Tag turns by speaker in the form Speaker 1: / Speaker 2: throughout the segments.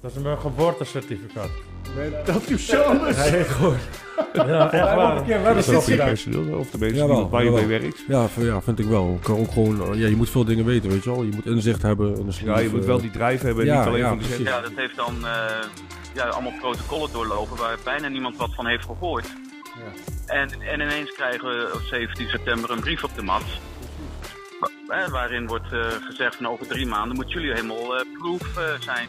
Speaker 1: Dat is mijn geboortecertificaat.
Speaker 2: Dat is zo.
Speaker 1: Hij heet gewoon. Ja, echt waar.
Speaker 3: Is dat
Speaker 1: hier
Speaker 3: geen personeel? Of de mensen
Speaker 4: Jawel,
Speaker 3: die waar je mee
Speaker 4: jawel.
Speaker 3: werkt?
Speaker 4: Ja, v- ja, vind ik wel. Kan ook gewoon, eh, ja, je moet veel dingen weten, weet je wel. Je moet inzicht hebben. En
Speaker 3: Ja, je moet wel die drijf hebben en
Speaker 4: ja,
Speaker 3: niet alleen
Speaker 4: ja,
Speaker 3: van de
Speaker 4: precies.
Speaker 3: zender.
Speaker 5: Ja, dat heeft dan eh, ja, allemaal protocollen doorlopen waar bijna niemand wat van heeft gehoord. En, en ineens krijgen we op 17 september een brief op de mat. wa- eh, waarin wordt eh, gezegd van over drie maanden moeten jullie helemaal eh proof eh, zijn.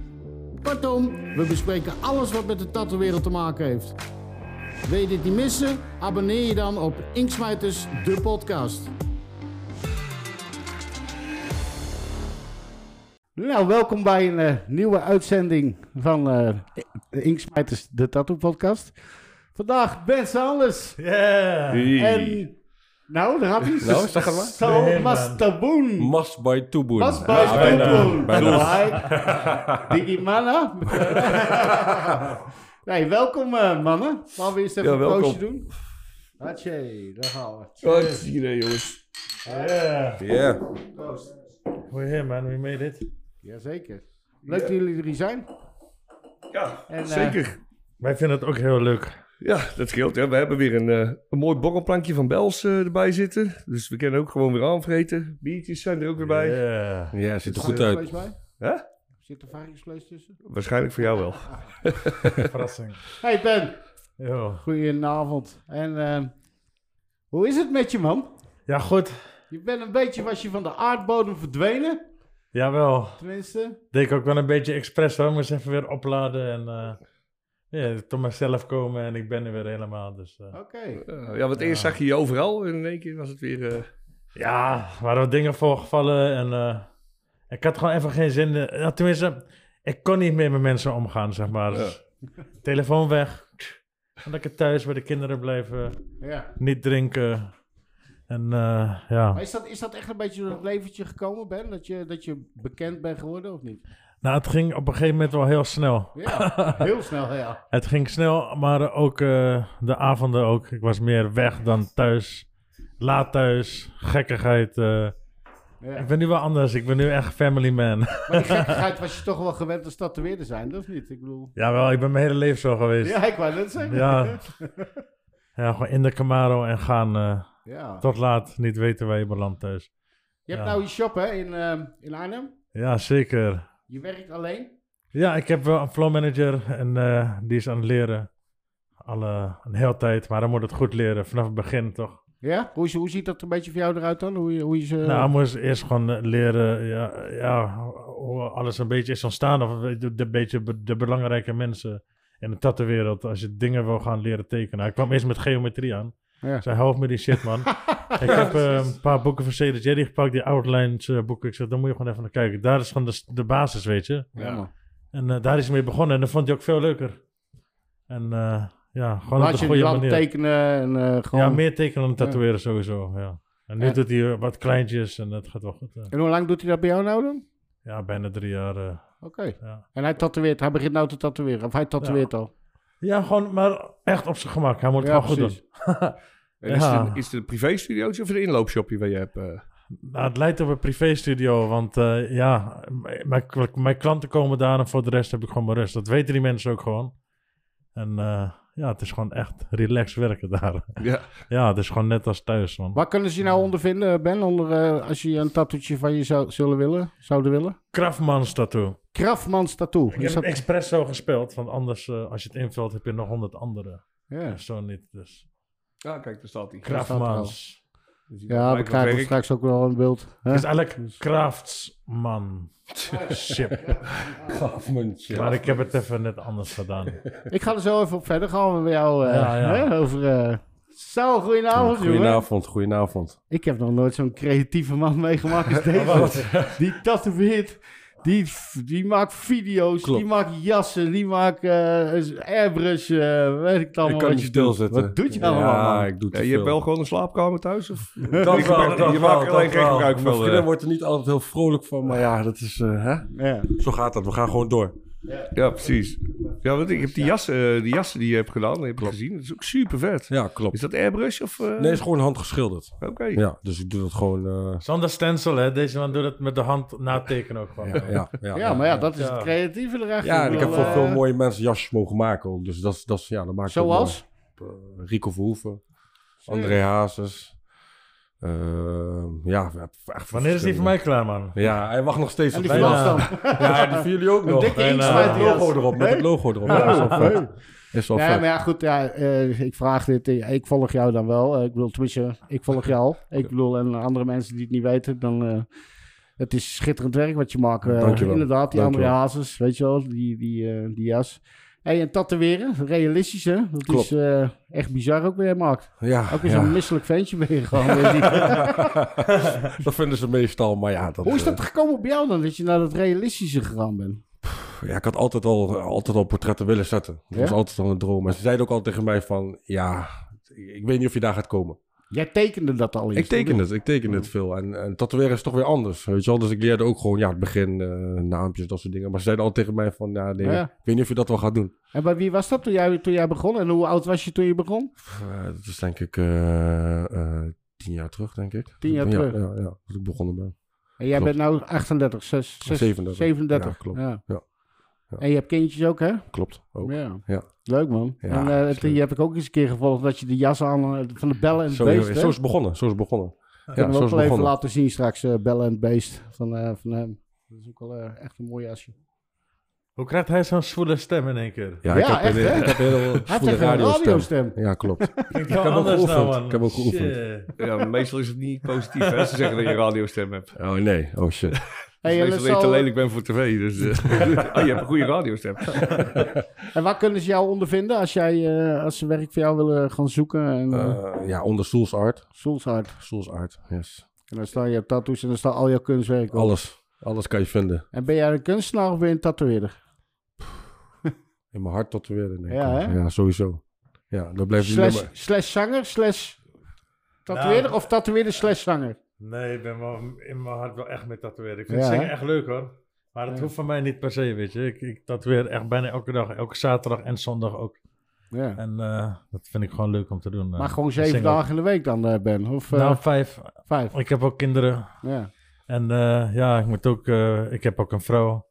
Speaker 2: Kortom, we bespreken alles wat met de tattoo-wereld te maken heeft. Wil je dit niet missen? Abonneer je dan op Inksmijters, de podcast. Nou, welkom bij een eh, nieuwe uitzending van eh, de Inksmijters, de tattoo-podcast. Vandaag Ben Sanders
Speaker 1: Yeah.
Speaker 2: en... Nou, daar had hij.
Speaker 4: Nou, zeg het maar.
Speaker 2: Sal Mastaboen.
Speaker 4: Must by Toeboen.
Speaker 2: Pas bij
Speaker 4: Ja,
Speaker 2: Spoonpoen.
Speaker 4: bijna, bijna.
Speaker 2: Digimana. nee, welkom eh, mannen. Laten we eerst even
Speaker 3: Ja,
Speaker 2: een
Speaker 3: welkom.
Speaker 2: poosje doen. Hatje, daar gaan we.
Speaker 3: Oh, dat is hier, hè, jongens.
Speaker 1: Yeah.
Speaker 4: Ja.
Speaker 2: Proost.
Speaker 1: We're here, man. We made it.
Speaker 2: Jazeker. Leuk dat jullie er hier zijn.
Speaker 3: Ja,
Speaker 2: En, eh,
Speaker 3: zeker.
Speaker 1: Wij vinden het ook heel leuk.
Speaker 3: Ja, dat scheelt. Hè. We hebben weer een, eh, een mooi borrelplankje van Bels eh, erbij zitten. Dus we kunnen ook gewoon weer aanvreten. Biertjes zijn er ook weer bij. Dus, eh,
Speaker 1: Yeah.
Speaker 4: ja, ziet er
Speaker 2: zit
Speaker 4: goed
Speaker 2: er
Speaker 4: uit.
Speaker 2: varkensvlees bij?
Speaker 3: Hè?
Speaker 2: Zit er varkensvlees tussen?
Speaker 3: Waarschijnlijk voor jou wel.
Speaker 1: Verrassing.
Speaker 2: Hey Ben,
Speaker 1: Yo.
Speaker 2: goedenavond. En eh, hoe is het met je man?
Speaker 1: Ja, goed.
Speaker 2: Je bent een beetje, was je van de aardbodem verdwenen?
Speaker 1: Jawel.
Speaker 2: Tenminste.
Speaker 1: Deed ik ook wel een beetje expres hoor. Moest even weer opladen en eh, ja, tot mezelf komen en ik ben er weer helemaal. Dus, eh.
Speaker 2: Oké.
Speaker 3: Eh, ja, want eerst
Speaker 1: Ja.
Speaker 3: zag je je overal en in één keer was het weer... eh,
Speaker 1: Ja, er waren wat dingen voorgevallen en eh, ik had gewoon even geen zin. eh, ja, tenminste, ik kon niet meer met mensen omgaan, zeg maar. Dus telefoon weg. Lekker thuis bij de kinderen eh. blijven.
Speaker 2: Ja.
Speaker 1: Niet drinken. En eh, ja.
Speaker 2: Maar is dat, is dat echt een beetje door het leventje gekomen, Ben? Dat je, dat je bekend bent geworden of niet?
Speaker 1: Nou, het ging op een gegeven moment wel heel snel.
Speaker 2: Ja, heel snel, ja.
Speaker 1: Het ging snel, maar eh, ook eh, de avonden ook. Ik was meer weg dan thuis. Laat thuis, gekkigheid. eh.
Speaker 2: ja.
Speaker 1: Ik ben nu wel anders. Ik ben nu echt family man.
Speaker 2: Maar die gekkigheid was je toch wel gewend als tatoeëerder zijn, of niet? Ik bedoel...
Speaker 1: Jawel, ik ben mijn hele leven zo geweest.
Speaker 2: Ja, ik wou dat zeggen.
Speaker 1: Dus- Ja. ja, gewoon in de Camaro en gaan eh,
Speaker 2: Ja.
Speaker 1: tot laat. Niet weten waar je belandt thuis.
Speaker 2: Je hebt
Speaker 1: Ja.
Speaker 2: nou je shop, hè, in, ehm, in Arnhem.
Speaker 1: Ja, zeker.
Speaker 2: Je werkt alleen.
Speaker 1: Ja, ik heb wel een flow manager en eh, die is aan het leren. Al eh, een hele tijd, maar dan moet het goed leren. Vanaf het begin toch?
Speaker 2: Ja? Hoe, is- hoe ziet dat een beetje voor jou eruit dan? Hoe, je- hoe je ze...
Speaker 1: Nou, ik moest eerst gewoon eh, leren ja, ja, hoe alles een beetje is ontstaan. Of weet je, de, beetje be- de belangrijke mensen in de tattenwereld. Als je dingen wil gaan leren tekenen. Ik kwam eerst met geometrie aan.
Speaker 2: ja.
Speaker 1: Zij helpt me die shit, man. ik heb eh, een paar boeken van CD Jerry gepakt, die Outlines eh, boeken. Ik zeg, dan moet je gewoon even naar kijken. Daar is gewoon de, de basis, weet je.
Speaker 2: Ja, man.
Speaker 1: En eh, daar is hij mee begonnen en dat vond hij ook veel leuker. En eh, ja, gewoon op de
Speaker 2: Laat je die
Speaker 1: goede
Speaker 2: laten
Speaker 1: manier.
Speaker 2: tekenen en eh, gewoon...
Speaker 1: Ja, meer tekenen dan tatoeëren sowieso, ja. En nu
Speaker 2: Ja.
Speaker 1: doet hij eh, wat kleintjes en dat gaat wel goed. eh.
Speaker 2: En hoe lang doet hij dat bij jou nou dan?
Speaker 1: Ja, bijna drie jaar. eh.
Speaker 2: Oké.
Speaker 1: Ja.
Speaker 2: En hij tatoeëert. Hij begint nou te tatoeëren. Of hij tatoeëert al.
Speaker 1: Ja, gewoon, maar echt op zijn gemak. Hij moet het
Speaker 2: Ja,
Speaker 1: gewoon
Speaker 2: precies.
Speaker 1: goed
Speaker 3: en is,
Speaker 1: Ja.
Speaker 3: het een, is het een privé-studiootje of een inloopshopje waar je hebt? eh?
Speaker 1: doen. Nou, het lijkt op een privéstudio, want eh, ja, m- mijn, mijn klanten komen daar en voor de rest heb ik gewoon mijn rust. Dat weten die mensen ook gewoon. En eh, ja, het is gewoon echt relaxed werken daar.
Speaker 3: ja.
Speaker 1: Ja, het is gewoon net als thuis, man.
Speaker 2: Waar kunnen ze je nou ondervinden, Ben? Onder, eh, als je een tattoetje van je zou, zullen willen, zouden willen?
Speaker 1: Kraftmans tattoo.
Speaker 2: Krafmans tattoo.
Speaker 1: Ik
Speaker 2: Is
Speaker 1: heb
Speaker 2: dat-
Speaker 1: het expres zo gespeeld, want anders, eh, als je het invult, heb je nog honderd andere.
Speaker 2: ja.
Speaker 1: Zo niet, dus.
Speaker 3: ja, kijk, daar staat hij.
Speaker 2: staat er
Speaker 1: Kraftmans.
Speaker 3: Dus die
Speaker 2: Ja, we
Speaker 3: maakt
Speaker 2: krijgen
Speaker 3: werk.
Speaker 2: straks ook wel een beeld. hè?
Speaker 1: Het is eigenlijk Kraftsman. Ship. Maar ik heb het even net anders gedaan.
Speaker 2: Ik ga er zo even op verder. Gaan we bij jou eh,
Speaker 1: Ja, ja.
Speaker 2: Hè, over... eh Sal, goedenavond, jongen.
Speaker 4: Goedenavond, goedenavond.
Speaker 2: Ik heb nog nooit zo'n creatieve man meegemaakt als deze. die tatoeëert, die, die maakt video's,
Speaker 4: Klopt.
Speaker 2: die maakt jassen, die maakt eh airbrush, eh, weet ik het
Speaker 4: ik kan
Speaker 2: allemaal. wat
Speaker 4: het je
Speaker 2: je
Speaker 4: stilzetten.
Speaker 2: Wat doet je
Speaker 4: Ja,
Speaker 2: allemaal, man?
Speaker 4: ik doe het
Speaker 3: Ja, je hebt wel gewoon een slaapkamer thuis? Of?
Speaker 4: Dat
Speaker 3: wel, dat wel, dat wel. Mijn
Speaker 4: Mijn
Speaker 3: vriendin
Speaker 4: wordt er niet altijd heel vrolijk van, maar ja, dat is... eh,
Speaker 2: Ja.
Speaker 4: Zo gaat dat, we gaan gewoon door.
Speaker 3: Ja, precies. Ja, want ik heb die jassen, eh, die, jassen die je hebt gedaan, die heb ik gezien. Dat is ook super vet.
Speaker 4: Ja, klopt.
Speaker 3: Is dat airbrush of... eh,
Speaker 4: Nee, het is gewoon handgeschilderd.
Speaker 3: Oké.
Speaker 4: Ja, dus ik doe dat gewoon... eh,
Speaker 1: Zonder stencil, hè. Deze man doet het met de hand natekenen ook gewoon.
Speaker 4: ja, ja, ja,
Speaker 2: Ja, maar ja, dat is
Speaker 1: Ja.
Speaker 2: het creatieve erachter.
Speaker 4: Ja, en ik heb
Speaker 2: bedoel,
Speaker 4: voor veel
Speaker 2: eh,
Speaker 4: mooie mensen jasjes mogen maken. Dus dat, is- dat, is- ja, dat maakt het
Speaker 2: Zoals?
Speaker 4: mooi. Eh, Rico Verhoeven, André Hazes. Eh, ja, we hebben echt
Speaker 1: Wanneer is die voor mij klaar, man?
Speaker 4: Ja, hij wacht nog steeds
Speaker 2: En
Speaker 4: op
Speaker 2: die
Speaker 4: mij.
Speaker 1: Bijna.
Speaker 2: glas dan.
Speaker 4: Ja, die voor jullie ook nog.
Speaker 2: dikke
Speaker 4: En,
Speaker 2: inkt
Speaker 4: eh,
Speaker 1: met
Speaker 4: het
Speaker 1: die
Speaker 4: logo
Speaker 2: jas.
Speaker 4: erop. Met het logo erop. Ja, dat is wel vet. Is wel
Speaker 2: Ah, Nee,
Speaker 4: vet.
Speaker 2: maar ja, goed, ja, eh, ik vraag dit. eh, Ik volg jou dan wel. Eh, ik bedoel, tenminste, ik volg jou al. Ik bedoel, en andere mensen die het niet weten, dan... eh, het is schitterend werk wat je maakt. eh,
Speaker 4: Dankjewel.
Speaker 2: Inderdaad, die andere
Speaker 4: Dankjewel.
Speaker 2: hazes, weet je wel, die, die, eh, die jas. Hey, en tatoeëren, realistisch hè? Dat
Speaker 4: Klopt.
Speaker 2: is eh, echt bizar ook weer, Mark.
Speaker 4: Ja,
Speaker 2: Ook weer
Speaker 4: ja.
Speaker 2: zo'n misselijk ventje ben je gewoon. weer die-
Speaker 4: dat vinden ze meestal. Maar ja, dat,
Speaker 2: Hoe is
Speaker 4: eh,
Speaker 2: dat gekomen bij jou dan, dat je naar dat realistische gegaan bent?
Speaker 4: Ja, ik had altijd al, altijd al portretten willen zetten. Dat
Speaker 2: Ja?
Speaker 4: was altijd al een droom. En ze zeiden ook al tegen mij van, ja, ik weet niet of je daar gaat komen.
Speaker 2: Jij tekende dat al eens.
Speaker 4: Ik teken het, ik teken
Speaker 2: Oh.
Speaker 4: het veel. En, en tatoeëren is toch weer anders, weet je wel. Dus ik leerde ook gewoon, ja, het begin, eh, naampjes, dat soort dingen. Maar ze zeiden al tegen mij van, ja, nee,
Speaker 2: Oh Ja.
Speaker 4: ik weet niet of je dat wel gaat doen.
Speaker 2: En bij wie was dat toen jij, toen jij begon? En hoe oud was je toen je begon?
Speaker 4: Pff, eh, dat is denk ik eh, eh, tien jaar terug, denk ik.
Speaker 2: Tien jaar
Speaker 4: ja,
Speaker 2: terug.
Speaker 4: Ja, ja, dat ik begonnen ben.
Speaker 2: En jij
Speaker 4: Klopt.
Speaker 2: bent nou nu 38, 6, 6,
Speaker 4: 37.
Speaker 2: 37.
Speaker 4: Ja, klopt.
Speaker 2: Ja.
Speaker 4: Ja. Ja.
Speaker 2: En je hebt kindjes ook, hè?
Speaker 4: Klopt, ook.
Speaker 2: Ja.
Speaker 4: Ja.
Speaker 2: Leuk, man.
Speaker 4: Ja,
Speaker 2: en eh,
Speaker 4: is
Speaker 2: die heb ik ook eens een keer gevolgd, dat je de jas aan eh, van de bellen en het
Speaker 4: Zo,
Speaker 2: beest, hè?
Speaker 4: zo is het begonnen, zo is het begonnen. zo
Speaker 2: Kunnen we ook
Speaker 4: is
Speaker 2: wel
Speaker 4: het
Speaker 2: even
Speaker 4: begonnen.
Speaker 2: laten zien straks, eh, bellen en het beest van, eh, van hem. Dat is ook wel eh, echt een mooi jasje.
Speaker 1: Hoe krijgt hij zo'n zwoele stem in één keer?
Speaker 4: Ja,
Speaker 2: Ja,
Speaker 4: ik heb
Speaker 2: echt,
Speaker 4: een-
Speaker 2: hè?
Speaker 4: ik heb een
Speaker 2: Hij
Speaker 4: heel
Speaker 2: heeft echt
Speaker 4: zwoele
Speaker 2: een
Speaker 4: radiostem.
Speaker 2: radiostem.
Speaker 4: Ja, klopt.
Speaker 1: Ik
Speaker 4: heb
Speaker 1: wel
Speaker 4: ook
Speaker 1: anders nou,
Speaker 4: geoefend.
Speaker 1: man.
Speaker 4: Ik heb ook geoefend.
Speaker 1: Shit.
Speaker 3: Ja, maar meestal is het niet positief hè, als ze zeggen dat je een radiostem hebt. Dus
Speaker 4: Oh nee, oh shit.
Speaker 2: Hey, en,
Speaker 3: meestal
Speaker 2: het
Speaker 3: weet je te
Speaker 2: zal-
Speaker 3: lelijk ben voor tv. Dus, eh, oh, je hebt een goede radiostem.
Speaker 2: en waar kunnen ze jou ondervinden als, jij, eh, als ze werk voor jou willen gaan zoeken? En, eh
Speaker 4: Eh, ja, onder Souls Art.
Speaker 2: Soulside.
Speaker 4: Souls Art, yes.
Speaker 2: En dan staan je tattoos en dan staan al jouw kunstwerken op.
Speaker 4: Alles. Alles kan je vinden.
Speaker 2: En ben jij een kunstenaar of ben je een tatoeëerder?
Speaker 4: In mijn hart tot weer. denk ik.
Speaker 2: Ja, hè?
Speaker 4: ja, sowieso. Ja, dat blijft niet
Speaker 2: Slash,
Speaker 4: nummer.
Speaker 2: slash zanger, slash tatoeëerder
Speaker 1: Nou.
Speaker 2: of tatoeëerder slash zanger?
Speaker 1: Nee, ik ben wel in mijn hart wel echt met tatoeëren. Ik vind
Speaker 2: Ja,
Speaker 1: het zingen
Speaker 2: hè?
Speaker 1: echt leuk hoor. Maar dat hoeft van mij niet per se, weet je. Ik, ik tatoeëer echt bijna elke dag, elke zaterdag en zondag ook.
Speaker 2: Ja.
Speaker 1: En eh, dat vind ik gewoon leuk om te doen. eh.
Speaker 2: Maar gewoon
Speaker 1: Ik
Speaker 2: zeven
Speaker 1: zing ook.
Speaker 2: dagen in de week dan eh, Ben, of eh,
Speaker 1: Nou, vijf.
Speaker 2: vijf.
Speaker 1: Ik heb ook kinderen.
Speaker 2: Ja.
Speaker 1: En eh, ja, ik moet ook, eh, ik heb ook een vrouw.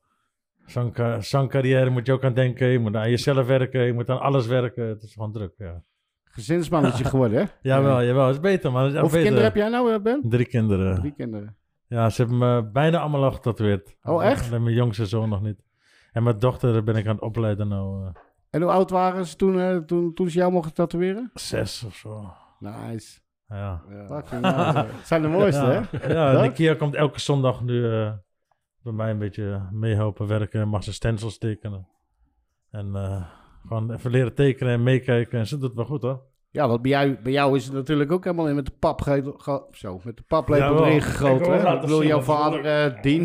Speaker 1: Zo'n ka- zo'n carrière moet je ook aan denken. Je moet aan jezelf werken, je moet aan alles werken. Het is gewoon druk, ja.
Speaker 2: Gezinsmannetje geworden, hè?
Speaker 1: Jawel, jawel. Het is beter, maar het is echt
Speaker 2: Hoeveel
Speaker 1: beter.
Speaker 2: kinderen heb jij nou, eh, Ben?
Speaker 1: Drie kinderen.
Speaker 2: Drie kinderen.
Speaker 1: Ja, ze hebben me bijna allemaal al getatoeëerd.
Speaker 2: Oh, echt?
Speaker 1: Alleen mijn jongste zoon nog niet. En mijn dochter ben ik aan het opleiden nou. eh,
Speaker 2: En hoe oud waren ze toen, eh, toen, toen ze jou mochten tatoeëren?
Speaker 1: zes of zo.
Speaker 2: Nice.
Speaker 1: Ja.
Speaker 2: Fucking nice, hè. Het zijn de mooiste,
Speaker 1: ja.
Speaker 2: hè?
Speaker 1: Ja,
Speaker 2: Leuk.
Speaker 1: Nikia komt elke zondag nu eh, bij mij een beetje meehelpen werken. Mag ze stencils tekenen. En eh, gewoon even leren tekenen en meekijken. En ze doet het wel goed hoor.
Speaker 2: Ja, want bij jou, bij jou is het natuurlijk ook helemaal in met de pap ge- ge- zo, met de paplepel
Speaker 1: Jawel.
Speaker 2: erin
Speaker 1: Ik
Speaker 2: gegoten.
Speaker 1: wil
Speaker 2: hè?
Speaker 1: laten
Speaker 2: Ik bedoel,
Speaker 1: zien
Speaker 2: jouw
Speaker 1: dat het
Speaker 2: vader, eh Dien,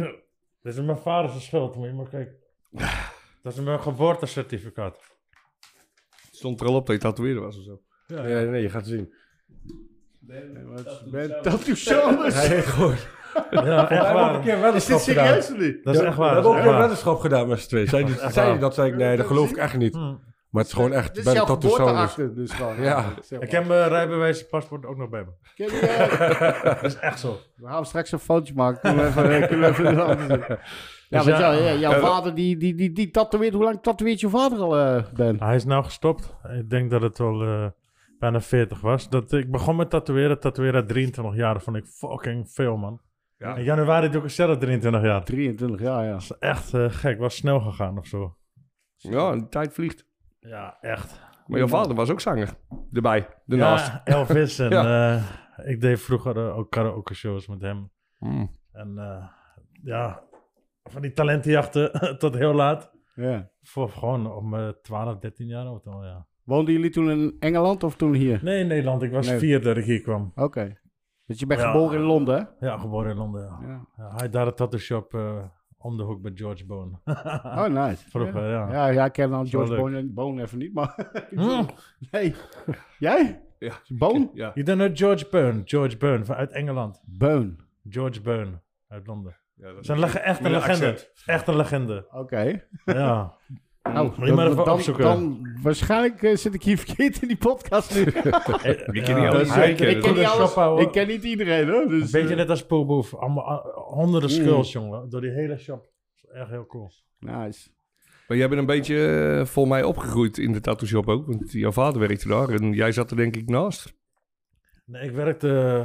Speaker 1: Dit is mijn vader zijn schuld, moet je maar kijken. Dat is mijn geboortecertificaat.
Speaker 3: Stond er al op dat je tatoeëerder was of zo.
Speaker 4: Ja, nee, je gaat zien.
Speaker 2: Ben Tattoo Saunders.
Speaker 1: Ja, echt waar.
Speaker 2: Is dit serieus of niet?
Speaker 1: Dat is echt
Speaker 4: we
Speaker 1: waar.
Speaker 4: hebben ook
Speaker 1: echt
Speaker 4: een
Speaker 1: waar.
Speaker 4: weddenschap gedaan met z'n tweeën. Zei die, zei die dat? Zei ik, nee, dat geloof ik echt niet.
Speaker 1: Hm.
Speaker 4: Maar het is gewoon echt
Speaker 2: Dit
Speaker 4: bij
Speaker 2: is
Speaker 4: de
Speaker 2: jouw
Speaker 4: tattoo saunders.
Speaker 2: geboorteakte dus gewoon.
Speaker 4: Ja.
Speaker 2: Zeg maar.
Speaker 1: Ik heb mijn rijbewijs en paspoort ook nog bij me.
Speaker 2: Ken je, eh,
Speaker 1: Dat is echt zo.
Speaker 2: we gaan straks een foto maken. Kunnen we even, kunnen we even een ander doen. Ja, want jou- ja, jouw vader die, die, die, die tatoeëert, hoe lang tatoeëert je vader al, eh Ben?
Speaker 1: Hij is nou gestopt. Ik denk dat het wel eh, bijna 40 was. Dat, ik begon met tatoeëren. Tatoeëren aan 23 jaar vond ik fucking veel, man.
Speaker 3: Ja.
Speaker 1: In januari doe ik het zelf 23 jaar. Dat
Speaker 2: 23, ja, ja.
Speaker 1: is echt eh, gek. Was snel gegaan of zo.
Speaker 3: Ja, de tijd vliegt.
Speaker 1: Ja, echt.
Speaker 3: Maar jouw vader was ook zanger. Erbij, daarnaast.
Speaker 1: Ja, Elvis en...
Speaker 3: Ja.
Speaker 1: eh, Ik deed vroeger eh, ook karaoke shows met hem.
Speaker 4: Mm.
Speaker 1: En eh, ja, van die talentenjachten tot heel laat.
Speaker 2: Ja.
Speaker 1: Voor gewoon om eh, 12, 13 jaar oud al, ja.
Speaker 2: Woonden jullie toen in Engeland of toen hier?
Speaker 1: Nee, in Nederland. Ik was
Speaker 2: Nee.
Speaker 1: vier dat ik hier kwam.
Speaker 2: Oké. Dus je bent
Speaker 1: Ja.
Speaker 2: geboren in Londen, hè?
Speaker 1: Ja, geboren in Londen, ja.
Speaker 2: Ja.
Speaker 1: Ja, hij had daar een tattoo shop eh, om de hoek met George Bone.
Speaker 2: Oh, nice.
Speaker 1: Vroeger, Ah. eh, ja.
Speaker 2: Ja, ja, ik ken dan
Speaker 1: wel
Speaker 2: George
Speaker 1: leuk.
Speaker 2: Bone, Bone even niet, maar...
Speaker 1: Hmm.
Speaker 2: Nee. Jij?
Speaker 4: Ja.
Speaker 2: Bone?
Speaker 4: Ja.
Speaker 1: Je dan ook George Bone. George Bone, van uit Engeland.
Speaker 2: Bone.
Speaker 1: George Bone, uit Londen.
Speaker 4: Ja, dat-
Speaker 1: Ze is leg- echt een
Speaker 4: Met een
Speaker 1: legende.
Speaker 4: accent.
Speaker 1: Echt een legende.
Speaker 2: Oké.
Speaker 1: Ja.
Speaker 2: Nou,
Speaker 1: Moet je maar
Speaker 2: dan-
Speaker 1: even
Speaker 2: dan,
Speaker 1: opzoeken.
Speaker 2: dan- waarschijnlijk eh, zit ik hier verkeerd in die podcast nu.
Speaker 1: Ik
Speaker 3: ken die Hij
Speaker 2: Dus, eh,
Speaker 3: kent het.
Speaker 2: ik, ken niet
Speaker 1: Goede
Speaker 2: alles,
Speaker 1: shop, ouwe.
Speaker 2: ik ken niet iedereen, hoor. Dus,
Speaker 1: Een beetje
Speaker 2: eh,
Speaker 1: net als Poelboef. Allemaal ah, honderden skulls, jongen. Door die hele shop. Dat is Echt heel cool.
Speaker 2: eh, Nice.
Speaker 3: Maar jij bent een beetje eh, voor mij opgegroeid in de tattoo shop ook. Want jouw vader werkte daar en jij zat er denk ik naast.
Speaker 1: Nee, ik werkte... eh,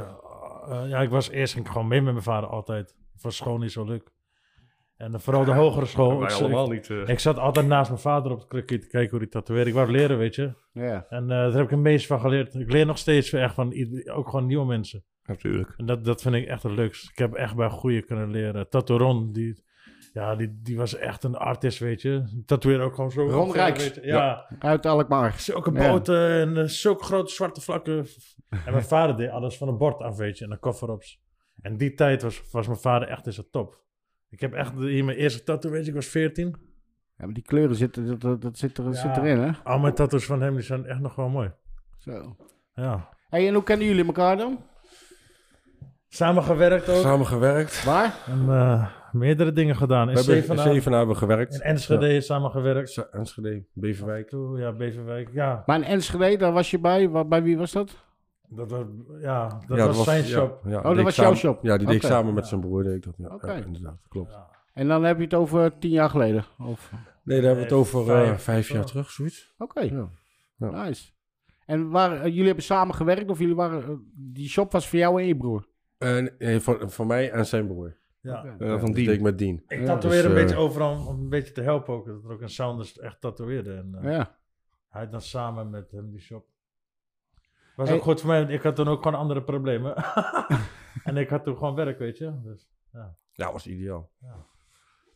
Speaker 1: eh, ja, ik was eerst ging ik gewoon mee met mijn vader altijd. Voor school niet zo leuk. En vooral de hogere
Speaker 4: Oh,
Speaker 1: school.
Speaker 3: wij
Speaker 1: Ik-
Speaker 3: allemaal niet. eh.
Speaker 1: Ik zat altijd naast mijn vader op het krukje te kijken hoe die tatoeëerde. Ik wou leren, weet je.
Speaker 2: Ja.
Speaker 1: En eh, daar heb ik het meest van geleerd. Ik leer nog steeds echt van ieder- ook gewoon nieuwe mensen.
Speaker 3: Natuurlijk.
Speaker 1: En dat, dat vind ik echt het leukst. Ik heb echt bij goeie kunnen leren. Tatoeron, die, ja, die, die was echt een artist, weet je. Tatoeëerde ook gewoon zo. eh,
Speaker 2: Ron Rijks.
Speaker 1: Weet je. Ja.
Speaker 2: Uit Alkmaar.
Speaker 1: Zulke
Speaker 2: Ja.
Speaker 1: boten en eh, zulke grote zwarte vlakken. En mijn vader deed alles van een bord af, weet je. En een koffer op. En die tijd was, was mijn vader echt in zijn top. Ik heb echt hier mijn eerste tattoo, weet je. Ik was 14.
Speaker 2: Ja, maar die kleuren zitten, dat, dat, dat zit, er, zit erin, hè?
Speaker 1: Al mijn tattoos van hem die zijn echt nog wel mooi.
Speaker 2: Zo.
Speaker 1: Ja.
Speaker 2: Hey, en hoe kennen jullie elkaar dan?
Speaker 1: Samen gewerkt ook.
Speaker 4: Samen gewerkt.
Speaker 2: Waar?
Speaker 1: En, eh, meerdere dingen gedaan. In
Speaker 4: We hebben in
Speaker 1: Zevenaar,
Speaker 4: Zevenaar hebben we gewerkt.
Speaker 1: in Enschede samen gewerkt.
Speaker 4: Ja. Enschede, Beverwijk.
Speaker 1: Toe, ja, Beverwijk. Ja,
Speaker 2: Maar in Enschede, daar was je bij. Wa- bij wie was dat?
Speaker 1: dat was, ja, dat
Speaker 4: Ja,
Speaker 1: was zijn shop.
Speaker 4: Ja, ja,
Speaker 2: Oh,
Speaker 4: die
Speaker 2: dat
Speaker 4: ik
Speaker 2: was jouw
Speaker 4: samen-
Speaker 2: shop.
Speaker 4: Ja, die deed ik
Speaker 2: Oké.
Speaker 4: samen met zijn broer. Deed ik dat. Ja, Ja,
Speaker 2: Oké.
Speaker 4: inderdaad, klopt.
Speaker 2: En dan heb je het over tien jaar geleden. Of...
Speaker 4: Nee, daar hebben we het over eh,
Speaker 1: vijf,
Speaker 4: vijf,
Speaker 1: zo.
Speaker 4: jaar terug, zoiets.
Speaker 2: Oké.
Speaker 4: Ja. Ja.
Speaker 2: Nice. En waar, eh, jullie hebben samen gewerkt of jullie waren, eh, die shop was voor jou en je broer?
Speaker 4: En, nee, van, van mij en zijn broer.
Speaker 1: Ja.
Speaker 3: Eh,
Speaker 4: Ja, dus
Speaker 3: van
Speaker 4: deed ik
Speaker 3: die.
Speaker 4: met Dien.
Speaker 1: Ik
Speaker 2: Ja,
Speaker 1: tatoeëerde
Speaker 4: dus,
Speaker 1: een
Speaker 4: eh,
Speaker 1: beetje overal om- om een beetje te helpen ook. Dat er ook een Saunders echt tatoeëerde. En eh,
Speaker 2: Ja.
Speaker 1: hij dan samen met hem die shop. Was
Speaker 2: Hey.
Speaker 1: ook goed voor mij, want ik had toen ook gewoon andere problemen. en ik had toen gewoon werk, weet je. Dus,
Speaker 4: Ja, was ideaal.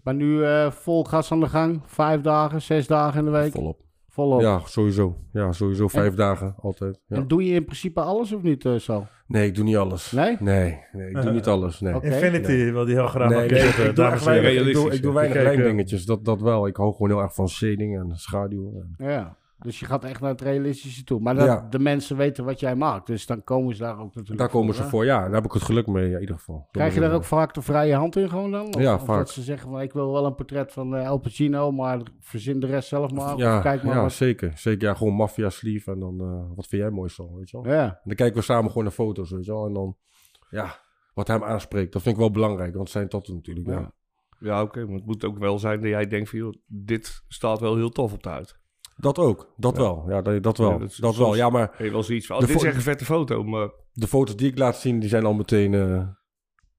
Speaker 2: Maar nu eh, vol gas aan de gang. Vijf dagen, zes dagen in de week.
Speaker 4: Volop.
Speaker 2: Volop.
Speaker 4: Ja, sowieso. Ja, sowieso. Vijf dagen altijd. Ja.
Speaker 2: En doe je in principe alles of niet eh, zo?
Speaker 4: Nee, ik doe niet alles.
Speaker 2: Nee?
Speaker 4: Nee, nee, ik doe niet alles. Nee.
Speaker 2: Oké.
Speaker 1: Infinity wil die heel graag
Speaker 4: Nee,
Speaker 1: nog
Speaker 4: ik-
Speaker 1: eten,
Speaker 4: ik, doe
Speaker 1: eh, dames
Speaker 4: echt
Speaker 1: en heren.
Speaker 4: weinig, ik,
Speaker 3: realistisch,
Speaker 4: doe, ik doe
Speaker 3: ja.
Speaker 4: weinig
Speaker 3: Kijk, eh,
Speaker 4: lijndingetjes, dat, dat wel. Ik hou gewoon heel erg van shading en schaduw. en-
Speaker 2: Ja. Dus je gaat echt naar het realistische toe. Maar dat,
Speaker 4: Ja.
Speaker 2: de mensen weten wat jij maakt. Dus dan komen ze daar ook natuurlijk
Speaker 4: Daar komen ze
Speaker 2: hè?
Speaker 4: voor, ja. Daar heb ik het geluk mee, ja, in ieder geval.
Speaker 2: Krijg je daar ook vaak de vrije hand in gewoon dan? Of,
Speaker 4: Ja,
Speaker 2: of
Speaker 4: vaak.
Speaker 2: dat ze zeggen van ik wil wel een portret van eh El Pacino, maar verzin de rest zelf maar.
Speaker 4: Ja,
Speaker 2: of kijk maar
Speaker 4: ja
Speaker 2: wat.
Speaker 4: zeker. Zeker, ja, gewoon maffia sleeve en dan eh, wat vind jij mooi zo, weet je wel.
Speaker 2: Ja,
Speaker 4: En dan kijken we samen gewoon naar foto's, weet je wel. En dan, ja, wat hem aanspreekt, dat vind ik wel belangrijk, want het zijn dat natuurlijk, ja.
Speaker 2: Ja.
Speaker 3: Ja, oké. maar het moet ook wel zijn dat jij denkt van, joh, dit staat wel heel tof op de huid.
Speaker 4: Dat ook, dat
Speaker 3: Ja.
Speaker 4: wel, ja, dat, dat wel,
Speaker 3: Ja, dat
Speaker 4: dat,
Speaker 3: is
Speaker 4: wel.
Speaker 3: soms-
Speaker 4: Ja, maar
Speaker 3: Heb je wel zoiets van, oh,
Speaker 4: De
Speaker 3: dit is
Speaker 4: vo-
Speaker 3: echt een vette foto, maar...
Speaker 4: de foto's die ik laat zien, die zijn al meteen... eh,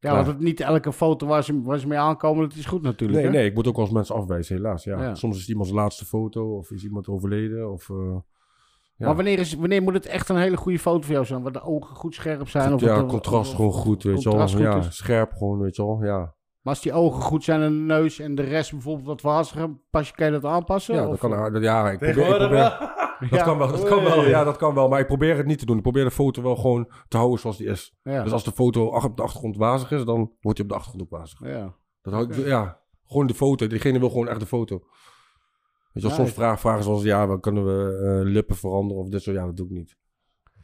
Speaker 2: ja want het, niet elke foto waar ze, waar ze mee aankomen, dat is goed natuurlijk.
Speaker 4: Nee,
Speaker 2: hè?
Speaker 4: nee, ik moet ook wel eens mensen afwijzen, helaas, ja.
Speaker 2: Ja.
Speaker 4: Soms is het iemands laatste foto, of is iemand overleden, of... eh, ja.
Speaker 2: Maar wanneer, is, wanneer moet het echt een hele goede foto voor jou zijn? Waar de ogen goed scherp zijn? Of
Speaker 4: ja,
Speaker 2: dat er-
Speaker 4: contrast
Speaker 2: of-
Speaker 4: gewoon goed, weet je wel.
Speaker 2: contrast goed
Speaker 4: Ja,
Speaker 2: is.
Speaker 4: scherp gewoon, weet je wel, ja.
Speaker 2: Maar als die ogen goed zijn en de neus en de rest bijvoorbeeld wat waziger, pas je, kan je dat aanpassen?
Speaker 4: Ja, dat
Speaker 2: Of-
Speaker 4: kan, dat- ja, ik probeer, ik
Speaker 1: Tegenwoordig
Speaker 4: probeer-
Speaker 1: wel.
Speaker 4: dat kan eh, wel, dat kan wel,
Speaker 1: Oei.
Speaker 4: ja, dat kan wel. Maar ik probeer het niet te doen. Ik probeer de foto wel gewoon te houden zoals die is.
Speaker 2: Ja.
Speaker 4: Dus als de foto ach- op de achtergrond wazig is, dan wordt hij op de achtergrond ook wazig.
Speaker 2: ja.
Speaker 4: Dat hou ik, ja, gewoon de foto. Diegene wil gewoon echt de foto. Weet je wel,
Speaker 2: Ja,
Speaker 4: soms
Speaker 2: ik-
Speaker 4: vragen, vragen zoals, ja, we- kunnen we eh, lippen veranderen of dit zo. Ja, dat doe ik niet.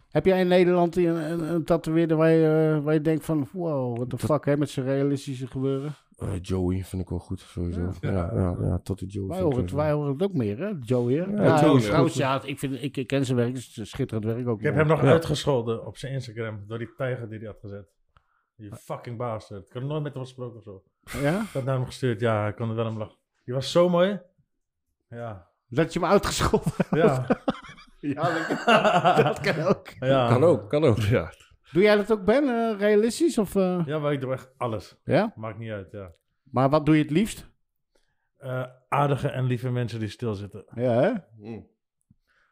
Speaker 2: Heb jij in Nederland een, een, een tatoeëerder waar je, eh, waar je denkt van, wow, what the fuck, hè, met zijn realistische gebeuren?
Speaker 4: Eh, Joey vind ik wel goed, sowieso.
Speaker 2: Ja.
Speaker 4: Ja, ja, ja, tot de Joey.
Speaker 2: Wij
Speaker 4: vind ik
Speaker 2: horen, het,
Speaker 4: sowieso.
Speaker 2: wij horen het ook meer, hè, Joey. Hè?
Speaker 4: Joey
Speaker 2: Ja,
Speaker 4: is goed.
Speaker 2: trouwens, ja, ik, vind, ik, ik ken zijn werk, het is schitterend werk ook.
Speaker 1: Ik heb hem nog uitgescholden op zijn Instagram door die tijger die hij had gezet. Je fucking bastard. Ik had nooit met hem gesproken of zo.
Speaker 2: Ja?
Speaker 1: Ik had naar hem gestuurd, ja, ik kon er wel om lachen. Die was zo mooi. Ja.
Speaker 2: Dat je hem uitgescholden hebt.
Speaker 1: Ja.
Speaker 2: Ja, dat, dat kan ook.
Speaker 1: ja.
Speaker 4: Kan ook, kan ook.
Speaker 3: Ja,
Speaker 2: Doe jij dat ook, Ben? eh, realistisch? Of, eh, ja.
Speaker 1: Ja, maar ik doe echt alles. Maakt niet uit, ja.
Speaker 2: Maar wat doe je het liefst?
Speaker 1: Eh, aardige en lieve mensen die stilzitten.
Speaker 2: Ja, hè?
Speaker 1: Dat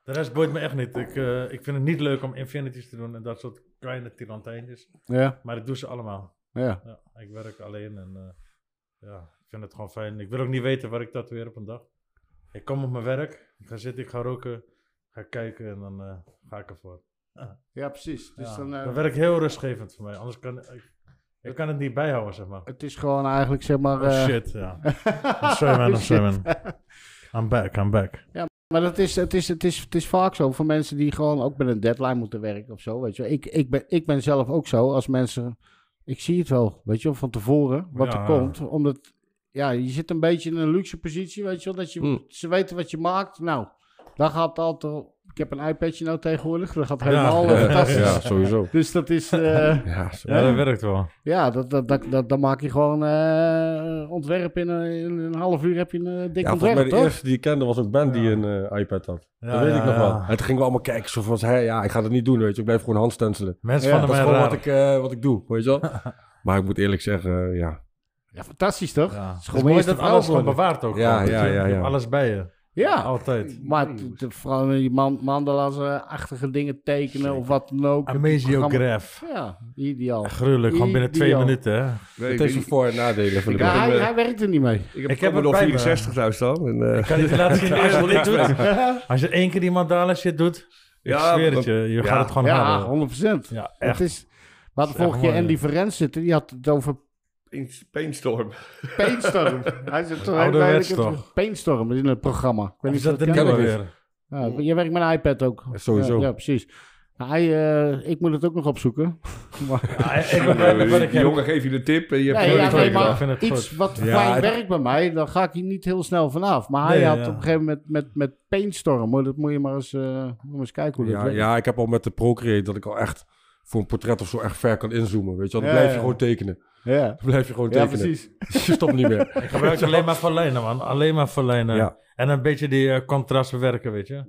Speaker 1: De rest boeit me echt niet. Ik, eh, ik vind het niet leuk om infinities te doen en dat soort kleine tirantijntjes.
Speaker 2: Ja,
Speaker 1: Maar ik doe ze allemaal.
Speaker 2: ja.
Speaker 1: Ja, ik werk alleen en eh, ja, ik vind het gewoon fijn. Ik wil ook niet weten waar ik tatoeëer op een dag. Ik kom op mijn werk, ik ga zitten, ik ga roken, ga kijken en dan eh, ga ik ervoor.
Speaker 2: ja precies. Dus
Speaker 1: Ja,
Speaker 2: dan, eh,
Speaker 1: dat werkt heel rustgevend voor mij, anders kan ik, ik kan het niet bijhouden, zeg maar.
Speaker 2: het is gewoon eigenlijk, zeg maar...
Speaker 1: Oh
Speaker 2: eh,
Speaker 1: shit, ja. I'm sorry man, I'm sorry man. I'm back, I'm back.
Speaker 2: Maar dat is, het, is, het, is, het is vaak zo voor mensen die gewoon ook met een deadline moeten werken of zo. Weet je. wel. Ik, ik, ben, ik ben zelf ook zo als mensen. Ik zie het wel, weet je, wel, van tevoren wat
Speaker 1: Ja.
Speaker 2: er komt. Omdat ja, je zit een beetje in een luxe positie, weet je wel. Dat je,
Speaker 4: Hm.
Speaker 2: ze weten wat je maakt. Nou, daar gaat het altijd. Ik heb een iPadje nou tegenwoordig. Dat gaat
Speaker 1: Ja.
Speaker 2: helemaal eh, fantastisch.
Speaker 4: Ja, sowieso.
Speaker 2: Dus dat is. eh,
Speaker 4: Ja, zo-
Speaker 1: Ja, dat werkt wel.
Speaker 2: ja, dat, dat, dat, dat, dan maak je gewoon eh, ontwerp in een, in een half uur. Heb je een eh, dik
Speaker 4: Ja, volgens mij
Speaker 2: ontwerp,
Speaker 4: de
Speaker 2: toch?
Speaker 4: eerste die ik kende was een band die
Speaker 1: Ja.
Speaker 4: een eh, iPad had.
Speaker 1: Ja,
Speaker 4: dat weet
Speaker 1: ja,
Speaker 4: ik nog
Speaker 1: ja.
Speaker 4: wel. En toen gingen we allemaal kijken. Zo van, hey, ja, ik ga dat niet doen, weet je. Ik blijf gewoon handstenselen.
Speaker 1: Mensen
Speaker 2: Ja,
Speaker 1: vonden
Speaker 4: Dat is
Speaker 1: mij
Speaker 4: gewoon
Speaker 1: raar.
Speaker 4: wat ik, eh, wat ik doe, weet je wel. maar ik moet eerlijk zeggen, eh, ja.
Speaker 2: Ja, fantastisch toch?
Speaker 1: Ja. Het is
Speaker 2: gewoon
Speaker 1: mooi
Speaker 2: eerst
Speaker 1: dat
Speaker 2: het
Speaker 1: alles
Speaker 2: oude
Speaker 1: gewoon bewaard ook.
Speaker 4: Ja,
Speaker 1: gewoon,
Speaker 4: ja,
Speaker 1: weet je.
Speaker 4: ja,
Speaker 1: Je hebt
Speaker 4: ja.
Speaker 1: Alles bij je.
Speaker 2: Ja.
Speaker 1: Altijd.
Speaker 2: Maar t- t- vooral die man- mandala's-achtige dingen tekenen of wat dan ook. Programma-
Speaker 1: Amesiograph.
Speaker 2: Ja, ideaal.
Speaker 1: Gruwelijk, gewoon binnen twee
Speaker 2: Ideaal.
Speaker 1: minuten. Hè.
Speaker 3: Nee, ik,
Speaker 4: Het heeft zijn
Speaker 3: weet niet.
Speaker 4: voor- en nadelen voor de
Speaker 2: Ja,
Speaker 4: band.
Speaker 3: heb
Speaker 2: hij,
Speaker 3: hem, eh,
Speaker 2: hij werkt er niet mee.
Speaker 3: ik heb,
Speaker 1: Ik
Speaker 3: ik
Speaker 1: heb
Speaker 3: heb nog
Speaker 1: het bij me.
Speaker 3: 64 thuis dan. En, eh,
Speaker 1: Ik kan niet laten zien als je dit doet.
Speaker 2: ja,
Speaker 1: Als je één keer die mandala shit doet, ik
Speaker 3: Ja,
Speaker 1: zweer het
Speaker 3: want-
Speaker 1: je, je
Speaker 3: ja.
Speaker 1: gaat het gewoon
Speaker 2: ja,
Speaker 1: halen.
Speaker 2: 100%.
Speaker 1: Ja, echt.
Speaker 2: Het is, we hadden
Speaker 1: echt
Speaker 2: vorige keer
Speaker 1: mooi,
Speaker 2: Andy
Speaker 1: ja.
Speaker 2: Verrens zitten. Die had het over
Speaker 3: Paint- Paintstorm.
Speaker 2: Painstorm. hij zit zo
Speaker 1: Ouderwets toch?
Speaker 2: Painstorm in het programma. Ik weet
Speaker 1: Is
Speaker 2: niet
Speaker 1: dat
Speaker 2: of
Speaker 1: de
Speaker 2: je dat kent.
Speaker 1: nieuwe
Speaker 4: ik
Speaker 1: weer?
Speaker 2: Ja, je werkt met een iPad ook.
Speaker 4: Sowieso.
Speaker 2: Ja, ja, precies. Hij, eh, ik moet het ook nog opzoeken.
Speaker 1: Ja, ik ben blij met wat ik heb.
Speaker 3: jongen, geef je de tip en je hebt
Speaker 2: Nee,
Speaker 1: vind
Speaker 2: ja,
Speaker 1: het
Speaker 2: nee,
Speaker 1: goed.
Speaker 2: maar
Speaker 1: Ik vind het
Speaker 2: iets
Speaker 1: goed.
Speaker 2: wat
Speaker 4: Ja,
Speaker 2: fijn
Speaker 4: het-
Speaker 2: werkt bij mij, dan ga ik hier niet heel snel vanaf. Maar hij
Speaker 1: Nee,
Speaker 2: had
Speaker 1: ja.
Speaker 2: op een gegeven moment met, met Painstorm, hoor. dat moet je maar eens, eh, moet maar eens kijken hoe dat
Speaker 4: Ja,
Speaker 2: werkt.
Speaker 4: ja, ik heb al met de Procreate dat ik al echt voor een portret of zo echt ver kan inzoomen, weet je wel. Dan
Speaker 2: Ja,
Speaker 4: blijf je
Speaker 2: ja.
Speaker 4: gewoon tekenen.
Speaker 2: Ja.
Speaker 4: Dan blijf je gewoon
Speaker 2: Ja,
Speaker 4: tekenen. Dus
Speaker 2: precies.
Speaker 4: Je stopt niet meer.
Speaker 1: Ik gebruik alleen maar voor lijnen, man. Alleen maar voor lijnen.
Speaker 4: Ja.
Speaker 1: En een beetje die eh, contrasten werken, weet je.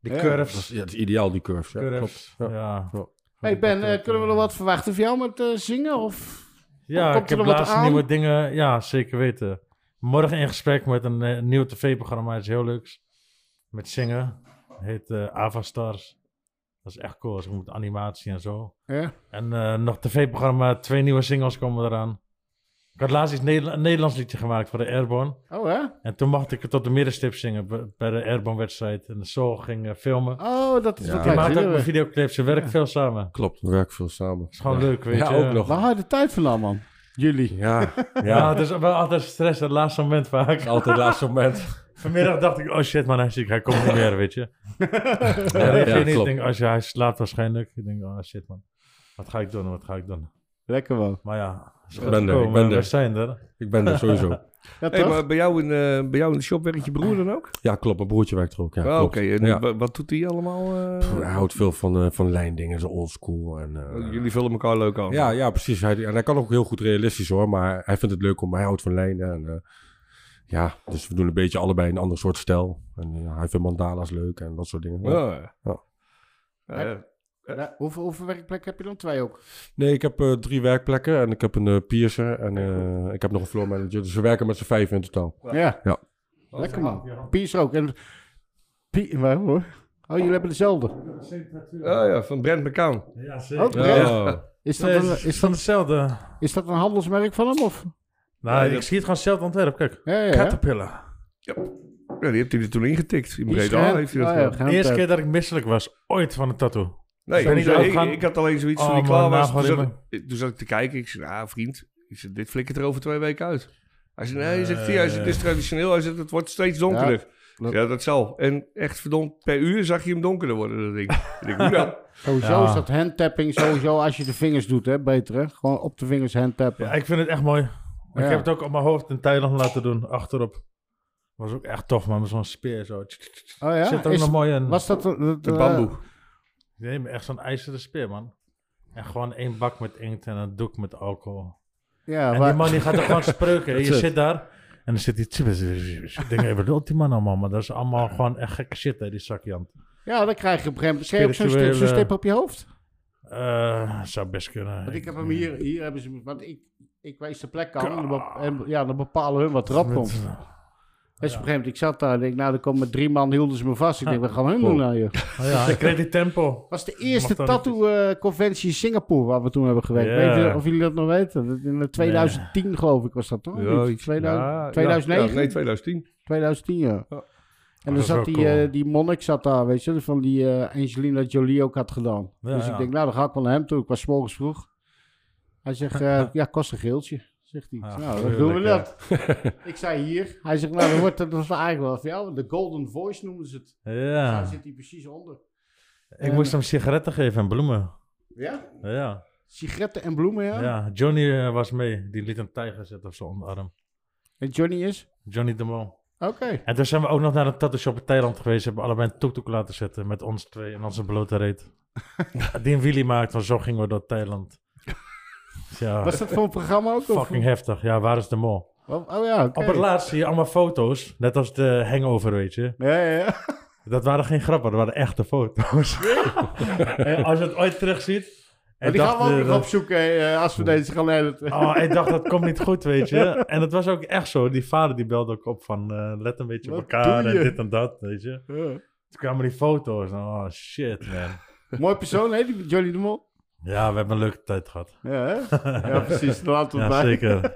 Speaker 1: Die
Speaker 4: Dat is,
Speaker 2: Ja.
Speaker 1: curves.
Speaker 4: ja, dat is ideaal, die curves. Ja,
Speaker 1: Curves,
Speaker 4: klopt. Ja.
Speaker 1: ja.
Speaker 2: Hey Ben, eh, kunnen we nog wat verwachten van jou met eh, zingen? Of...
Speaker 1: Ja,
Speaker 2: Komt
Speaker 1: ik
Speaker 2: er
Speaker 1: heb
Speaker 2: nog wat
Speaker 1: laatst
Speaker 2: aan?
Speaker 1: nieuwe dingen. Ja, zeker weten. Morgen in gesprek met een eh, nieuw tv-programma. Iets heel leuks. Met zingen. Heet eh, Avastars. Dat is echt cool. Ze doen met animatie en zo.
Speaker 2: Ja.
Speaker 1: En eh, nog tv-programma. Twee nieuwe singles komen eraan. Ik had laatst iets Nederla- een Nederlands liedje gemaakt voor de Airborne.
Speaker 2: Oh, hè?
Speaker 1: En toen mocht ik het tot de middenstip zingen bij- bij de Airborne-wedstrijd. En zo ging eh, filmen.
Speaker 2: Oh, dat is
Speaker 4: Ja.
Speaker 2: wat
Speaker 1: Die
Speaker 2: hij
Speaker 1: maakt ook
Speaker 2: wilde.
Speaker 1: mijn videoclip. Ze werken veel samen.
Speaker 4: Klopt, we werken veel samen.
Speaker 1: is gewoon leuk, weet
Speaker 4: ja,
Speaker 1: je.
Speaker 4: Ja, ook nog.
Speaker 2: Waar
Speaker 4: Ja,
Speaker 2: haal je de tijd vandaan, man? Jullie.
Speaker 4: ja.
Speaker 1: Ja, het is wel altijd stress. Het laatste moment vaak.
Speaker 4: Altijd het laatste moment.
Speaker 1: Vanmiddag dacht ik, oh shit man, hij is ziek, hij komt niet meer, weet je.
Speaker 4: Ja,
Speaker 1: Ja,
Speaker 4: ja,
Speaker 1: ik
Speaker 4: klopt.
Speaker 1: denk, als je, hij slaapt waarschijnlijk. Ik denk, oh shit man, wat ga ik doen, wat ga ik doen.
Speaker 2: Lekker man.
Speaker 1: Maar ja, is
Speaker 4: Ik
Speaker 1: goed
Speaker 4: ben er, ik
Speaker 1: gekomen,
Speaker 4: ben er.
Speaker 1: we zijn er.
Speaker 4: Ik ben er sowieso.
Speaker 2: Ja,
Speaker 3: Hey,
Speaker 2: toch?
Speaker 3: maar bij jou, in, eh, bij jou in de shop werkt je broer dan ook?
Speaker 4: Ja, klopt. Mijn broertje werkt er ook. Ja,
Speaker 3: Ah, Oké,
Speaker 4: klopt.
Speaker 3: en
Speaker 4: Ja.
Speaker 3: wa- wat doet hij allemaal? eh?
Speaker 4: Pff, Hij houdt veel van, eh, van lijndingen, zo oldschool. En, eh,
Speaker 3: Oh, Jullie vullen elkaar leuk aan.
Speaker 4: ja, ja, precies. Hij, en hij kan ook heel goed realistisch hoor, maar hij vindt het leuk om. Hij houdt van lijnen. En, eh, ja, dus we doen een beetje allebei een ander soort stijl. En ja, hij vindt mandala's leuk en dat soort dingen.
Speaker 3: Ja.
Speaker 4: Ja.
Speaker 3: Eh,
Speaker 2: Ja, hoeveel, hoeveel werkplekken heb je dan? Twee ook.
Speaker 4: Nee, ik heb eh, drie werkplekken en ik heb een eh, piercer en eh, ik heb nog een floor manager. Dus we werken met z'n vijf in totaal.
Speaker 2: Ja.
Speaker 4: Ja.
Speaker 2: Lekker man. Piers ook. En... Pie... waar, hoor. Oh, jullie hebben dezelfde.
Speaker 3: Oh ja, van Brent McCown.
Speaker 1: Ja,
Speaker 2: Oh,
Speaker 1: zeker.
Speaker 2: Brent.
Speaker 4: Oh.
Speaker 2: Is dat,
Speaker 1: Nee,
Speaker 2: een,
Speaker 1: het
Speaker 2: is,
Speaker 1: is
Speaker 2: dat,
Speaker 1: van hetzelfde.
Speaker 2: is dat een handelsmerk van hem? Of?
Speaker 1: Nou,
Speaker 3: dat-
Speaker 1: ik zie het gewoon hetzelfde ontwerp, kijk.
Speaker 2: Ja, ja, ja.
Speaker 1: Caterpillar.
Speaker 3: Ja, die heeft hij er toen ingetikt. In
Speaker 2: Die is
Speaker 3: Breda
Speaker 2: geheim-
Speaker 3: heeft hij dat
Speaker 2: ja, ja,
Speaker 3: gedaan.
Speaker 1: De
Speaker 2: geheim-
Speaker 1: eerste keer dat ik misselijk was, ooit van een tattoo.
Speaker 3: Nee,
Speaker 1: Zijn
Speaker 3: ik,
Speaker 1: die er ook
Speaker 3: ik,
Speaker 1: gaan?
Speaker 3: ik had alleen zoiets
Speaker 1: Oh,
Speaker 3: toen hij klaar
Speaker 1: man,
Speaker 3: was.
Speaker 1: nou,
Speaker 3: Toen
Speaker 1: gewoon
Speaker 3: zat, ik, eh, toen zat ik te kijken. Ik zei, ah vriend, ik zei, dit flikkert er over twee weken uit. Hij zei, nee, zegt hij, hij zegt, dit is traditioneel. Hij zegt, het wordt steeds donkerder. Ja,
Speaker 2: dat-
Speaker 3: dat zal. En echt verdomd, per uur zag je hem donkerder worden, dat ding. ik denk, hoe dan?
Speaker 2: Sowieso
Speaker 1: Ja.
Speaker 2: is dat handtapping sowieso als je de vingers doet, hè, beter hè? Gewoon op de vingers handtappen.
Speaker 1: Ja, ik vind het echt mooi. Maar
Speaker 2: Ja.
Speaker 1: Ik heb het ook op mijn hoofd in Thailand laten doen, achterop. Was ook echt tof, man, met zo'n speer zo.
Speaker 2: oh ja?
Speaker 1: Zit er ook
Speaker 2: Is-
Speaker 1: nog mooi in.
Speaker 2: was dat... dat
Speaker 3: De
Speaker 2: eh,
Speaker 3: bamboe.
Speaker 1: Nee, maar echt zo'n ijzeren speer, man. En gewoon één bak met inkt en een doek met alcohol.
Speaker 2: ja,
Speaker 1: En
Speaker 2: waar-
Speaker 1: die man die gaat er gewoon spreuken. Je
Speaker 4: het.
Speaker 1: zit daar en dan zit die... Ik denk, hey, wat doet die man allemaal? Maar dat is allemaal gewoon echt gekke shit, hè, die zakjant.
Speaker 2: ja, dan krijg je op een gegeven moment... Krijg je ook zo'n stip,
Speaker 1: Spirituele-
Speaker 2: zo'n stip op je hoofd?
Speaker 1: Eh zou best kunnen.
Speaker 2: Want ik heb hem hier... Hier hebben ze... Want ik, ik wees de plek aan en, dan bep- en ja, dan bepalen hun wat erop komt.
Speaker 1: Met-
Speaker 2: Dus op een gegeven moment, ik zat daar en denk, nou, er komen drie man, hielden ze me vast. Ik denk, we gaan hun doen nou, joh.
Speaker 1: Oh ja, ik kreeg die tempo.
Speaker 2: was de eerste
Speaker 1: Mag dat niet?
Speaker 2: tattoo-conventie in Singapore waar we toen hebben gewerkt.
Speaker 1: Ja.
Speaker 2: Weet je of jullie dat nog weten? Dat In 2010 geloof ik was dat toch?
Speaker 3: Ja,
Speaker 2: Niet?
Speaker 3: iets-
Speaker 2: 2000
Speaker 3: ja,
Speaker 2: 2009?
Speaker 3: ja, nee, 2010.
Speaker 2: 2010, ja.
Speaker 3: Ja.
Speaker 1: Oh.
Speaker 2: En
Speaker 1: dat
Speaker 2: dan
Speaker 1: is wel
Speaker 2: zat die,
Speaker 1: cool.
Speaker 2: eh, die monnik zat daar, weet je, van die eh, Angelina Jolie ook had gedaan.
Speaker 1: Ja,
Speaker 2: dus
Speaker 1: ja.
Speaker 2: ik denk, nou, dan ga ik wel naar hem toe. Ik was 's morgens vroeg. Hij zegt, eh, ja, kost een geeltje, zegt hij. Ik
Speaker 1: Ja,
Speaker 2: zeg, nou, dan
Speaker 1: tuurlijk,
Speaker 2: doen we
Speaker 1: ja.
Speaker 2: dat. ik zei hier. Hij zegt, nou, dan wordt dat, dat was eigenlijk wel voor jou. De Golden Voice noemden ze het. Dus
Speaker 1: Ja.
Speaker 2: Daar zit hij precies onder.
Speaker 1: Ik moest hem sigaretten geven en bloemen.
Speaker 2: Ja?
Speaker 1: Ja.
Speaker 2: Sigaretten en bloemen, ja.
Speaker 1: ja. Johnny eh, was mee. Die liet een tijger zitten op zijn onderarm.
Speaker 2: En Johnny is?
Speaker 1: Johnny de Mol.
Speaker 2: Oké.
Speaker 1: En toen zijn we ook nog naar een tattoo shop in Thailand geweest. Hebben we allebei een tuk-tuk laten zetten met ons twee en onze blote reet. Die een wheelie maakt, want zo gingen we door Thailand. Dus ja,
Speaker 2: Was dat voor een programma ook? of-
Speaker 1: fucking heftig. Ja, waar is de mol?
Speaker 2: Oh, oh ja, oké.
Speaker 1: Op het laatst zie je allemaal foto's. Net als de hangover, weet je.
Speaker 2: Ja, ja, ja.
Speaker 1: Dat waren geen grappen, dat waren echte foto's. en als je het ooit terugziet...
Speaker 2: En die
Speaker 1: dacht
Speaker 2: gaan we ook
Speaker 1: je
Speaker 2: nog
Speaker 1: dat-
Speaker 2: opzoeken eh, als we deze gaan editen.
Speaker 1: Oh, ik dacht, dat komt niet goed, weet je. En dat was ook echt zo. Die vader die belde ook op van... eh, let een beetje op
Speaker 2: Wat
Speaker 1: elkaar
Speaker 2: doe
Speaker 1: en
Speaker 2: je?
Speaker 1: dit en dat, weet je.
Speaker 2: Ja.
Speaker 1: Toen kwamen die foto's. en, Oh, shit, man.
Speaker 2: Mooi persoon, heet die Johnny de Mol.
Speaker 1: Ja, we hebben een leuke tijd gehad.
Speaker 2: Ja, hè? ja precies. Daar laten we het
Speaker 1: Ja,
Speaker 2: bij.
Speaker 1: zeker.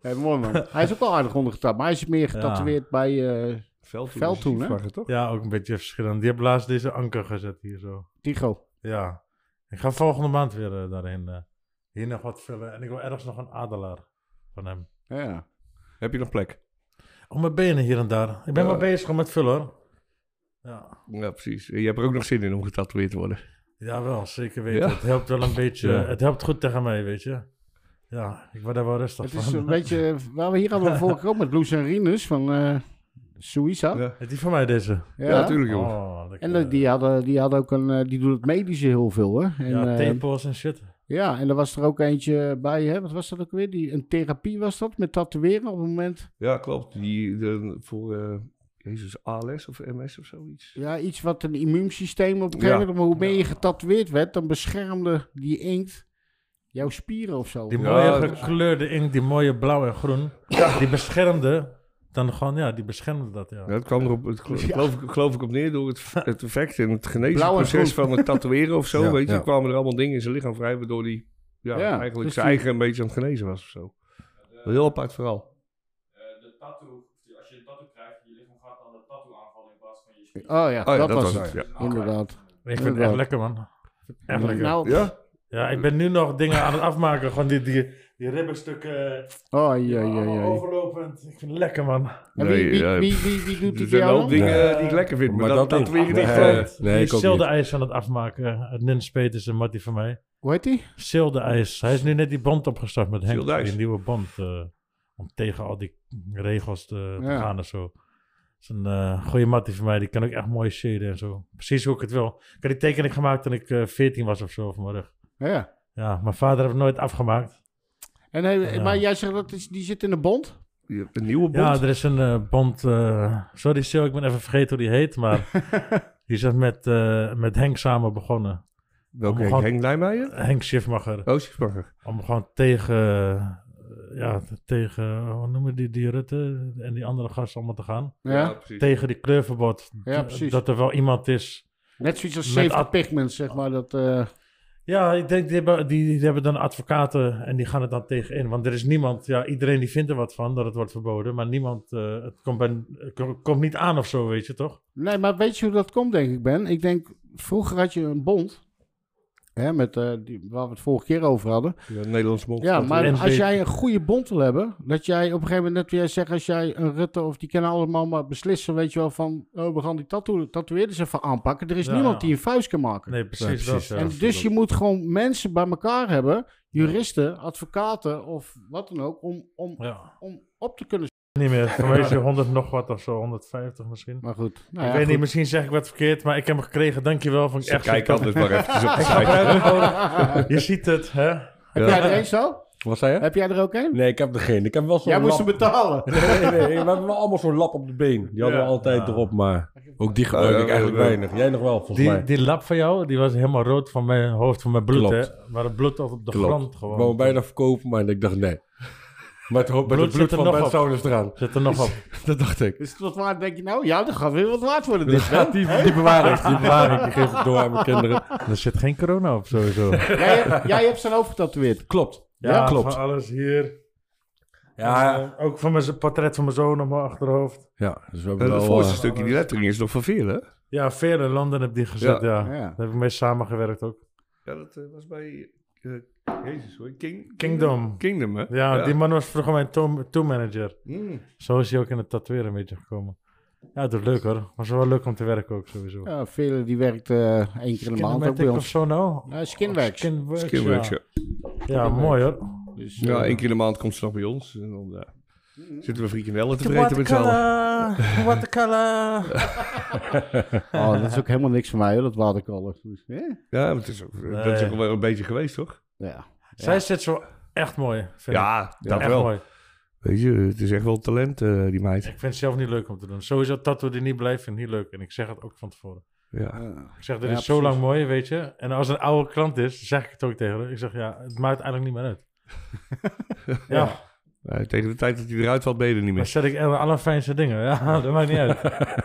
Speaker 2: Hey, mooi man. Hij is ook wel aardig ondergetapt, maar hij is meer getatoeëerd bij... eh,
Speaker 3: Veldtoen.
Speaker 2: Veldtoen, hè?
Speaker 3: toch?
Speaker 1: Ja, ook een beetje verschillend. Die hebben laatst deze anker gezet hier zo.
Speaker 2: Tigo.
Speaker 1: Ja. Ik ga volgende maand weer eh, daarheen. eh, hier nog wat vullen. En ik wil ergens nog een adelaar van hem.
Speaker 2: Ja.
Speaker 3: Heb je nog plek?
Speaker 1: Op mijn benen hier en daar. Ik ben
Speaker 3: Ja.
Speaker 1: wel bezig met vullen. hoor. Ja.
Speaker 3: Ja, precies. Je hebt er ook nog zin in om getatoeëerd te worden.
Speaker 1: Jawel, zeker weten.
Speaker 3: Ja.
Speaker 1: Het helpt wel een beetje.
Speaker 4: Ja.
Speaker 1: Het helpt goed tegen mij, weet je. Ja, ik word daar wel rustig
Speaker 2: Het
Speaker 1: van.
Speaker 2: is een beetje... eh, Waar we hier hadden we vorige keer ook met Loes en Rinus van eh Suiza. Ja,
Speaker 3: Ja.
Speaker 1: Is die van mij deze?
Speaker 3: Ja, natuurlijk, joh.
Speaker 1: Oh, lekker.
Speaker 2: En dat- die hadden, die hadden ook een... eh, Die doen het medische heel veel, hè? En, eh,
Speaker 1: ja,
Speaker 2: ja,
Speaker 1: tepels en shit.
Speaker 2: ja, en er was er ook eentje bij, hè? Wat was dat ook weer? Die, een therapie was dat, met tatoeëren op het moment.
Speaker 3: Ja, klopt. Die, de, voor, eh, jezus, ALS of MS of zoiets.
Speaker 2: Ja, iets wat een immuunsysteem op een gegeven
Speaker 3: Ja.
Speaker 2: moment... Maar hoe meer je getatoeëerd werd, dan beschermde die inkt jouw spieren of zo. Oh
Speaker 1: Die
Speaker 3: Ja,
Speaker 1: mooie
Speaker 3: dat is-
Speaker 1: gekleurde inkt, die mooie blauw en groen, die beschermde dan gewoon, ja, die beschermde dat, ja.
Speaker 3: Ja, het kwam erop, het, gel- geloof, ik, geloof ik op neer door het, het effect en het genezingsproces van het tatoeëren of zo.
Speaker 4: Ja,
Speaker 3: weet je,
Speaker 4: ja.
Speaker 3: kwamen er allemaal dingen in zijn lichaam vrij, waardoor hij ja,
Speaker 2: Ja,
Speaker 3: eigenlijk
Speaker 2: dus
Speaker 3: zijn
Speaker 2: die-
Speaker 3: eigen een beetje aan het genezen was of zo. Een heel apart verhaal. Oh,
Speaker 6: de tattoo, als je een tattoo krijgt, je lichaam gaat dan de tattoo aanvallen in plaats van je spier.
Speaker 2: Oh ja,
Speaker 3: Oh ja,
Speaker 2: dat, was het.
Speaker 3: Ja.
Speaker 2: Inderdaad.
Speaker 1: Ik vind het echt
Speaker 2: Inderdaad.
Speaker 1: lekker, man. Echt lekker.
Speaker 2: Nou,
Speaker 3: Ja?
Speaker 1: Ja, ik ben nu nog dingen aan het afmaken, gewoon die, die, die ribbenstukken, eh,
Speaker 2: oh ja, ja,
Speaker 1: allemaal
Speaker 2: ja.
Speaker 1: overlopend. Ik vind het lekker, man.
Speaker 2: En wie, wie,
Speaker 3: eh,
Speaker 2: wie, wie, wie doet die
Speaker 3: Er
Speaker 2: bij
Speaker 3: zijn
Speaker 2: jou
Speaker 3: wel
Speaker 2: dan?
Speaker 3: dingen eh,
Speaker 1: Ja.
Speaker 3: die ik lekker vind, maar,
Speaker 4: Maar
Speaker 3: dat
Speaker 4: dat niet.
Speaker 3: tatoeëren niet.
Speaker 4: Nee.
Speaker 3: eh,
Speaker 1: die
Speaker 4: ik ook
Speaker 1: is zilderijs aan het afmaken. Het Nins Peters, een mattie van mij.
Speaker 2: Hoe heet die?
Speaker 1: Zilderijs. Hij is nu net die band opgestart met Henk.
Speaker 3: Zilderijs.
Speaker 1: Die nieuwe band. eh, om tegen al die regels te, te
Speaker 2: Ja.
Speaker 1: gaan en zo. Dat is een eh goede mattie van mij. Die kan ook echt mooi shaden en zo. Precies hoe ik het wil. Ik had die tekening gemaakt toen ik eh 14 was of zo. Of mijn rug.
Speaker 2: Ja.
Speaker 1: Ja, mijn vader heeft het nooit afgemaakt.
Speaker 2: En hij,
Speaker 1: Ja.
Speaker 2: Maar jij zegt dat is, die zit in de bond?
Speaker 3: je hebt Een nieuwe bond.
Speaker 1: Ja, er is een eh, band. eh, sorry Sil, ik ben even vergeten hoe die heet. Maar die is echt met, eh, met Henk samen begonnen.
Speaker 3: Welke
Speaker 1: Omgaan-
Speaker 3: Henk, Henk Nijmeijer?
Speaker 1: Henk Schiffmacher.
Speaker 3: Oh, Schiefmacher.
Speaker 1: Om gewoon tegen, eh, ja, t- tegen, eh, hoe noemen die, die Rutte en die andere gasten allemaal te gaan.
Speaker 2: Ja.
Speaker 3: precies.
Speaker 1: Tegen die kleurverbod.
Speaker 2: Ja,
Speaker 1: D-
Speaker 2: precies.
Speaker 1: Dat er wel iemand is.
Speaker 2: Net zoiets als
Speaker 1: Met
Speaker 2: 70
Speaker 1: ad-
Speaker 2: Pigments, zeg maar. Dat, eh,
Speaker 1: Ja, ik denk, die hebben, die, die hebben dan advocaten en die gaan het dan tegenin. Want er is niemand, ja, iedereen die vindt er wat van dat het wordt verboden. Maar niemand, eh, het komt, bij, eh, ko- komt niet aan of zo, weet je toch?
Speaker 2: Nee, maar weet je hoe dat komt, denk ik, Ben? Ik denk, vroeger had je een bond. Hè, met, eh, die, waar we het vorige keer over hadden.
Speaker 3: Ja, Nederlands bond.
Speaker 2: Ja, maar
Speaker 1: NV.
Speaker 2: als jij een goede bond wil hebben, dat jij op een gegeven moment, net weer zegt, als jij een Rutte of die kennen allemaal maar beslissen, weet je wel, van, oh, we gaan die tattoo tatoeëerders even aanpakken. Er is
Speaker 1: Ja,
Speaker 2: niemand
Speaker 1: ja.
Speaker 2: die een vuist kan maken.
Speaker 1: Nee, precies,
Speaker 4: precies,
Speaker 1: dat.
Speaker 4: ja.
Speaker 2: en dus je moet gewoon mensen bij elkaar hebben, juristen, advocaten of wat dan ook, om, om,
Speaker 1: Ja.
Speaker 2: om op te kunnen...
Speaker 1: Niet meer, voor mij is die 100 nog wat of zo, 150 misschien.
Speaker 2: Maar goed, nou
Speaker 1: ik
Speaker 2: ja,
Speaker 1: weet niet,
Speaker 2: goed.
Speaker 1: misschien zeg ik wat verkeerd, maar ik heb hem gekregen, dankjewel. Van echt
Speaker 3: Kijk anders maar eventjes op de site.
Speaker 1: Ja. je ziet het, hè?
Speaker 2: Heb jij er een zo?
Speaker 4: Wat zei je?
Speaker 2: Heb jij er ook een?
Speaker 4: Nee, ik heb er geen. Ik heb wel zo'n
Speaker 2: Jij moest
Speaker 4: lap.
Speaker 2: hem betalen.
Speaker 4: Nee, nee, nee. We hebben wel allemaal zo'n lap op de been. Die hadden we altijd
Speaker 1: Ja.
Speaker 4: erop, maar ook die gebruik
Speaker 3: Ja,
Speaker 4: ik
Speaker 3: ja,
Speaker 4: eigenlijk
Speaker 3: ja.
Speaker 4: weinig. Jij nog wel, volgens
Speaker 1: Die,
Speaker 4: mij.
Speaker 1: die lap van jou, die was helemaal rood van mijn hoofd, van mijn bloed,
Speaker 4: Klopt.
Speaker 1: hè? Maar het bloed was op de
Speaker 4: Klopt.
Speaker 1: grond
Speaker 4: Ik
Speaker 1: gewoon.
Speaker 4: wou hem bijna verkopen, maar ik dacht nee. Met, ho- met
Speaker 1: Bloed
Speaker 4: het bloed
Speaker 1: zit er
Speaker 4: van
Speaker 1: nog
Speaker 4: Ben
Speaker 1: op.
Speaker 4: Saunders eraan.
Speaker 1: Zit er nog op.
Speaker 4: Dat dacht ik.
Speaker 2: Is het wat waard? Denk je nou, ja, dat gaat weer wat waard worden.
Speaker 4: Die,
Speaker 2: Dit wel.
Speaker 4: die, die bewaar ik. Die bewaar ik. Die geef ik door aan mijn kinderen.
Speaker 1: Er zit geen corona op sowieso.
Speaker 2: Jij, hebt- jij hebt zijn hoofd getatoeëerd.
Speaker 4: Klopt. Ja, klopt.
Speaker 1: Van alles hier.
Speaker 4: Ja,
Speaker 1: Eh, ook van mijn z- portret van mijn zoon op mijn achterhoofd.
Speaker 4: ja, dus we hebben
Speaker 3: En
Speaker 4: wel...
Speaker 3: het voorste
Speaker 4: eh,
Speaker 3: stukje, die lettering, is nog van Veer, hè?
Speaker 1: Ja, vele landen heb die gezet, ja.
Speaker 2: Ja.
Speaker 1: Daar heb ik mee samengewerkt ook.
Speaker 3: Ja, dat eh, was bij... eh, Jezus, hoor. King,
Speaker 1: Kingdom.
Speaker 3: Kingdom, hè?
Speaker 1: Ja, die man was vroeger mijn tour tour manager.
Speaker 3: Mm.
Speaker 1: Zo is hij ook in het tatoeëren een beetje gekomen. Ja, het wordt leuk hoor. Was wel leuk om te werken ook sowieso.
Speaker 2: Ja, Vele die werkt eh, één keer in de maand ook bij
Speaker 1: Kinematic of
Speaker 2: ons.
Speaker 1: zo nou?
Speaker 2: Eh, Skinworks.
Speaker 1: Skinworks,
Speaker 3: Skillworks,
Speaker 1: ja.
Speaker 3: ja.
Speaker 1: Ja, mooi hoor.
Speaker 2: Dus, eh,
Speaker 3: Ja, één keer in de maand komt ze nog bij ons. En dan eh, zitten we frikandellen te vreten met z'n allen.
Speaker 1: watercolor.
Speaker 2: oh, dat is ook helemaal niks voor mij, hoor, dat watercolor. Dus, hè?
Speaker 3: Ja, maar het is ook, eh, dat is
Speaker 1: Nee.
Speaker 3: ook wel een beetje geweest, toch?
Speaker 2: Ja.
Speaker 1: Zij zit zo echt mooi. Vind ik.
Speaker 3: Ja, dat
Speaker 1: echt
Speaker 3: wel.
Speaker 1: mooi.
Speaker 3: Weet je, het is echt wel talent, eh, die meid.
Speaker 1: Ik vind het zelf niet leuk om te doen. Sowieso tattoo die niet blijft, vind ik niet leuk. En ik zeg het ook van tevoren.
Speaker 3: Ja.
Speaker 2: Ja.
Speaker 4: Ah.
Speaker 1: Ik zeg, dit
Speaker 2: Ja,
Speaker 1: is zo
Speaker 2: precies.
Speaker 1: lang mooi, weet je. En als het een oude klant is, zeg ik het ook tegen haar. Ik zeg, ja, het maakt eigenlijk niet meer uit. ja,
Speaker 3: Eh, tegen de tijd dat hij eruit valt, ben je er niet
Speaker 1: dan
Speaker 3: meer.
Speaker 1: zet ik alle allerfijnste dingen. Ja, dat maakt niet uit. Daar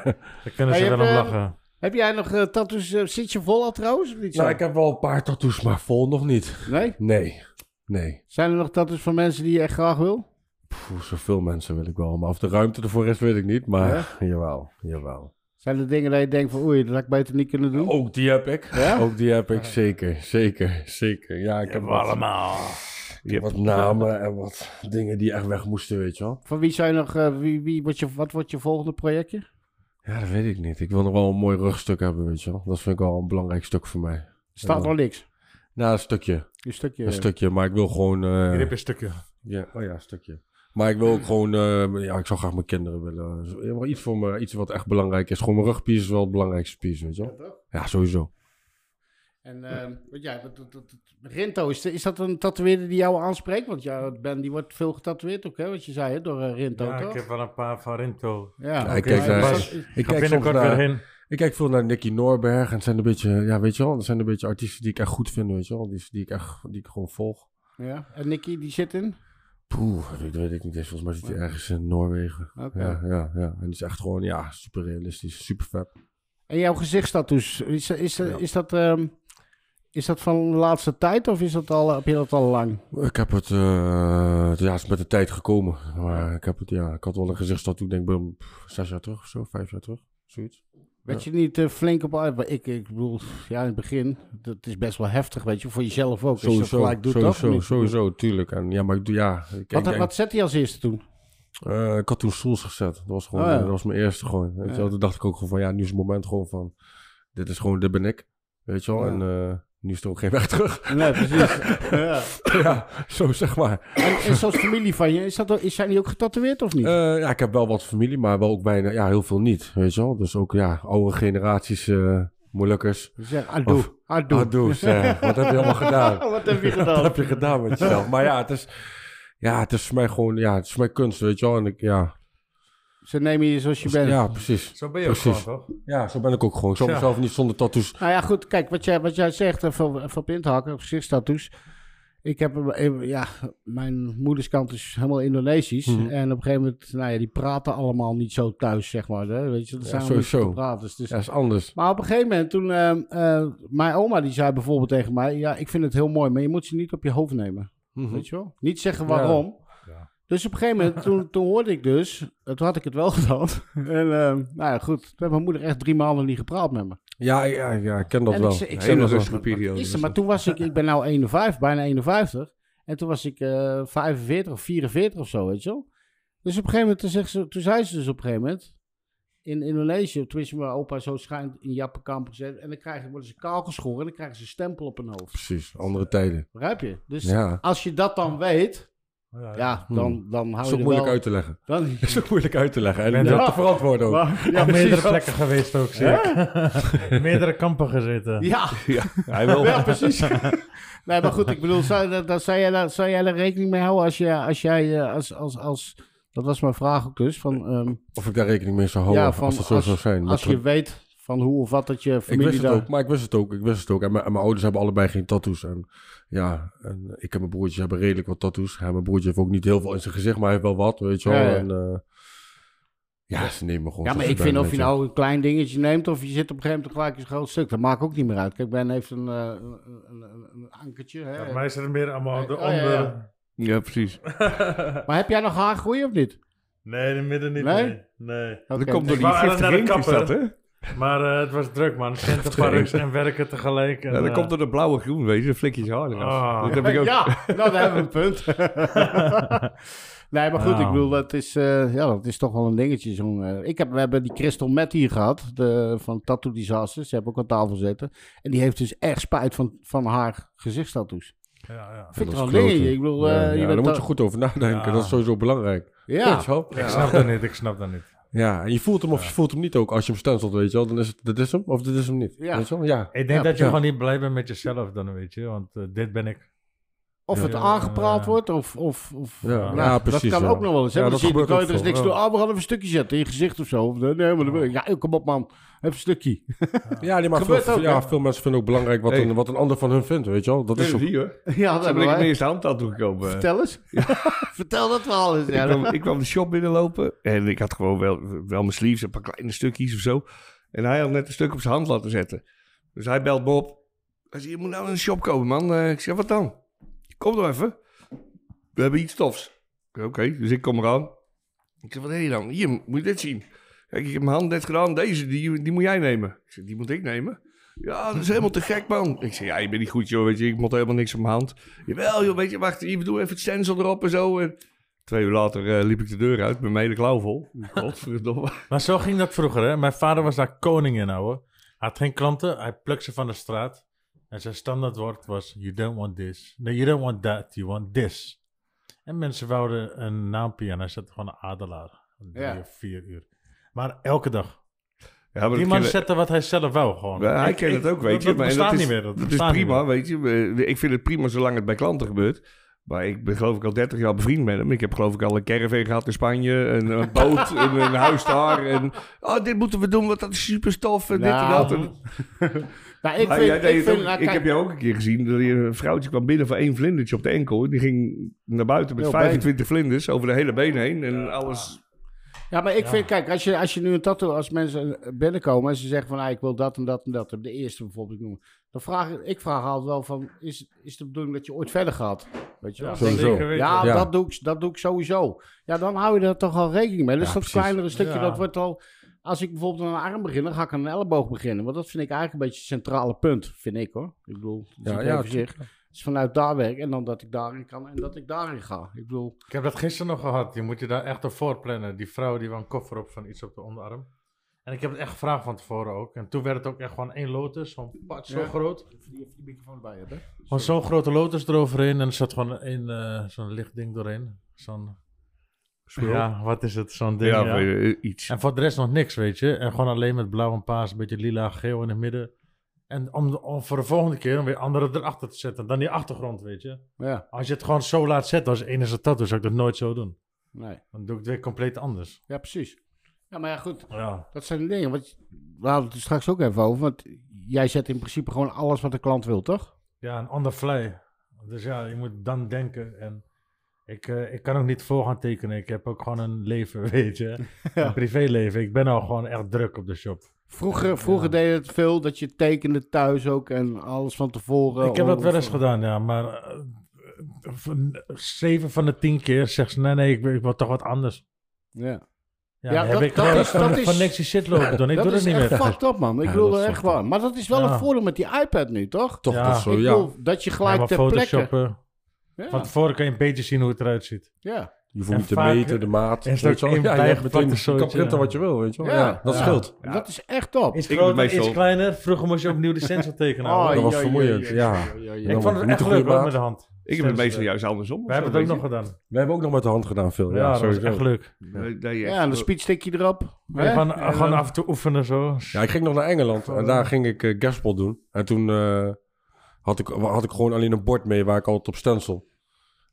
Speaker 1: kunnen
Speaker 2: Maar
Speaker 1: ze
Speaker 2: je
Speaker 1: wel om
Speaker 2: hebt, eh,
Speaker 1: lachen.
Speaker 2: Heb jij nog eh, tattoos? eh, zit je vol al trouwens? Of niet zo?
Speaker 4: Nou, ik heb wel een paar tattoos, maar vol nog niet.
Speaker 2: Nee?
Speaker 4: Nee. Nee.
Speaker 2: Zijn er nog tattoos van mensen die je echt graag wil?
Speaker 4: Pff, zoveel mensen wil ik wel. Maar of de ruimte ervoor is, weet ik niet. Maar jawel. Jawel.
Speaker 2: Zijn er dingen dat je denkt van oei, dat had ik beter niet kunnen doen?
Speaker 4: Ook die heb ik.
Speaker 2: Ja?
Speaker 4: Ook die heb ik. Zeker. Zeker. Zeker. Ja, ik heb wat,
Speaker 1: allemaal.
Speaker 4: ik heb wat namen en wat dingen die echt weg moesten, weet je wel.
Speaker 2: Van wie zijn nog, eh, wie, wie, wordt je, wat wordt je volgende projectje?
Speaker 4: Ja, dat weet ik niet. Ik wil nog wel een mooi rugstuk hebben, weet je wel. Dat vind ik wel een belangrijk stuk voor mij.
Speaker 2: Staat nog niks.
Speaker 4: Nou, een stukje.
Speaker 2: Een stukje.
Speaker 4: Een stukje, maar ik wil gewoon... eh,
Speaker 1: Hier heb je een stukje.
Speaker 4: ja, oh ja, een stukje. Maar ik wil ook gewoon... eh, ja, ik zou graag mijn kinderen willen. Zo- ja, maar iets, voor me, iets wat echt belangrijk is. Gewoon mijn rugpier is wel het belangrijkste pier, weet je wel. Ja, sowieso.
Speaker 2: En ehm, want ja, dat- dat- dat- dat- Rinto, is, is dat een tatoeëerder die jou aanspreekt? Want ja, Ben die wordt veel getatoeëerd ook, hè? Wat je zei, hè, door eh, Rinto,
Speaker 1: Ja,
Speaker 2: toch?
Speaker 1: ik heb wel een paar van Rinto.
Speaker 2: Ja,
Speaker 4: Ja, ik
Speaker 2: oké.
Speaker 4: kijk
Speaker 2: Maar
Speaker 4: naar-
Speaker 2: is dat-
Speaker 4: Ik
Speaker 1: Ga
Speaker 4: kijk, soms
Speaker 1: binnenkort weer
Speaker 4: naar,
Speaker 1: heen.
Speaker 4: ik kijk veel naar Nicky Norberg. En het zijn een beetje... Ja, weet je wel. Het zijn een beetje artiesten die ik echt goed vind, weet je wel. Die, die, ik, echt, die ik gewoon volg.
Speaker 2: ja. En Nicky, die zit in?
Speaker 4: Poeh, dat weet ik niet eens. Volgens mij zit hij ergens in Noorwegen.
Speaker 2: Oké.
Speaker 4: Ja, ja, ja. En die is echt gewoon, ja, super realistisch. Super vet.
Speaker 2: En jouw gezichtstattoos, is, is, is, dat, ehm, is dat van de laatste tijd of is dat al, heb je dat al lang?
Speaker 4: Ik heb het, eh, ja, het is met de tijd gekomen. Maar ik heb het, ja, ik had wel een gezichtstattoe, denk ik, ben, pff, zes jaar terug of zo, vijf jaar terug, zoiets.
Speaker 2: Werd je niet eh, flink op uit? Ik, ik bedoel, ja, in het begin, dat is best wel heftig, weet je, voor jezelf ook. als je dat
Speaker 4: Sowieso,
Speaker 2: gelijk doet, toch?
Speaker 4: sowieso,
Speaker 2: Niet?
Speaker 4: sowieso, tuurlijk. En ja, maar ik doe, ja, ik, ik,
Speaker 2: Wat,
Speaker 4: denk-
Speaker 2: wat zet hij als eerste toen?
Speaker 4: eh, ik had toen Souls gezet. Dat was gewoon,
Speaker 2: Oh, ja.
Speaker 4: eh, dat was mijn eerste gewoon. Weet je wel. Toen dacht ik ook gewoon van, ja, nu is het moment gewoon van, dit is gewoon, dit ben ik. Weet je wel,
Speaker 2: Ja.
Speaker 4: en eh, nu is er ook geen weg terug.
Speaker 2: Nee, precies. ja.
Speaker 4: ja, zo zeg maar.
Speaker 2: En, en zoals familie van je, is dat, ook- is- zijn die ook getatoeëerd of niet?
Speaker 4: Eh, ja, ik heb wel wat familie, maar wel ook bijna, ja, heel veel niet, weet je wel. Dus ook, ja, oude generaties, eh moeilijkers.
Speaker 2: zeg, adoe,
Speaker 4: Of-
Speaker 2: adoe.
Speaker 4: Ah, doe, zeg. Wat heb je allemaal gedaan?
Speaker 1: Oh,
Speaker 2: Oh, Wat heb je
Speaker 4: Wat
Speaker 2: gedaan?
Speaker 4: heb je gedaan met jezelf? Maar ja, het is, ja, het is voor mij gewoon, ja, het is mijn kunst, weet je wel. En ik, ja,
Speaker 2: Ze nemen je zoals je bent.
Speaker 4: ja, precies.
Speaker 1: Zo ben je ook
Speaker 4: Precies.
Speaker 1: gewoon, toch?
Speaker 4: Ja, zo ben ik ook gewoon. Ik zal
Speaker 1: Ja.
Speaker 4: mezelf niet zonder tattoos.
Speaker 2: Nou ja, goed, kijk, wat jij, wat jij zegt, eh, van, van pinthakken, gezichtstattoos. dus. Ik heb, hem, eh, ja, mijn moederskant is helemaal Indonesisch.
Speaker 4: Mhm.
Speaker 2: En op een gegeven moment, nou ja, die praten allemaal niet zo thuis, zeg maar. Hè? Weet je, dat
Speaker 4: Ja,
Speaker 2: zijn
Speaker 4: sowieso.
Speaker 2: sowieso. praters. Dus.
Speaker 4: Ja, is anders.
Speaker 2: Maar op een gegeven moment, toen, eh, eh, mijn oma die zei bijvoorbeeld tegen mij, ja, ik vind het heel mooi, maar je moet ze niet op je hoofd nemen.
Speaker 4: Mhm.
Speaker 2: Weet je wel? Niet zeggen
Speaker 4: Ja.
Speaker 2: waarom.
Speaker 4: Ja.
Speaker 2: Dus op een gegeven moment, toen, toen hoorde ik dus, eh, toen had ik het wel gedaan. En ehm, nou ja, goed, toen heeft mijn moeder echt drie maanden niet gepraat met me.
Speaker 4: Ja, ja, ja, ik ken dat
Speaker 2: En
Speaker 4: wel.
Speaker 2: ik ze- ik
Speaker 4: ken
Speaker 2: zeg
Speaker 3: Hele
Speaker 4: Oh, dat wel.
Speaker 3: rustige periode.
Speaker 2: Is er, maar toen was ik, ik ben nou 51, bijna 51. En toen was ik eh 45 of 44 of zo, weet je wel. Dus op een gegeven moment, toen, zegt ze, toen zei ze dus op een gegeven moment, in Indonesië, tenminste mijn opa zo schijnt in Jappenkamp gezet. En dan krijgen, worden ze kaal geschoren en dan krijgen ze een stempel op hun hoofd.
Speaker 4: Precies, andere tijden.
Speaker 2: Begrijp je? Dus
Speaker 4: Ja,
Speaker 2: als je dat dan weet, ja, dan, dan hou
Speaker 4: is
Speaker 2: je
Speaker 4: ook
Speaker 2: er
Speaker 4: moeilijk
Speaker 2: wel-
Speaker 4: uit te leggen.
Speaker 2: Dan,
Speaker 4: is ook moeilijk uit te leggen. En
Speaker 1: Ja.
Speaker 4: dat te verantwoorden ook.
Speaker 2: Maar- ja,
Speaker 1: Op meerdere
Speaker 2: precies.
Speaker 1: plekken geweest ook, zie ik. meerdere kampen gezeten.
Speaker 2: Ja,
Speaker 4: Hij wil.
Speaker 2: ja, precies. nee, maar goed, ik bedoel, zou, dat, dat- zou, jij, daar, zou jij daar rekening mee houden als, je, als jij, eh, als, als, als, dat was mijn vraag ook dus, van, ehm,
Speaker 4: Of ik daar rekening mee zou houden.
Speaker 2: Ja, van
Speaker 4: als dat zo
Speaker 2: als-
Speaker 4: zou zijn.
Speaker 2: als
Speaker 4: Maar
Speaker 2: je weet Van hoe of wat dat je familie
Speaker 4: ik wist
Speaker 2: daar...
Speaker 4: het ook, maar ik wist het ook. Ik wist het ook. En mijn, en mijn ouders hebben allebei geen tattoos. En ja, en ik en mijn broertjes hebben redelijk wat tattoos. Ja, mijn broertje heeft ook niet heel veel in zijn gezicht, maar hij heeft wel wat, weet je wel.
Speaker 2: Ja, ja.
Speaker 4: En, eh, ja, ze nemen me gewoon
Speaker 2: Ja, maar
Speaker 4: zoals
Speaker 2: ik
Speaker 4: ik
Speaker 2: vind
Speaker 4: ben,
Speaker 2: of je
Speaker 4: weet
Speaker 2: nou een klein dingetje neemt of je zit op een gegeven moment gelijk een groot stuk. Dat maakt ook niet meer uit. Kijk, Ben heeft een, eh, een, een, een- een ankertje. Hè?
Speaker 1: Mij is het meer allemaal de
Speaker 2: Oh, ja,
Speaker 1: onder...
Speaker 2: ja.
Speaker 3: Ja, precies.
Speaker 2: Maar heb jij nog haargroei of niet?
Speaker 1: Nee, de midden niet.
Speaker 2: Nee?
Speaker 1: Nee? Nee.
Speaker 2: Oké.
Speaker 3: Dat komt door
Speaker 1: Ik
Speaker 3: die
Speaker 1: wou eigenlijk
Speaker 3: giftige
Speaker 1: naar
Speaker 3: inkt,
Speaker 1: de
Speaker 3: is dat, hè?
Speaker 1: kapper. Maar eh, het was druk, man. Centerparks en werken tegelijk. En,
Speaker 3: Ja, dat
Speaker 1: eh,
Speaker 3: komt door de blauwe groen, weet je. Dan flik je ze haar eraf.
Speaker 1: Ah.
Speaker 3: Dat heb ik ook.
Speaker 2: Ja, nou, daar hebben we een punt. nee, maar goed,
Speaker 1: Nou.
Speaker 2: ik bedoel, dat is, eh, ja, dat is toch wel een dingetje. Zo'n, eh, ik heb, we hebben die Crystal Matt hier gehad, de, van Tattoo Disasters. Ze hebben ook aan tafel zitten. En die heeft dus echt spijt van, van haar gezichtstattoos.
Speaker 1: Ja, ja.
Speaker 2: Vind ik
Speaker 4: is
Speaker 2: wel een
Speaker 4: kloten.
Speaker 2: dingetje. Ik bedoel, eh,
Speaker 4: Ja,
Speaker 2: je
Speaker 4: ja,
Speaker 2: bent
Speaker 4: daar moet
Speaker 2: ta-
Speaker 4: je goed over nadenken.
Speaker 1: Ja.
Speaker 4: Dat is sowieso belangrijk.
Speaker 2: Ja.
Speaker 4: Weet je wel?
Speaker 1: Ik snap dat niet, ik snap dat niet.
Speaker 4: Ja, en je voelt hem of je voelt hem niet ook. Als je hem stenselt, weet je wel, dan is het, dit is hem of dit is hem niet.
Speaker 2: Ja.
Speaker 4: Weet je wel? Ja.
Speaker 1: Ik denk
Speaker 2: Ja,
Speaker 1: dat je
Speaker 4: ja.
Speaker 1: gewoon niet blij bent met jezelf dan, weet je. Want eh, dit ben ik.
Speaker 2: Of
Speaker 1: Ja,
Speaker 2: het
Speaker 1: ja,
Speaker 2: aangepraat
Speaker 1: ja.
Speaker 2: wordt, of... of, of
Speaker 4: Ja,
Speaker 2: nou,
Speaker 4: ja, precies,
Speaker 2: Dat kan
Speaker 4: ja.
Speaker 2: ook nog wel eens. hè,
Speaker 4: Ja,
Speaker 2: want
Speaker 4: dat
Speaker 2: dan zie je,
Speaker 4: gebeurt
Speaker 2: dan kan je er
Speaker 4: ook
Speaker 2: eens niks
Speaker 4: veel,
Speaker 2: doen. Ah, we gaan even een stukje zetten in je gezicht of zo. Of, Nee, nee, maar dan, ja, kom op man. Even een stukje.
Speaker 4: Ja, nee, maar
Speaker 2: Gebeurt
Speaker 4: veel,
Speaker 2: ook,
Speaker 4: ja,
Speaker 2: hè?
Speaker 4: veel mensen vinden ook belangrijk wat,
Speaker 3: Hey.
Speaker 4: een, wat een ander van hun vindt, weet je wel. Dat
Speaker 3: Dat
Speaker 4: is
Speaker 3: is
Speaker 4: ook...
Speaker 3: hier, hoor.
Speaker 2: Ja, dat
Speaker 3: Zo
Speaker 2: hebben
Speaker 3: ben ik eh,
Speaker 2: wij.
Speaker 3: ineens de hand aan toegekomen.
Speaker 2: Vertel eens. Vertel dat verhaal eens.
Speaker 3: Ik
Speaker 2: Ja,
Speaker 3: kwam, ik kwam de shop binnenlopen en ik had gewoon wel, wel mijn sleeves, een paar kleine stukjes of zo. En hij had net een stuk op zijn hand laten zetten. Dus hij belt me op. Hij zei, je moet nou in de shop komen, man. Eh, ik zeg, wat dan? Kom dan even. We hebben iets tofs. Ik zei, Oké, dus ik kom eraan. Ik zeg, wat heb je dan? Hier, moet je dit zien. Kijk, ik heb mijn hand net gedaan. Deze, die, die moet jij nemen. Ik zeg, die moet ik nemen? Ja, dat is helemaal te gek, man. Ik zeg, ja, je bent niet goed, joh. Weet je, ik moet helemaal niks op mijn hand. Jawel, joh, weet je, wacht. Hier, doe even het stencil erop en zo. En Twee uur later eh, liep ik de deur uit met mijn hele klauw vol. Godverdomme.
Speaker 1: Maar zo ging dat vroeger, hè. Mijn vader was daar koning in, ouwe. Hij had geen klanten, hij plukte ze van de straat. En zijn standaardwoord was, you don't want this. No, you don't want that, you want this. En mensen wouden een naampje en hij zette gewoon een adelaar. Drie
Speaker 2: Ja.
Speaker 1: of vier uur. Maar elke dag.
Speaker 3: Ja, maar
Speaker 1: Die
Speaker 3: dat
Speaker 1: man
Speaker 3: ken-
Speaker 1: zette wat hij zelf wou, gewoon.
Speaker 3: Ja, hij
Speaker 1: Ik-
Speaker 3: kent
Speaker 1: ik-
Speaker 3: het ook, weet je.
Speaker 1: Dat, dat
Speaker 3: maar en
Speaker 1: bestaat
Speaker 3: dat is,
Speaker 1: niet meer. Dat,
Speaker 3: dat
Speaker 1: bestaat
Speaker 3: is
Speaker 1: niet
Speaker 3: prima,
Speaker 1: meer.
Speaker 3: weet je. Eh, Ik vind het prima zolang het bij klanten gebeurt. Maar ik ben geloof ik al 30 jaar bevriend met hem. Ik heb geloof ik al een caravan gehad in Spanje. Een, een boot, een, een huis daar. En, oh, dit moeten we doen, want dat is super tof. En dit en
Speaker 2: Nou,
Speaker 3: dat. En,
Speaker 2: Nou, ik
Speaker 3: Ah,
Speaker 2: vind,
Speaker 3: jij deed
Speaker 2: ik
Speaker 3: het
Speaker 2: vind,
Speaker 3: ook.
Speaker 2: nou,
Speaker 3: Ik
Speaker 2: kijk,
Speaker 3: heb jou ook een keer gezien. Dat je een vrouwtje kwam binnen van één vlindertje op de enkel. En die ging naar buiten met
Speaker 2: Heel
Speaker 3: 25 vlinders over de hele been heen. En alles
Speaker 2: ja, maar ik vind, kijk, als je, als je nu een tattoo, als mensen binnenkomen en ze zeggen van, ah, ik wil dat en dat en dat, de eerste bijvoorbeeld ik noem, dan vraag ik, ik vraag altijd wel van, is, is de bedoeling dat je ooit verder gaat? Weet je wel?
Speaker 1: Ja,
Speaker 2: Ja,
Speaker 4: Sowieso.
Speaker 1: zeker weten.
Speaker 4: Ja.
Speaker 2: Dat, doe ik, dat doe ik sowieso. Ja, dan hou je er toch al rekening mee. Dus
Speaker 4: Ja,
Speaker 2: dat
Speaker 4: precies.
Speaker 2: kleinere stukje,
Speaker 1: Ja.
Speaker 2: dat wordt al, als ik bijvoorbeeld aan een arm begin, dan ga ik aan een elleboog beginnen, want dat vind ik eigenlijk een beetje het centrale punt, vind ik hoor. Ik bedoel,
Speaker 4: Ja,
Speaker 2: ja,
Speaker 4: ja,
Speaker 2: ja, zich. Dus vanuit daar werk en dan dat ik daarin kan en dat ik daarin ga. Ik bedoel,
Speaker 1: Ik heb dat gisteren nog gehad. Je moet je daar echt op voorplannen. Die vrouw die wou een koffer op van iets op de onderarm. En ik heb het echt gevraagd van tevoren ook. En toen werd het ook echt gewoon één lotus. Zo'n pad, zo
Speaker 2: Ja.
Speaker 1: groot.
Speaker 2: die je microfoon erbij hebt, hè?
Speaker 1: Gewoon zo'n grote lotus eroverheen. En er zat gewoon één, eh, zo'n lichtding doorheen. Zo'n, ja, wat is het? Zo'n ding,
Speaker 3: Ja,
Speaker 1: ja.
Speaker 3: maar, eh, iets.
Speaker 1: En voor de rest nog niks, weet je. En gewoon alleen met blauw en paas. Een beetje lila, geel in het midden. En om, om voor de volgende keer om weer andere erachter te zetten. Dan die achtergrond, weet je.
Speaker 2: Ja,
Speaker 1: Als je het gewoon zo laat zetten als enige tattoo, zou ik dat nooit zo doen.
Speaker 2: nee.
Speaker 1: Dan doe ik het weer compleet anders.
Speaker 2: Ja, precies. Ja, maar ja, goed.
Speaker 1: Ja.
Speaker 2: Dat zijn de dingen. Want we hadden het er straks ook even over. Want jij zet in principe gewoon alles wat de klant wil, toch?
Speaker 1: Ja, een ander fly. Dus ja, je moet dan denken. En ik, eh, ik kan ook niet voor gaan tekenen. Ik heb ook gewoon een leven, weet je. Een privéleven. Ik ben al gewoon echt druk op de shop.
Speaker 2: Vroeger, vroeger deed het veel dat je tekende thuis ook en alles van tevoren.
Speaker 1: ik heb dat
Speaker 2: Of-
Speaker 1: wel eens gedaan, ja. Maar eh, van- zeven van de tien keer zegt ze, nee, nee, ik, wil- ik wil toch wat anders.
Speaker 2: Ja.
Speaker 1: Ja,
Speaker 2: Ja,
Speaker 1: dan
Speaker 2: dat-
Speaker 1: heb ik
Speaker 2: dat
Speaker 1: gewoon
Speaker 2: is- dat
Speaker 1: van,
Speaker 2: is-
Speaker 1: van niks die shit lopen doen. Ik
Speaker 2: dat
Speaker 1: doe
Speaker 2: is
Speaker 1: dat niet
Speaker 2: echt
Speaker 1: meer.
Speaker 2: fucked up, man. Ik
Speaker 1: Ja,
Speaker 2: bedoel
Speaker 1: dat
Speaker 2: er
Speaker 1: is
Speaker 2: echt
Speaker 1: fucked
Speaker 2: waar. Maar dat is wel
Speaker 1: Ja.
Speaker 2: een voordeel met die iPad nu, toch?
Speaker 4: Toch,
Speaker 1: Ja.
Speaker 4: dat is zo,
Speaker 2: Ik
Speaker 4: ja.
Speaker 2: bedoel, dat je
Speaker 1: Ja,
Speaker 2: gelijk
Speaker 1: maar
Speaker 2: ter plekke...
Speaker 1: photoshoppen. Van
Speaker 2: Ja,
Speaker 1: tevoren kan je een beetje zien hoe het eruit ziet.
Speaker 2: ja.
Speaker 4: Je hoeft
Speaker 1: En
Speaker 4: niet te
Speaker 1: vaak
Speaker 4: meten, de maat.
Speaker 1: is het
Speaker 4: weet je
Speaker 1: ook
Speaker 4: wel.
Speaker 1: in
Speaker 4: Ja, je hebt
Speaker 1: bijgeplakte
Speaker 4: meteen, je kan
Speaker 1: soortje.
Speaker 4: printen wat je wil, weet je wel.
Speaker 2: Ja.
Speaker 4: Ja, dat
Speaker 2: Ja.
Speaker 4: scheelt.
Speaker 2: dat is echt top.
Speaker 1: Iets
Speaker 3: Ik
Speaker 1: groter,
Speaker 3: meestal- Oh,
Speaker 1: iets kleiner. Vroeger moest je opnieuw de sensor tekenen. hoor.
Speaker 4: dat was
Speaker 2: ja, ja,
Speaker 4: vermoeiend, ja.
Speaker 1: ik
Speaker 4: Ja,
Speaker 1: vond
Speaker 4: maar
Speaker 1: het
Speaker 4: niet
Speaker 1: echt
Speaker 4: de goede
Speaker 1: leuk hoor,
Speaker 4: maat.
Speaker 1: met de hand.
Speaker 3: Ik heb het
Speaker 1: Sensor.
Speaker 3: meestal juist andersom.
Speaker 1: We hebben het ook nog gedaan.
Speaker 4: We hebben ook nog met de hand gedaan veel.
Speaker 1: Ja,
Speaker 4: Ja,
Speaker 1: dat was
Speaker 4: sowieso.
Speaker 1: echt leuk.
Speaker 3: gedaan.
Speaker 2: Ja, en een speedstikje erop.
Speaker 1: We
Speaker 2: hè?
Speaker 1: gaan gewoon af en toe oefenen zo.
Speaker 4: Ja, ik ging nog naar Engeland en daar ging ik eh, gaspel doen. En toen eh, had, ik, had ik gewoon alleen een bord mee waar ik altijd op stencil.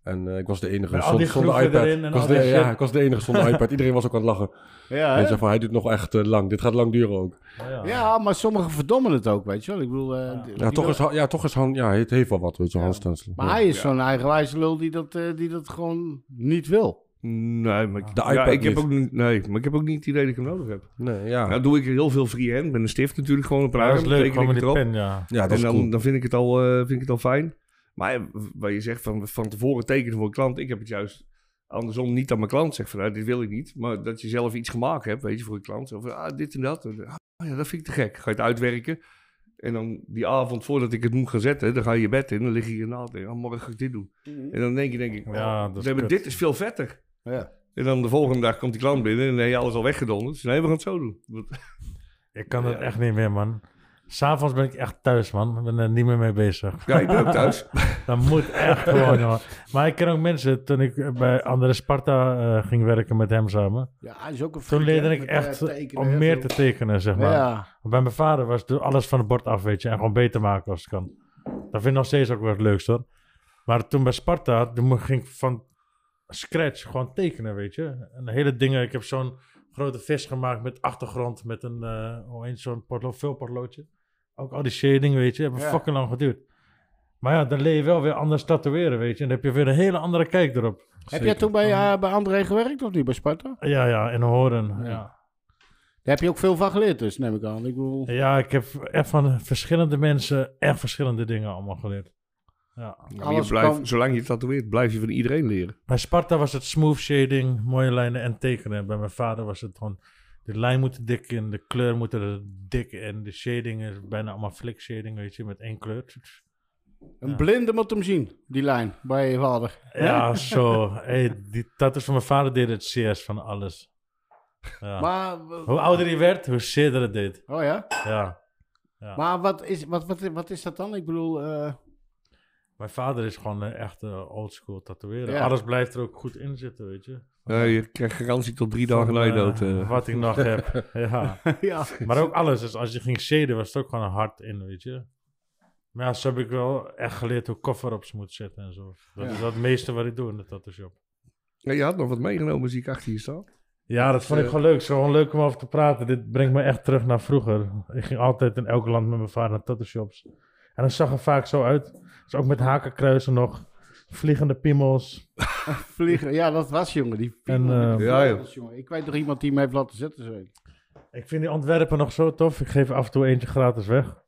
Speaker 4: En eh, ik was de enige
Speaker 1: Met al
Speaker 4: zonder-
Speaker 1: die
Speaker 4: zonder
Speaker 1: groeven
Speaker 4: iPad.
Speaker 1: erin en
Speaker 4: Ik was
Speaker 1: al
Speaker 4: de-
Speaker 1: die shit.
Speaker 4: ja, ik was de enige zonder iPad. Iedereen was ook aan het lachen.
Speaker 2: Ja, hè?
Speaker 4: Mensen van, hij doet nog echt eh, lang. Dit gaat lang duren ook.
Speaker 1: Oh, ja.
Speaker 2: ja, maar sommigen verdommen het ook, weet je wel. Ik bedoel, eh, die-
Speaker 4: Ja,
Speaker 2: die
Speaker 4: toch
Speaker 2: wil-
Speaker 4: is, Han- ja, toch is Han, ja, het heeft wel wat, weet je,
Speaker 2: Ja.
Speaker 4: Hans Stensler.
Speaker 2: Maar
Speaker 4: Ja.
Speaker 2: hij is zo'n eigenwijze lul die dat, eh, die dat gewoon niet wil.
Speaker 3: Nee, maar ik,
Speaker 4: De
Speaker 3: ja,
Speaker 4: iPad
Speaker 3: ik heb
Speaker 4: niet.
Speaker 3: ook, niet- nee, maar ik heb ook niet het idee dat ik hem nodig heb.
Speaker 4: Nee, ja.
Speaker 3: Nou doe ik heel veel freehand. Met een stift natuurlijk gewoon op een
Speaker 1: Ja, dat
Speaker 3: arm,
Speaker 1: is leuk,
Speaker 3: teken ik
Speaker 1: gewoon met
Speaker 3: het
Speaker 1: die
Speaker 3: erop.
Speaker 1: pen, ja.
Speaker 4: ja, dat
Speaker 3: en
Speaker 4: is
Speaker 3: dan,
Speaker 4: cool.
Speaker 3: dan vind, ik het al, eh, vind ik het al fijn. Maar ja, w- wat je zegt van, van tevoren tekenen voor een klant. Ik heb het juist andersom niet aan mijn klant. Zeg van, nou, dit wil ik niet. Maar dat je zelf iets gemaakt hebt, weet je, voor je klant. Zo van, ah, dit en dat. En, ah, ja, dat vind ik te gek. Ga je het uitwerken. En dan die avond voordat ik het moet gaan zetten, dan ga je je bed in. Dan lig je hier na te denken, ah, morgen ga ik dit doen. En dan denk je, denk ik, oh,
Speaker 1: Ja, dat is
Speaker 3: nee, maar
Speaker 1: kut.
Speaker 3: dit is veel vetter.
Speaker 2: Ja.
Speaker 3: En dan de volgende dag komt die klant binnen en dan heb je alles al weggedonderd. Dus nee, we gaan het zo doen. Want-
Speaker 1: Ik kan het echt niet meer, man. S'avonds ben ik echt thuis, man. Ik ben er niet meer mee bezig.
Speaker 3: Ja, ik ben ook thuis.
Speaker 1: Dat moet echt gewoon, jongen. Maar ik ken ook mensen, toen ik bij Andere Sparta eh, ging werken met hem samen,
Speaker 2: Ja, hij is ook een
Speaker 1: toen
Speaker 2: freak,
Speaker 1: leerde
Speaker 2: hè,
Speaker 1: ik
Speaker 2: met,
Speaker 1: echt
Speaker 2: eh, tekenen,
Speaker 1: om
Speaker 2: hè,
Speaker 1: meer
Speaker 2: zo.
Speaker 1: te tekenen, zeg maar.
Speaker 2: Ja,
Speaker 1: Want Bij mijn vader was het alles van het bord af, weet je, en gewoon beter maken als het kan. Dat vind ik nog steeds ook wel het leukste, hoor. Maar toen bij Sparta, toen mo- ging ik van scratch gewoon tekenen, weet je. En de hele dingen, ik heb zo'n grote vis gemaakt met achtergrond, met een, eh hoe heet zo'n portlo vulportloodje. Ook al die shading, weet je, hebben
Speaker 2: Ja.
Speaker 1: fucking lang geduurd. Maar ja, dan leer je wel weer anders tatoeëren, weet je. En dan heb je weer een hele andere kijk erop.
Speaker 2: Heb jij toen bij, eh, bij André gewerkt of niet, bij Sparta?
Speaker 1: Ja, ja, en horen, ja.
Speaker 2: Daar heb je ook veel van geleerd dus, neem ik aan. Ik bedoel,
Speaker 1: Ja, ik heb echt van verschillende mensen echt verschillende dingen allemaal geleerd. Ja.
Speaker 3: Maar je
Speaker 2: alles
Speaker 3: blijft,
Speaker 2: kan-
Speaker 3: Zolang je tatoeëert, blijf je van iedereen leren.
Speaker 1: Bij Sparta was het smooth shading, mooie lijnen en tekenen. Bij mijn vader was het gewoon, de lijn moet er dik in, de kleur moet er dik in. De shading is bijna allemaal flick shading, weet je, met één kleur.
Speaker 2: een blinde moet hem zien, die lijn, bij je vader.
Speaker 1: Ja, zo. Hey, die tattoos van mijn vader deden het CS van alles. Ja.
Speaker 2: Maar, eh,
Speaker 1: hoe ouder hij werd, hoe zeerder het deed.
Speaker 2: oh ja,
Speaker 1: Ja.
Speaker 2: maar wat is, wat, wat, wat is dat dan? Ik bedoel, eh,
Speaker 1: Mijn vader is gewoon eh, echt eh, oldschool tatoeëren.
Speaker 2: Ja.
Speaker 1: Alles blijft er ook goed in zitten, weet je.
Speaker 3: Ja, je krijgt garantie tot drie dagen na je
Speaker 1: Van, eh,
Speaker 3: dood. eh.
Speaker 1: Wat ik nog heb. Ja.
Speaker 2: ja,
Speaker 1: Maar ook alles. Dus als je ging shaden, was het ook gewoon hard in, weet je. Maar ja, zo heb ik wel echt geleerd hoe cover-ups moet zetten en zo. Dat
Speaker 2: Ja.
Speaker 1: is dat meeste wat ik doe in de tattoo shop.
Speaker 3: Ja, je had nog wat meegenomen, zie ik achter je staan.
Speaker 1: Ja, dat vond ik gewoon leuk. Het is gewoon leuk om over te praten. Dit brengt me echt terug naar vroeger. Ik ging altijd in elk land met mijn vader naar tattoo shops. En dat zag er vaak zo uit. Dus ook met hakenkruisen nog. Vliegende piemels.
Speaker 2: vliegen. Ja, dat was jongen, die
Speaker 1: En, eh,
Speaker 3: Ja, joh.
Speaker 2: vogels, jongen. Ik weet nog iemand die hem heeft laten zetten, zo.
Speaker 1: Ik vind die ontwerpen nog zo tof. Ik geef af en toe eentje gratis weg.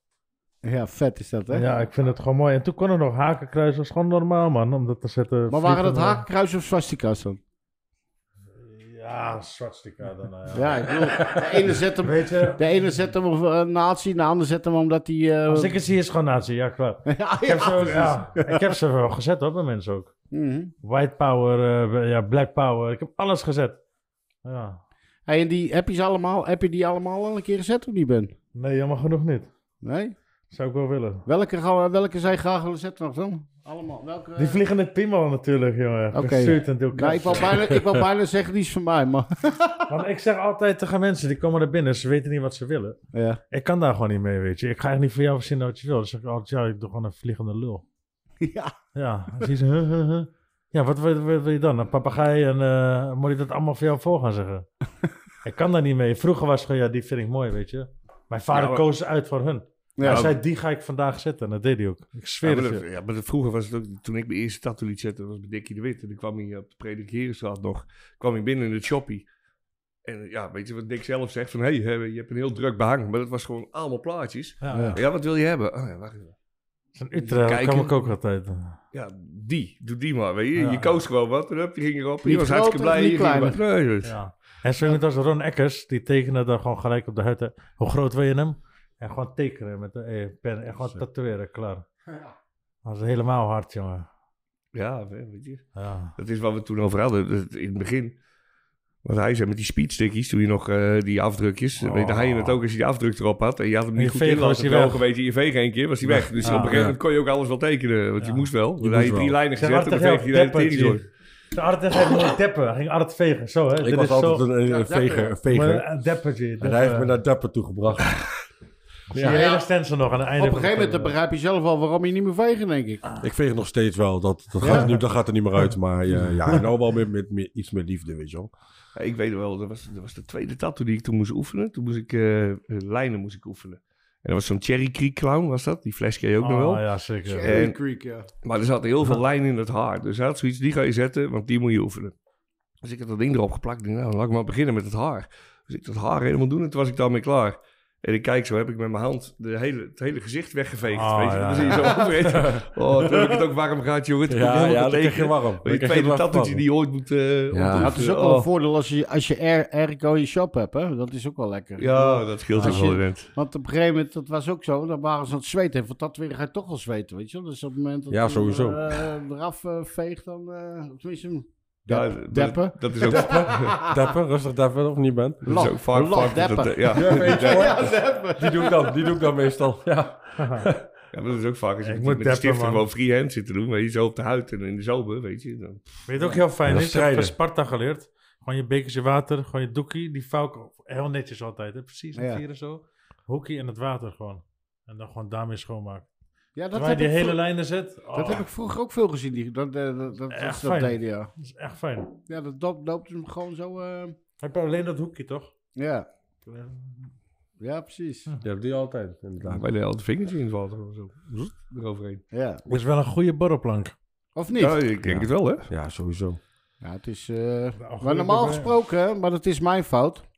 Speaker 2: Ja, vet is dat, hè?
Speaker 1: Ja, ik vind het gewoon mooi. En toen kon er nog hakenkruis, dat is gewoon normaal, man, om dat te zetten.
Speaker 2: Maar waren dat
Speaker 1: Vliegende-
Speaker 2: hakenkruis of swastika's dan?
Speaker 1: Ja, swastika dan. nou
Speaker 2: Ja, ik bedoel, de ene zet hem,
Speaker 1: Weet je,
Speaker 2: de ene zet hem om eh, nazi, de ander zet hem omdat hij... eh,
Speaker 1: als ik het zie is het gewoon nazi, ja klaar.
Speaker 2: ja,
Speaker 1: Ik heb,
Speaker 2: ja.
Speaker 1: zo, ja, ik heb ze wel gezet hoor, bij mensen ook.
Speaker 2: Mhm.
Speaker 1: White power, eh, ja, black power, ik heb alles gezet. Ja.
Speaker 2: Hey, en die, heb, je ze allemaal, heb je die allemaal al een keer gezet of niet, Ben?
Speaker 1: Nee, jammer genoeg niet.
Speaker 2: Nee?
Speaker 1: Zou ik wel willen.
Speaker 2: Welke, gaan we- welke zij graag willen zetten nog dan? Allemaal. Welke?
Speaker 1: Die vliegende piemel natuurlijk, jongen.
Speaker 2: Oké.
Speaker 1: Gestuurd en deel
Speaker 2: nou, ik wou bijna, ik wou bijna zeggen, die is van mij, maar...
Speaker 1: Want ik zeg altijd tegen mensen, die komen er binnen, ze weten niet wat ze willen.
Speaker 2: Ja.
Speaker 1: Ik kan daar gewoon niet mee, weet je. Ik ga echt niet voor jou verzinnen wat je wil. Dan zeg ik altijd, ja, ik doe gewoon een vliegende lul.
Speaker 2: ja.
Speaker 1: Ja, dan zie je zo, huh, huh, huh. Ja, wat wil, wil- wil je dan? Een papegaai en eh, moet ik dat allemaal voor jou voor gaan zeggen? ik kan daar niet mee. Vroeger was het gewoon, ja, die vind ik mooi, weet je. Mijn vader
Speaker 3: Ja, maar-
Speaker 1: koos uit voor hun.
Speaker 2: Ja.
Speaker 1: hij zei, die ga ik vandaag zetten. En dat deed hij ook. Ik
Speaker 3: Ja,
Speaker 1: zweer
Speaker 3: maar,
Speaker 1: het
Speaker 3: dat-
Speaker 1: je.
Speaker 3: ja, maar dat- vroeger was het ook, toen ik mijn eerste tattoo liet zetten, was bij Dickie de Wit. En dan kwam hij op de Predikerenstraat nog, kwam hij binnen in het shoppie. En eh, ja, weet je wat Dick zelf zegt, van hé, hey, hè, je hebt een heel druk behang. Maar dat was gewoon allemaal plaatjes.
Speaker 1: Ja,
Speaker 2: Ja.
Speaker 3: Ja, wat wil je hebben? Oh, ja, wacht even.
Speaker 1: Zo'n Utrecht dat
Speaker 3: Kijken.
Speaker 1: kwam ik ook altijd.
Speaker 3: Ja, die, doe die maar, weet je.
Speaker 1: Ja.
Speaker 3: je koos gewoon wat, en hup, die ging erop.
Speaker 2: Niet
Speaker 3: Die was hartstikke
Speaker 2: groter,
Speaker 3: blij.
Speaker 2: niet
Speaker 3: hier ging je maar- Nee, dus-
Speaker 1: Ja. En zo iemand als Ron Eckers, die tekende dan gewoon gelijk op de huid. hè. Hoe groot wil je hem? En gewoon tekenen met de eh, pen. En gewoon tatoeëren, klaar. Dat was helemaal hard, jongen.
Speaker 3: ja, weet je.
Speaker 1: Ja.
Speaker 3: Dat is wat we toen over hadden dat- in het begin. Wat hij zei met die speedstickies, toen je nog eh, die afdrukjes.
Speaker 1: Oh.
Speaker 3: Weet je, hij je het ook als je die afdruk erop had. En je had hem
Speaker 1: En je
Speaker 3: niet goed
Speaker 1: veeg
Speaker 3: in
Speaker 1: was
Speaker 3: laten
Speaker 1: hij
Speaker 3: drogen,
Speaker 1: weg.
Speaker 3: weet je. Je veeg één keer, was hij weg. Dus
Speaker 1: Ja.
Speaker 3: op een gegeven moment kon je ook alles wel tekenen. Want
Speaker 1: Ja.
Speaker 3: je moest wel. Dan
Speaker 4: moest
Speaker 3: had je drie
Speaker 4: wel.
Speaker 3: lijnen
Speaker 1: Zeg,
Speaker 3: gezet en
Speaker 1: Art
Speaker 3: dan
Speaker 1: ging
Speaker 3: veeg
Speaker 1: ook
Speaker 3: je de hele
Speaker 1: deppen.
Speaker 3: tering door.
Speaker 1: zie je. De Art ging gewoon deppen. Hij ging Art vegen. Zo, hè.
Speaker 4: Ik was
Speaker 1: is zo-
Speaker 4: altijd een, een
Speaker 2: Ja, dapper.
Speaker 4: veger. veger.
Speaker 2: eh,
Speaker 1: Maar een deppertje.
Speaker 2: Ah.
Speaker 4: en hij heeft me naar Dapper toe gebracht.
Speaker 1: Zie je hele stencil nog aan het einde
Speaker 2: Op een gegeven moment dan
Speaker 1: van de
Speaker 2: begrijp je zelf al waarom je niet meer vegen, denk ik.
Speaker 4: Ik veeg nog steeds wel. Dat, dat, gaat, nu, dat gaat er niet meer uit. Maar eh, ja, nou wel met, met, met iets meer liefde, weet je wel.
Speaker 3: Ja, ik weet wel, dat was, dat was de tweede tattoo die ik toen moest oefenen. Toen moest ik eh, eh, lijnen moest ik oefenen. En dat was zo'n Cherry Creek clown, was dat? Die fles ken je ook nog wel.
Speaker 1: Oh, ja, zeker.
Speaker 3: Eh,
Speaker 2: Cherry Creek, ja.
Speaker 3: Maar er zat heel veel lijn in het haar. Dus hij had zoiets, die ga je zetten, want die moet je oefenen. Dus ik had dat ding erop geplakt. Ik dacht, nou, laat ik maar beginnen met het haar. Dus ik dat haar helemaal doen en toen was ik daarmee klaar. En ik kijk, zo heb ik met mijn hand de hele, het hele gezicht weggeveegd.
Speaker 1: Oh,
Speaker 3: weet je?
Speaker 1: ja,
Speaker 3: Dan zie je zo overheen. Oh, toen heb ik het ook warm gehad, jongen. Toen kon ik
Speaker 4: Ja,
Speaker 3: helemaal
Speaker 4: ja
Speaker 3: niet
Speaker 4: dat krijg
Speaker 3: tegen.
Speaker 4: je warm.
Speaker 3: Die tweede tattoo die je ooit moet... eh, om te
Speaker 4: Ja,
Speaker 2: Dat is
Speaker 3: oefenen.
Speaker 2: ook wel een
Speaker 3: Oh.
Speaker 2: voordeel als je, als je er, airco in je shop hebt, hè. Dat is ook wel lekker.
Speaker 3: Ja, dat scheelt ook
Speaker 2: Als je-
Speaker 3: wel event.
Speaker 2: Want op een gegeven moment, dat was ook zo, dan waren ze aan het zweten. En van dat weer ga je toch al zweten, weet je wel. Dus op het moment dat
Speaker 4: Ja,
Speaker 2: je
Speaker 4: sowieso.
Speaker 2: eh, eraf eh, veegt, dan... eh tenminste,
Speaker 3: Ja,
Speaker 2: dep- deppen.
Speaker 3: Dat, dat is ook, dat
Speaker 4: Deppen, rustig deppen, of niet ben.
Speaker 3: is ook vaak...
Speaker 2: Lach,
Speaker 3: vaak dat dat-
Speaker 2: deppen.
Speaker 3: ja.
Speaker 2: Ja, deppen.
Speaker 4: Die doe ik dan, die doe ik dan meestal. Ja.
Speaker 3: Ja, maar dat is ook vaak als je
Speaker 1: Ik
Speaker 3: met,
Speaker 1: moet
Speaker 3: met de
Speaker 1: deppen,
Speaker 3: stiften
Speaker 1: man.
Speaker 3: gewoon freehand zit te doen. Weet je, zo op de huid en in de zomer, weet je. Dan,
Speaker 1: Weet je ook heel fijn
Speaker 4: Ja,
Speaker 1: is?
Speaker 4: dat
Speaker 1: Ik heb
Speaker 4: strijden.
Speaker 1: van Sparta geleerd. Gewoon je bekertje water, gewoon je doekie, die vouw heel netjes altijd. Hè? Precies, met
Speaker 2: Ja.
Speaker 1: vieren zo. Hoekie en het water gewoon. En dan gewoon daarmee schoonmaken.
Speaker 2: Ja, dat
Speaker 1: Terwijl je
Speaker 2: heb,
Speaker 1: die
Speaker 2: ik
Speaker 1: hele
Speaker 2: vro-
Speaker 1: lijnen zet. Oh,
Speaker 2: dat heb ik vroeger ook veel gezien, die, dat, eh, dat, dat, dat,
Speaker 1: Echt
Speaker 2: ze dat
Speaker 1: fijn.
Speaker 2: deden, ja.
Speaker 1: Dat is echt fijn.
Speaker 2: Ja, dat dop- loopt hem gewoon zo... eh,
Speaker 1: Heb je alleen dat hoekje toch?
Speaker 2: ja. ja, precies.
Speaker 1: Hm.
Speaker 4: Je hebt die altijd, inderdaad.
Speaker 3: bij de altijd vingertje invalt of zo. Hm, Eroverheen.
Speaker 2: Ja.
Speaker 1: Dat is wel een goede borrelplank.
Speaker 2: Of niet?
Speaker 3: Ja, ik denk
Speaker 4: Ja.
Speaker 3: het wel, hè?
Speaker 4: Ja, sowieso.
Speaker 2: Ja, het is. eh,
Speaker 1: Nou,
Speaker 2: maar normaal
Speaker 1: goed,
Speaker 2: gesproken, hè, maar dat is mijn fout.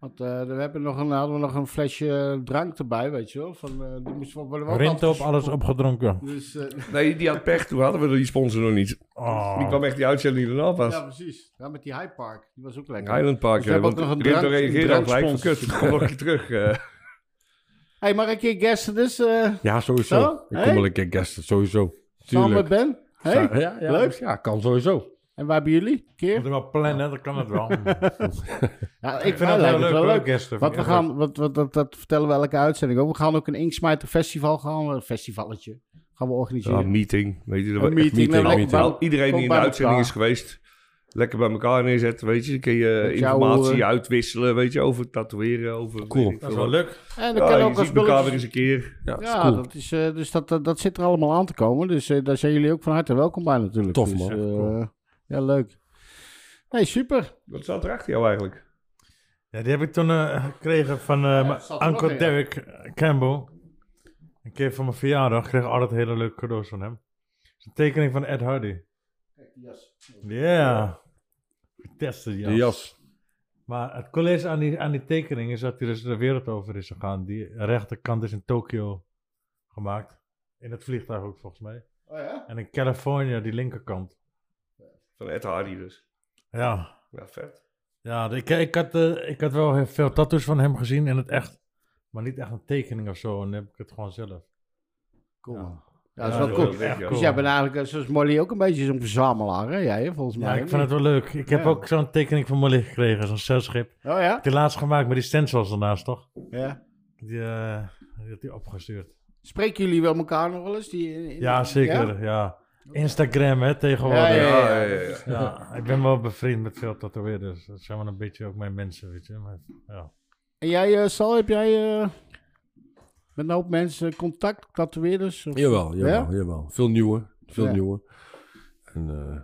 Speaker 2: Want eh, we hebben nog een, hadden we nog een flesje drank erbij, weet je wel. Van, eh, die moesten we worden we ook
Speaker 1: Rinto op
Speaker 2: afgesproken.
Speaker 1: alles opgedronken.
Speaker 2: Dus, eh,
Speaker 3: Nee, die had pech. Toen hadden we die sponsor nog niet.
Speaker 1: Oh.
Speaker 3: Die kwam echt die uitzending erna pas.
Speaker 2: ja, precies. Ja, met die High Park. Die was ook lekker.
Speaker 3: Highland Park.
Speaker 2: Dus we hebben
Speaker 3: eh,
Speaker 2: ook
Speaker 3: want
Speaker 2: nog een
Speaker 3: Rinto
Speaker 2: drank-
Speaker 3: reageerde al gelijk van
Speaker 2: dranksponsor.
Speaker 3: kut. Kom nog een keer terug. eh.
Speaker 2: hey, maar een keer guesten dus. eh,
Speaker 4: Ja, sowieso.
Speaker 2: Zo?
Speaker 4: Ik
Speaker 2: Hey?
Speaker 4: kom wel een keer guesten, sowieso.
Speaker 2: samen met
Speaker 4: Tuurlijk.
Speaker 2: Ben. Hey.
Speaker 4: Ja, ja, ja,
Speaker 2: Leuk.
Speaker 4: Ja, kan sowieso.
Speaker 2: En waar hebben jullie? Een
Speaker 1: Moet
Speaker 2: keer?
Speaker 1: er wel plannen, dan kan het wel.
Speaker 2: Ja, ik
Speaker 1: ik
Speaker 2: vind
Speaker 1: vind dat
Speaker 2: het
Speaker 1: heel
Speaker 2: leuk.
Speaker 1: leuk.
Speaker 2: Wel
Speaker 1: hoor,
Speaker 2: leuk.
Speaker 1: Kirsten.
Speaker 2: Wat we
Speaker 1: Ja,
Speaker 2: gaan, wat, wat, dat, dat vertellen we elke uitzending ook. We gaan ook een Inksmijter Festival gaan, we- een festivalletje. Gaan we
Speaker 3: Ja,
Speaker 2: organiseren.
Speaker 3: een meeting. Weet je, dat
Speaker 2: Een
Speaker 3: we echt
Speaker 2: meeting, nou,
Speaker 3: meeting.
Speaker 2: lekker
Speaker 3: Al-
Speaker 2: bij-
Speaker 3: Iedereen
Speaker 2: kom
Speaker 3: die in
Speaker 2: bij
Speaker 3: de uitzending is
Speaker 2: elkaar.
Speaker 3: geweest, lekker bij elkaar neerzetten, weet je. Dan kun je eh,
Speaker 2: Met jou,
Speaker 3: informatie
Speaker 2: eh,
Speaker 3: uitwisselen, weet je, over tatoeëren, over...
Speaker 4: Cool.
Speaker 3: weet ik
Speaker 1: Dat is
Speaker 3: veel
Speaker 1: wel leuk.
Speaker 2: En dan
Speaker 3: Ja,
Speaker 2: kan
Speaker 3: je
Speaker 2: ook als
Speaker 3: ziet elkaar weer
Speaker 2: spulletjes
Speaker 3: eens een keer.
Speaker 4: Ja, is
Speaker 2: Ja,
Speaker 4: cool.
Speaker 2: dat, is, eh, dus dat, dat, dat zit er allemaal aan te komen. Dus eh, daar zijn jullie ook van harte welkom bij natuurlijk.
Speaker 4: Tof,
Speaker 2: Dus,
Speaker 4: man.
Speaker 2: eh,
Speaker 4: Echt
Speaker 2: Ja, leuk. Nee, super.
Speaker 3: Wat staat er achter jou eigenlijk?
Speaker 1: Ja, die heb ik toen eh, gekregen van eh, mijn
Speaker 2: zat er nog
Speaker 1: Uncle
Speaker 2: in.
Speaker 1: Derek Campbell. Een keer van mijn verjaardag kreeg ik altijd hele leuke cadeaus van hem. Het is een tekening van Ed Hardy. Ja. Fantastisch jas.
Speaker 4: Die jas.
Speaker 1: Maar het college aan die, aan die tekening is dat hij dus de wereld over is gegaan. Die rechterkant is in Tokio gemaakt. In het vliegtuig ook volgens mij.
Speaker 2: Oh ja?
Speaker 1: En in Californië die linkerkant.
Speaker 3: Van Ed Hardy dus.
Speaker 1: Ja,
Speaker 3: Ja, vet.
Speaker 1: Ja, ik, ik, had, eh, ik had wel heel veel tattoos van hem gezien in het echt. Maar niet echt een tekening of zo. En dan heb ik het gewoon zelf.
Speaker 2: Cool.
Speaker 1: Ja.
Speaker 2: Ja, dat is
Speaker 1: Ja,
Speaker 2: wel
Speaker 3: dat
Speaker 2: cool.
Speaker 3: is wel leuk, ja.
Speaker 2: Dus jij bent eigenlijk, eh, zoals Molly, ook een beetje zo'n verzamelaar, hè? Jij, hè, volgens mij.
Speaker 1: Ja, ik
Speaker 2: hè?
Speaker 1: vind het wel leuk. Ik heb
Speaker 2: Ja.
Speaker 1: ook zo'n tekening van Molly gekregen. Zo'n zeilschip. Ik
Speaker 2: Oh ja?
Speaker 1: heb die laatst gemaakt met die stencils ernaast, toch?
Speaker 2: ja.
Speaker 1: Die, eh, die had hij opgestuurd.
Speaker 2: Spreken jullie wel elkaar nog wel eens? Die, in-
Speaker 1: Ja,
Speaker 2: in- Ja?
Speaker 1: zeker. Ja. Instagram, hè, tegenwoordig.
Speaker 2: Ja,
Speaker 1: Ja,
Speaker 2: ja, ja.
Speaker 1: ik ben wel bevriend met veel tatoeëerders. Dat zijn wel een beetje ook mijn mensen, weet je. Maar, ja.
Speaker 2: En jij, eh, Sal, heb jij eh, met een hoop mensen contact, tatoeëerders? Of-
Speaker 4: Jawel, jawel,
Speaker 2: Ja?
Speaker 4: jawel. Veel nieuwe. Veel
Speaker 2: Ja.
Speaker 4: nieuwe. En eh,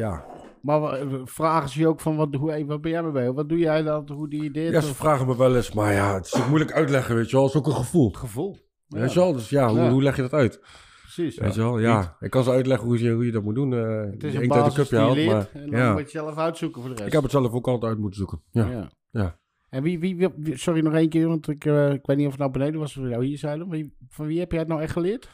Speaker 4: ja.
Speaker 2: Maar wa- eh, vragen ze je ook van, wat, hoe, hey, wat ben jij mee bezig? Wat doe jij dan? Hoe die ideeën?
Speaker 4: ja, ze vragen me wel eens, maar ja, het is ook moeilijk uitleggen, weet je wel. Het is ook een gevoel.
Speaker 2: gevoel. Ja,
Speaker 4: Weet je wel, dus ja, hoe,
Speaker 2: Ja.
Speaker 4: hoe leg je dat uit?
Speaker 2: precies.
Speaker 4: Weet je wel, ja. Ik kan ze uitleggen hoe je, hoe je dat moet doen. eh,
Speaker 2: Het is
Speaker 4: je
Speaker 2: een
Speaker 4: inkt uit
Speaker 2: basis
Speaker 4: cupje
Speaker 2: die je
Speaker 4: haalt,
Speaker 2: leert
Speaker 4: maar-
Speaker 2: en dan
Speaker 4: ja.
Speaker 2: moet je het zelf uitzoeken voor de rest.
Speaker 4: Ik heb het zelf ook altijd uit moeten zoeken. Ja. Ja.
Speaker 2: En wie, wie, wie- wie- sorry nog één keer, want ik, eh, ik weet niet of het nou beneden was of we nou hier zeiden. Maar wie- van wie heb jij het nou echt geleerd?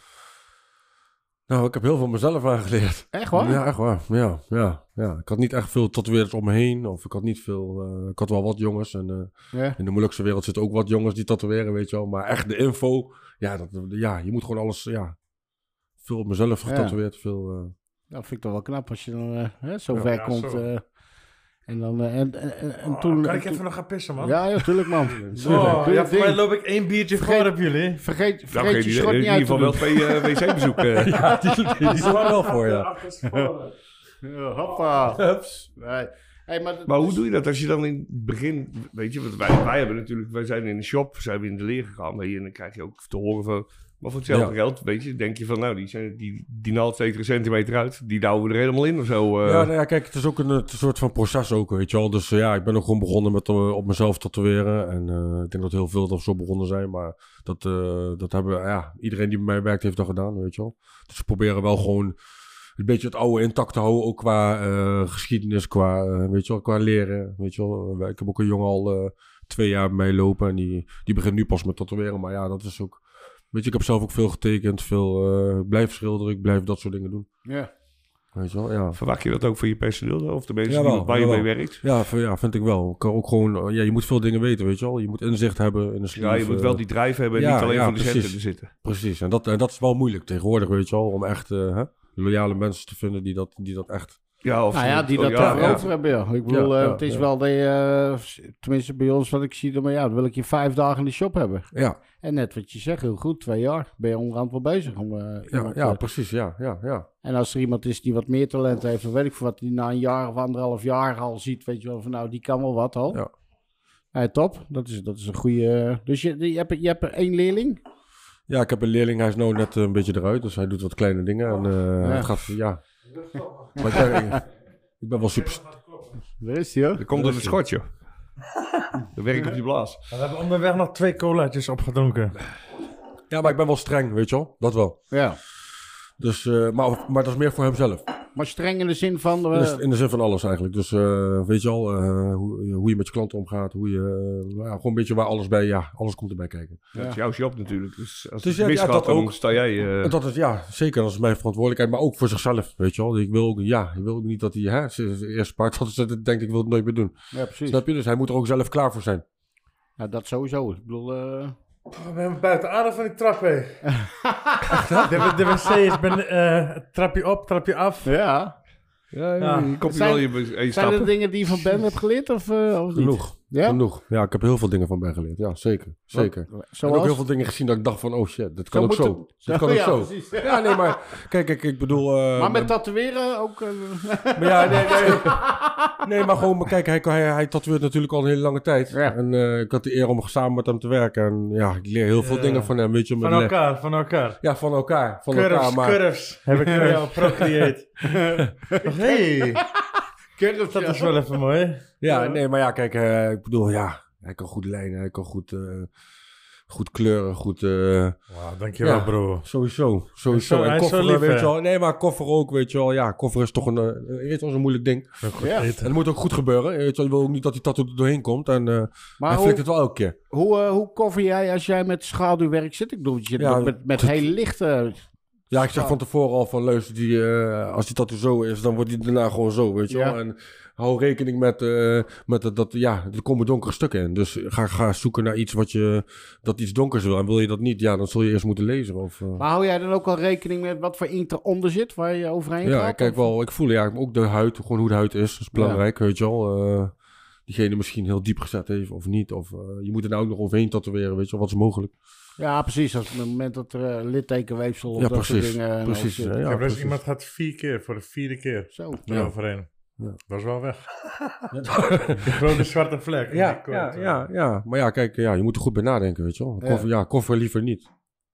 Speaker 4: Nou, ik heb heel veel mezelf aangeleerd.
Speaker 2: Echt waar?
Speaker 4: Ja, echt waar. Ja, ja, ja. Ik had niet echt veel tatoeëerders om me heen. Of ik had niet veel... eh, ik had wel wat jongens. En eh,
Speaker 2: Ja.
Speaker 4: in de moeilijkste wereld zitten ook wat jongens die tatoeëren, weet je wel. Maar echt de info... Ja, dat, ja je moet gewoon alles... Ja, veel op mezelf getatoeëerd. Veel, eh,
Speaker 2: Dat vind ik toch wel knap als je dan eh, hè, zo
Speaker 4: Ja,
Speaker 2: ver
Speaker 1: ja,
Speaker 2: komt.
Speaker 1: zo.
Speaker 2: eh, en dan... eh, en, en, en, en
Speaker 1: Oh,
Speaker 2: toen,
Speaker 1: kan ik
Speaker 2: toen-
Speaker 1: even nog gaan pissen, man?
Speaker 2: Ja, ja, tuurlijk man.
Speaker 1: Oh,
Speaker 2: Doe
Speaker 1: ja,
Speaker 2: je
Speaker 1: voor mij
Speaker 2: ding.
Speaker 1: loop ik één biertje voor op jullie.
Speaker 2: Vergeet,
Speaker 3: Nou,
Speaker 2: vergeet
Speaker 3: geen
Speaker 2: je
Speaker 3: idee.
Speaker 2: schort
Speaker 3: in
Speaker 2: niet
Speaker 3: ieder
Speaker 2: uit te
Speaker 3: geval wel
Speaker 2: doen.
Speaker 3: twee eh, wc-bezoeken.
Speaker 4: eh, ja, die, die, die is er wel voor, ja.
Speaker 6: Achter sporen.
Speaker 2: Ja, Hoppa. Hups. Nee. Hey, maar dat
Speaker 3: Maar hoe
Speaker 2: is-
Speaker 3: doe je dat als je dan in het begin, weet je, want wij, wij hebben natuurlijk, wij zijn in de shop, zijn we in de leer gegaan, weet je, en dan krijg je ook te horen van, maar voor hetzelfde
Speaker 4: Ja.
Speaker 3: geld, weet je, denk je van, nou, die, zijn, die, die naald steekt er een centimeter uit, die douwen we er helemaal in of zo. eh.
Speaker 4: ja, nou ja, kijk, het is ook een, eh, soort van proces ook, weet je wel. Dus eh, ja, ik ben ook gewoon begonnen met eh, op mezelf tatoeëren. En eh, ik denk dat heel veel er zo begonnen zijn. Maar dat, eh, dat hebben, ja, iedereen die bij mij werkt heeft dat gedaan, weet je wel. Dus we proberen wel gewoon een beetje het oude intact te houden. Ook qua eh, geschiedenis, qua, eh, weet je wel, qua leren, weet je wel. Eh, Ik heb ook een jongen al eh, twee jaar meelopen. En die, die begint nu pas met tatoeëren. Maar ja, dat is ook... Weet je, ik heb zelf ook veel getekend, veel eh, ik blijf schilderen, ik blijf dat soort dingen doen.
Speaker 2: Ja.
Speaker 4: Weet je wel, ja.
Speaker 3: Verwacht je dat ook voor je personeel dan, of de mensen
Speaker 4: Jawel,
Speaker 3: die, waar je mee
Speaker 4: jawel.
Speaker 3: werkt?
Speaker 4: Ja, v- ja, vind ik wel. Ik kan ook gewoon, eh, ja, je moet veel dingen weten, weet je wel. Je moet inzicht hebben in de sleeve.
Speaker 3: Ja, je moet
Speaker 4: eh,
Speaker 3: wel die drijf hebben en
Speaker 4: ja,
Speaker 3: niet alleen
Speaker 4: ja,
Speaker 3: van de centen
Speaker 4: precies.
Speaker 3: te zitten.
Speaker 4: Precies, en dat, en dat is wel moeilijk tegenwoordig, weet je wel. Om echt eh, hè, loyale mensen te vinden die dat, die dat echt...
Speaker 3: Ja, of
Speaker 2: Nou ja, die
Speaker 3: oh,
Speaker 2: dat
Speaker 3: ja,
Speaker 2: daarover
Speaker 3: ja.
Speaker 2: over hebben. Ja. Ik bedoel,
Speaker 4: Ja,
Speaker 2: eh,
Speaker 4: ja,
Speaker 2: het is
Speaker 4: ja.
Speaker 2: wel dat je, eh, tenminste bij ons wat ik zie, dan, maar ja, dan wil ik je vijf dagen in de shop hebben.
Speaker 4: Ja,
Speaker 2: En net wat je zegt, heel goed, twee jaar ben je onderhand wel bezig. Om, eh,
Speaker 4: ja,
Speaker 2: iemand,
Speaker 4: ja
Speaker 2: eh,
Speaker 4: precies, ja, ja, ja.
Speaker 2: en als er iemand is die wat meer talent heeft, dan weet ik voor wat, die na een jaar of anderhalf jaar al ziet, weet je wel, van nou, die kan wel wat al.
Speaker 4: Ja.
Speaker 2: Eh, top, dat is, dat is een goede... eh, dus je, je, hebt, je hebt er één leerling?
Speaker 4: Ja, ik heb een leerling, hij is nou net eh, een beetje eruit, dus hij doet wat kleine dingen. En eh,
Speaker 2: Ja.
Speaker 4: het gaat, ja... Maar ik ben, ik ben wel super...
Speaker 2: Daar is die hoor.
Speaker 3: Dat komt door een schotje. Dan werk ik op je blaas.
Speaker 1: We hebben onderweg nog twee colaatjes opgedronken.
Speaker 4: Ja, maar ik ben wel streng, weet je wel. Dat wel.
Speaker 2: Ja,
Speaker 4: Dus, eh, maar, maar dat is meer voor hemzelf.
Speaker 2: maar streng in de zin van... eh,
Speaker 4: In de, in de zin van alles eigenlijk. Dus eh, weet je al, eh, hoe, hoe je met je klanten omgaat, hoe je, eh, nou, gewoon een beetje waar alles bij, ja, alles komt erbij kijken.
Speaker 3: Dat is jouw job natuurlijk. Dus als
Speaker 4: Dus
Speaker 3: het
Speaker 4: ja, ja,
Speaker 3: misgaat,
Speaker 4: dat
Speaker 3: dan
Speaker 4: ook.
Speaker 3: sta jij... eh,
Speaker 4: En dat is, ja, zeker, dat is mijn verantwoordelijkheid, maar ook voor zichzelf, weet je wel. Ik wil ook, ja, ik wil ook niet dat hij, hè, z- z- eerst paard dat ze denkt, ik wil het nooit meer doen.
Speaker 2: ja, precies.
Speaker 4: Snap je? Dus hij moet er ook zelf klaar voor zijn.
Speaker 2: Ja, dat sowieso. Ik bedoel... eh,
Speaker 1: We hebben buiten adem van die trap, hé. de, de wc is ben, eh trapje op, trapje af.
Speaker 2: ja,
Speaker 3: ja,
Speaker 1: Ja.
Speaker 3: Je komt
Speaker 2: Zijn-
Speaker 3: wel je één
Speaker 2: Zijn er
Speaker 3: stappen.
Speaker 2: dingen die je van Ben hebt geleerd of, eh, of niet?
Speaker 4: Genoeg,
Speaker 2: Ja?
Speaker 4: genoeg. Ja, ik heb heel veel dingen van Ben geleerd, ja, zeker, zeker. Ik heb ook
Speaker 2: Zoals?
Speaker 4: heel veel dingen gezien dat ik dacht van, oh shit, dat kan
Speaker 2: Zo
Speaker 4: ook
Speaker 2: moet
Speaker 4: zo.
Speaker 2: het-
Speaker 4: Dat kan ook
Speaker 2: Ja,
Speaker 4: zo.
Speaker 2: precies.
Speaker 4: Ja, nee, maar kijk, kijk ik bedoel... eh,
Speaker 2: Maar met tatoeëren ook... eh,
Speaker 4: Maar ja, nee, nee. Nee, maar gewoon, maar kijk, hij, hij, hij tatoeëert natuurlijk al een hele lange tijd.
Speaker 2: Ja.
Speaker 4: En eh, ik had de eer om samen met hem te werken. En ja, ik leer heel veel
Speaker 1: Ja.
Speaker 4: dingen van hem, weet je. met
Speaker 1: Van
Speaker 4: le-
Speaker 1: elkaar, van elkaar.
Speaker 4: Ja, van elkaar. Van
Speaker 1: Curves,
Speaker 4: elkaar, maar...
Speaker 1: curves. Heb ik voor jou procreate. hey,
Speaker 2: Curves,
Speaker 1: dat
Speaker 2: ja.
Speaker 1: is wel even mooi.
Speaker 4: Ja, nee, maar ja, kijk, eh, ik bedoel, ja, hij kan goed lijnen, hij kan goed, eh, goed kleuren, goed... eh,
Speaker 1: Wauw, dankjewel
Speaker 4: Ja.
Speaker 1: bro.
Speaker 4: Sowieso, sowieso.
Speaker 1: Hij is zo-
Speaker 4: en
Speaker 1: hij is zo
Speaker 4: koffer,
Speaker 1: lief,
Speaker 4: weet
Speaker 1: hè?
Speaker 4: je wel. Nee, maar koffer ook, weet je wel. Ja, koffer is toch een, eh, je weet wel, is een moeilijk ding. En
Speaker 2: Ja.
Speaker 1: Eten.
Speaker 4: dat moet ook goed gebeuren. Weet je wel, je wil ook niet dat die tattoo er doorheen komt. En eh
Speaker 2: Maar
Speaker 4: hij flikt
Speaker 2: hoe,
Speaker 4: het wel elke keer.
Speaker 2: hoe, eh, hoe cover jij als jij met schaduwwerk zit? Ik bedoel, je zit
Speaker 4: Ja,
Speaker 2: ook met, met
Speaker 4: dat-
Speaker 2: heel lichte...
Speaker 4: Ja, ik zeg van tevoren al van luister, die, eh, als die tattoo zo is, dan wordt die daarna gewoon zo, weet je
Speaker 2: Ja.
Speaker 4: wel. En hou rekening met, eh, met dat, dat, ja, er komen donkere stukken in. Dus ga, ga zoeken naar iets wat je, dat iets donkers wil. En wil je dat niet, ja, dan zul je eerst moeten lezen. Of, eh.
Speaker 2: Maar hou jij dan ook al rekening met wat voor inkt eronder zit, waar je overheen gaat?
Speaker 4: ja, ik kijk
Speaker 2: of-
Speaker 4: wel, ik voel ja, ook de huid, gewoon hoe de huid is, is belangrijk, weet je wel. Eh, diegene misschien heel diep gezet heeft of niet. Of eh, je moet er nou ook nog overheen tatoeëren, weet je wel, wat is mogelijk.
Speaker 2: Ja, precies. Als op het moment dat er eh, littekenweefsel of
Speaker 4: ja,
Speaker 2: dat soort
Speaker 4: precies.
Speaker 2: dingen... eh,
Speaker 4: Precies.
Speaker 2: zit.
Speaker 4: eh,
Speaker 1: ik
Speaker 4: ja,
Speaker 1: heb dus
Speaker 4: precies.
Speaker 1: iemand gaat vier keer, voor de vierde keer,
Speaker 2: Zo.
Speaker 4: Ja.
Speaker 1: eroverheen.
Speaker 4: Ja.
Speaker 1: Dat is wel weg. Die grote zwarte vlek.
Speaker 4: Ja,
Speaker 1: die komt,
Speaker 4: ja,
Speaker 1: eh.
Speaker 4: ja, ja. Maar ja, kijk, ja, je moet er goed bij nadenken, weet je wel. Koffer, ja. koffer liever niet,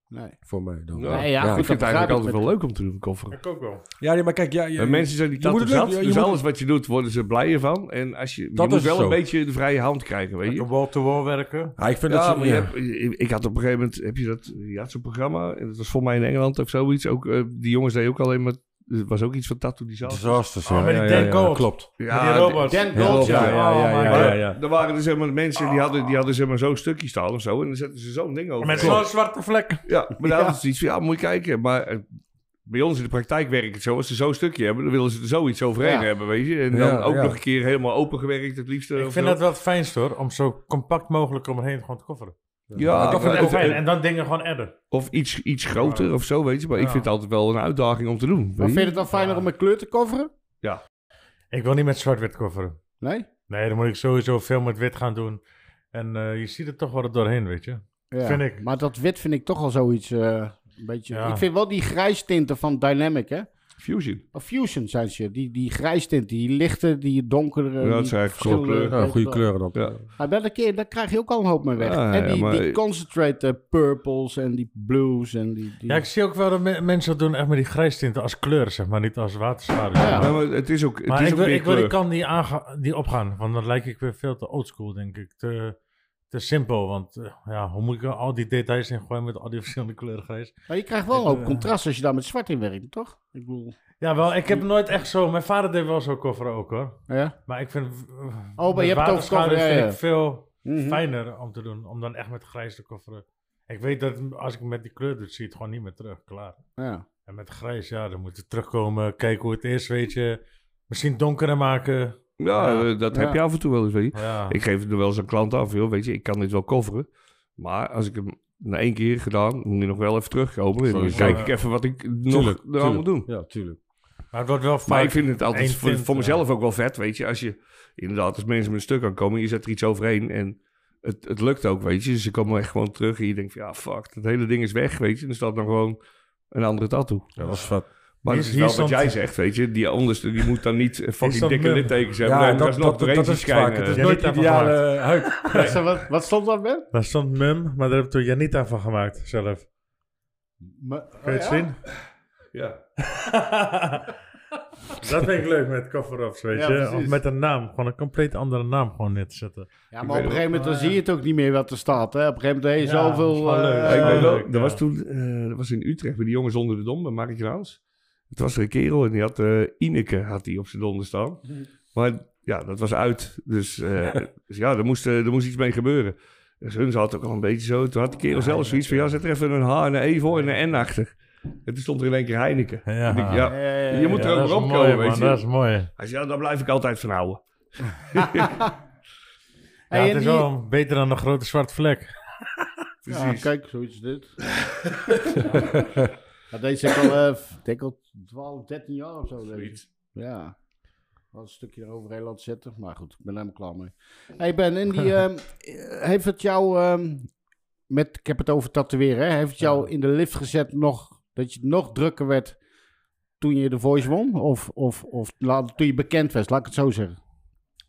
Speaker 2: Nee.
Speaker 4: voor mij dan.
Speaker 3: Ja.
Speaker 2: Nee, ja,
Speaker 4: ja.
Speaker 2: goed,
Speaker 3: Ik vind het
Speaker 2: dat
Speaker 3: eigenlijk
Speaker 2: begrijp
Speaker 3: altijd
Speaker 2: ik
Speaker 3: wel leuk om te doen, kofferen.
Speaker 1: Ik ook wel.
Speaker 4: Ja, nee, maar kijk, ja, ja,
Speaker 3: En mensen zijn die
Speaker 4: Je moet
Speaker 3: tattoo
Speaker 4: het leuk-
Speaker 3: zat,
Speaker 4: je
Speaker 3: dus
Speaker 4: moet-
Speaker 3: alles wat je doet worden ze blijer van. En als je, je
Speaker 4: Dat
Speaker 3: moet
Speaker 4: is
Speaker 3: wel
Speaker 4: zo.
Speaker 3: een beetje de vrije hand krijgen, weet je.
Speaker 1: Lekker wall-to-wall werken.
Speaker 4: ja, ik vind
Speaker 3: Ja,
Speaker 4: dat
Speaker 3: maar
Speaker 4: ze,
Speaker 3: je
Speaker 4: ja.
Speaker 3: hebt- ik- ik had op een gegeven moment, heb je dat, je had zo'n programma, en dat was volgens mij in Engeland of zoiets, ook, eh, die jongens deden ook alleen maar, er was ook iets van tattoo design.
Speaker 4: disasters,
Speaker 1: Oh,
Speaker 4: ja,
Speaker 1: met
Speaker 4: ja,
Speaker 1: die
Speaker 4: ja,
Speaker 1: Dan
Speaker 4: ja,
Speaker 1: Gold.
Speaker 4: klopt.
Speaker 1: Ja, die robots.
Speaker 2: Dan Gold,
Speaker 1: Ja,
Speaker 2: ja.
Speaker 1: ja, ja, ja,
Speaker 3: Maar
Speaker 1: ja.
Speaker 3: er waren dus helemaal mensen die hadden, die hadden zeg maar zo'n stukje staan of zo, en dan zetten ze zo'n ding over.
Speaker 1: Met zo'n zwarte vlek.
Speaker 3: Ja, maar daar was iets van, ja, moet je kijken. Maar eh, bij ons in de praktijk werkt het zo. Als ze zo'n stukje hebben, dan willen ze er zoiets overheen
Speaker 2: Ja.
Speaker 3: hebben, weet je. En dan
Speaker 4: Ja,
Speaker 3: ook
Speaker 4: ja.
Speaker 3: nog een keer helemaal opengewerkt, het liefst.
Speaker 1: Ik vind dat wel het fijnst hoor, om zo compact mogelijk omheen gewoon te kofferen.
Speaker 3: Ja,
Speaker 1: dat vind ik
Speaker 3: of,
Speaker 1: ook fijn. En dan dingen gewoon adden.
Speaker 3: of iets, iets groter of zo, weet je. Maar ik
Speaker 1: Ja.
Speaker 3: vind het altijd wel een uitdaging om te doen.
Speaker 2: Maar
Speaker 3: weet
Speaker 2: vind
Speaker 3: je.
Speaker 2: je het dan fijner om met kleur te coveren?
Speaker 1: Ik wil niet met zwart-wit kofferen.
Speaker 2: Nee?
Speaker 1: Nee, dan moet ik sowieso veel met wit gaan doen. En eh, je ziet er toch wel er doorheen, weet je.
Speaker 2: Ja,
Speaker 1: Vind ik.
Speaker 2: Maar dat wit vind ik toch al zoiets. eh, een beetje.
Speaker 1: Ja.
Speaker 2: Ik vind wel die grijstinten van Dynamic, hè?
Speaker 3: Fusion.
Speaker 2: Oh, Fusion zijn ze. Die, die grijs tint, die lichte, die donkere.
Speaker 3: Ja,
Speaker 2: die
Speaker 3: dat zijn eigenlijk
Speaker 2: verschillende-
Speaker 3: goede kleuren.
Speaker 4: Ja, goede kleuren dan.
Speaker 3: Ja.
Speaker 2: Maar wel een keer, daar krijg je ook al een hoop mee weg.
Speaker 3: Ja,
Speaker 2: en die,
Speaker 3: Ah, ja, maar-
Speaker 2: die concentrate eh, purples en die blues en die... die...
Speaker 1: Ja, ik zie ook wel dat me- mensen dat doen echt met die grijstinten als kleur, zeg maar, niet als waterschaduw.
Speaker 2: Ja.
Speaker 1: Maar-
Speaker 3: Ja, maar het is ook, het
Speaker 1: Maar
Speaker 3: is
Speaker 1: ik
Speaker 3: ook
Speaker 1: wil,
Speaker 3: meer
Speaker 1: ik wil die
Speaker 3: kleur.
Speaker 1: kan die, aanga- die opgaan, want dan lijk ik weer veel te oldschool, denk ik. Te, te simpel, want eh, ja, hoe moet ik er al die details in gooien met al die verschillende kleuren grijs?
Speaker 2: Maar je krijgt wel een
Speaker 1: Ik,
Speaker 2: hoop
Speaker 1: eh,
Speaker 2: contrast als je daar met zwart in werkt, toch? Ik bedoel...
Speaker 1: Ja, wel, ik heb nooit echt zo... Mijn vader deed wel zo'n koffer ook, hoor.
Speaker 2: Ja?
Speaker 1: Maar ik vind... eh,
Speaker 2: Oh, maar
Speaker 1: met
Speaker 2: je hebt het over
Speaker 1: waterschaduw
Speaker 2: koffer, ja,
Speaker 1: vind
Speaker 2: ja.
Speaker 1: ik veel
Speaker 2: Mhm.
Speaker 1: fijner om te doen, om dan echt met grijs te kofferen. Ik weet dat als ik met die kleur doe, zie je het gewoon niet meer terug, klaar.
Speaker 2: Ja.
Speaker 1: En met grijs, ja, dan moet je terugkomen, kijken hoe het is, weet je. Misschien donkerder maken.
Speaker 3: Ja,
Speaker 1: Ja.
Speaker 3: eh, dat
Speaker 2: Ja.
Speaker 3: heb je af en toe wel eens, weet je.
Speaker 1: Ja,
Speaker 3: Ik geef het er wel eens een klant af, joh. Weet je, ik kan dit wel coveren. Maar als ik hem na één keer gedaan, moet je nog wel even terugkomen. En dan
Speaker 4: Sowieso.
Speaker 3: kijk
Speaker 1: Ja.
Speaker 3: ik even wat ik nog
Speaker 4: Tuurlijk,
Speaker 3: er allemaal
Speaker 4: tuurlijk.
Speaker 3: doen.
Speaker 4: Ja, tuurlijk.
Speaker 1: maar het wordt wel
Speaker 3: Maar
Speaker 1: fijn.
Speaker 3: ik vind het altijd
Speaker 1: één
Speaker 3: voor,
Speaker 1: tint,
Speaker 3: voor
Speaker 1: ja.
Speaker 3: mezelf ook wel vet, weet je. Als je, inderdaad, als mensen met een stuk aankomen, je zet er iets overheen en het, het lukt ook, weet je. Dus ze komen echt gewoon terug en je denkt van, ja, fuck, dat hele ding is weg, weet je. En dan staat dan gewoon een andere tattoo.
Speaker 4: Ja, dat is vet.
Speaker 1: Hier-
Speaker 3: Maar dat is
Speaker 1: hier
Speaker 3: wel wat
Speaker 1: stond-
Speaker 3: jij zegt, weet je. Die onderste, die moet dan niet eh, fucking
Speaker 1: stond
Speaker 3: dikke
Speaker 1: mum.
Speaker 3: littekens hebben. Nee, maar dat, nog doorheen zien schijnen.
Speaker 4: Het is
Speaker 1: Ja,
Speaker 4: nooit
Speaker 1: niet aan
Speaker 4: ideale huid.
Speaker 2: Wat is er- Wat, wat stond daar Ben?
Speaker 1: Daar stond mum, maar daar heb ik toen Janita van gemaakt zelf.
Speaker 2: Me-
Speaker 1: Kun je het
Speaker 2: Oh, ja?
Speaker 1: zien?
Speaker 3: Ja.
Speaker 1: dat vind ik leuk met cover-ups, weet
Speaker 2: Ja,
Speaker 1: je.
Speaker 2: precies.
Speaker 1: Of met een naam, gewoon een compleet andere naam gewoon neerzetten.
Speaker 2: Ja,
Speaker 3: Ik
Speaker 2: maar op
Speaker 3: weet
Speaker 2: een
Speaker 3: het.
Speaker 2: gegeven moment dan zie je het ook niet meer wat er staat. Hè? Op een gegeven moment heb je
Speaker 1: Ja,
Speaker 2: zoveel...
Speaker 1: dat is wel
Speaker 2: eh,
Speaker 1: leuk.
Speaker 3: Ja, ik weet wel,
Speaker 1: leuk,
Speaker 3: dat
Speaker 1: ja.
Speaker 3: was toen, eh, dat was in Utrecht bij die jongens onder de dom, bij Mark Raans. Het was er een kerel en die had, eh, Ineke had die op zijn donder staan. Maar ja, dat was uit. Dus, eh, dus ja, er moest, eh, er moest iets mee gebeuren. Dus hun zat ook al een beetje zo. Toen had die kerel zelf zoiets van, ja, zet er even een H en een E voor en een N achter. En toen stond er in één keer Heineken.
Speaker 1: Ja.
Speaker 3: Ik denk, ja,
Speaker 2: Ja, ja, ja,
Speaker 3: je moet
Speaker 1: Ja,
Speaker 3: er ook
Speaker 1: dat
Speaker 3: maar
Speaker 1: is
Speaker 3: op
Speaker 1: mooi,
Speaker 3: komen,
Speaker 1: man,
Speaker 3: weet je.
Speaker 1: dat is mooi.
Speaker 3: Hij zei, ja, daar blijf ik altijd van houden.
Speaker 1: Ja,
Speaker 2: Hey,
Speaker 1: het
Speaker 2: en
Speaker 1: is
Speaker 2: die-
Speaker 1: wel beter dan een grote zwarte vlek.
Speaker 2: Ja, kijk, zoiets is dit. Ja. ja, deze is al, eh, ik denk al 12, 13 jaar of zo. Deze. Ja. Wel een stukje eroverheen laten zitten. Maar goed, ik ben helemaal klaar mee. hey Ben, en die, ehm, eh, heeft het jou... ehm, met, ik heb het over tatoeëren. Hè? Heeft het jou in de lift gezet nog... Dat je nog drukker werd toen je de Voice won? Of, of, of laat- toen je bekend werd, laat ik het zo zeggen.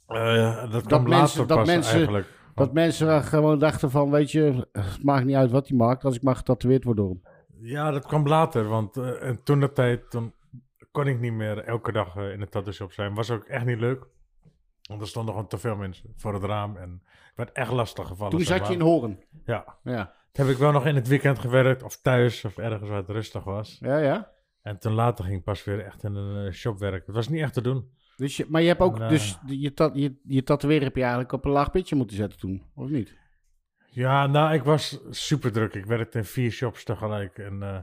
Speaker 1: Eh, dat
Speaker 2: Dat
Speaker 1: kwam
Speaker 2: mensen-
Speaker 1: later
Speaker 2: dat
Speaker 1: pas
Speaker 2: mensen-
Speaker 1: eigenlijk.
Speaker 2: Dat mensen eh, gewoon dachten van, weet je... Het maakt niet uit wat hij maakt, als ik maar getatoeëerd word door hem.
Speaker 1: Ja, dat kwam later, want eh, en toen dat tijd, toen kon ik niet meer elke dag eh, in de tattoo shop zijn. Was ook echt niet leuk, want er stonden gewoon te veel mensen voor het raam en ik werd echt lastig gevallen.
Speaker 2: Toen
Speaker 1: zeg
Speaker 2: zat je in
Speaker 1: maar.
Speaker 2: Horen.
Speaker 1: Ja,
Speaker 2: Ja,
Speaker 1: toen heb ik wel nog in het weekend gewerkt of thuis of ergens waar het rustig was.
Speaker 2: ja, ja.
Speaker 1: En toen later ging ik pas weer echt in een eh, shop werken. Het was niet echt te doen.
Speaker 2: Dus je, maar je hebt ook,
Speaker 1: En, eh,
Speaker 2: dus je, ta je, je tatoeëren heb je eigenlijk op een laag pitje moeten zetten toen, of niet?
Speaker 1: Ja, nou, ik was super druk. Ik werkte in vier shops tegelijk en... eh,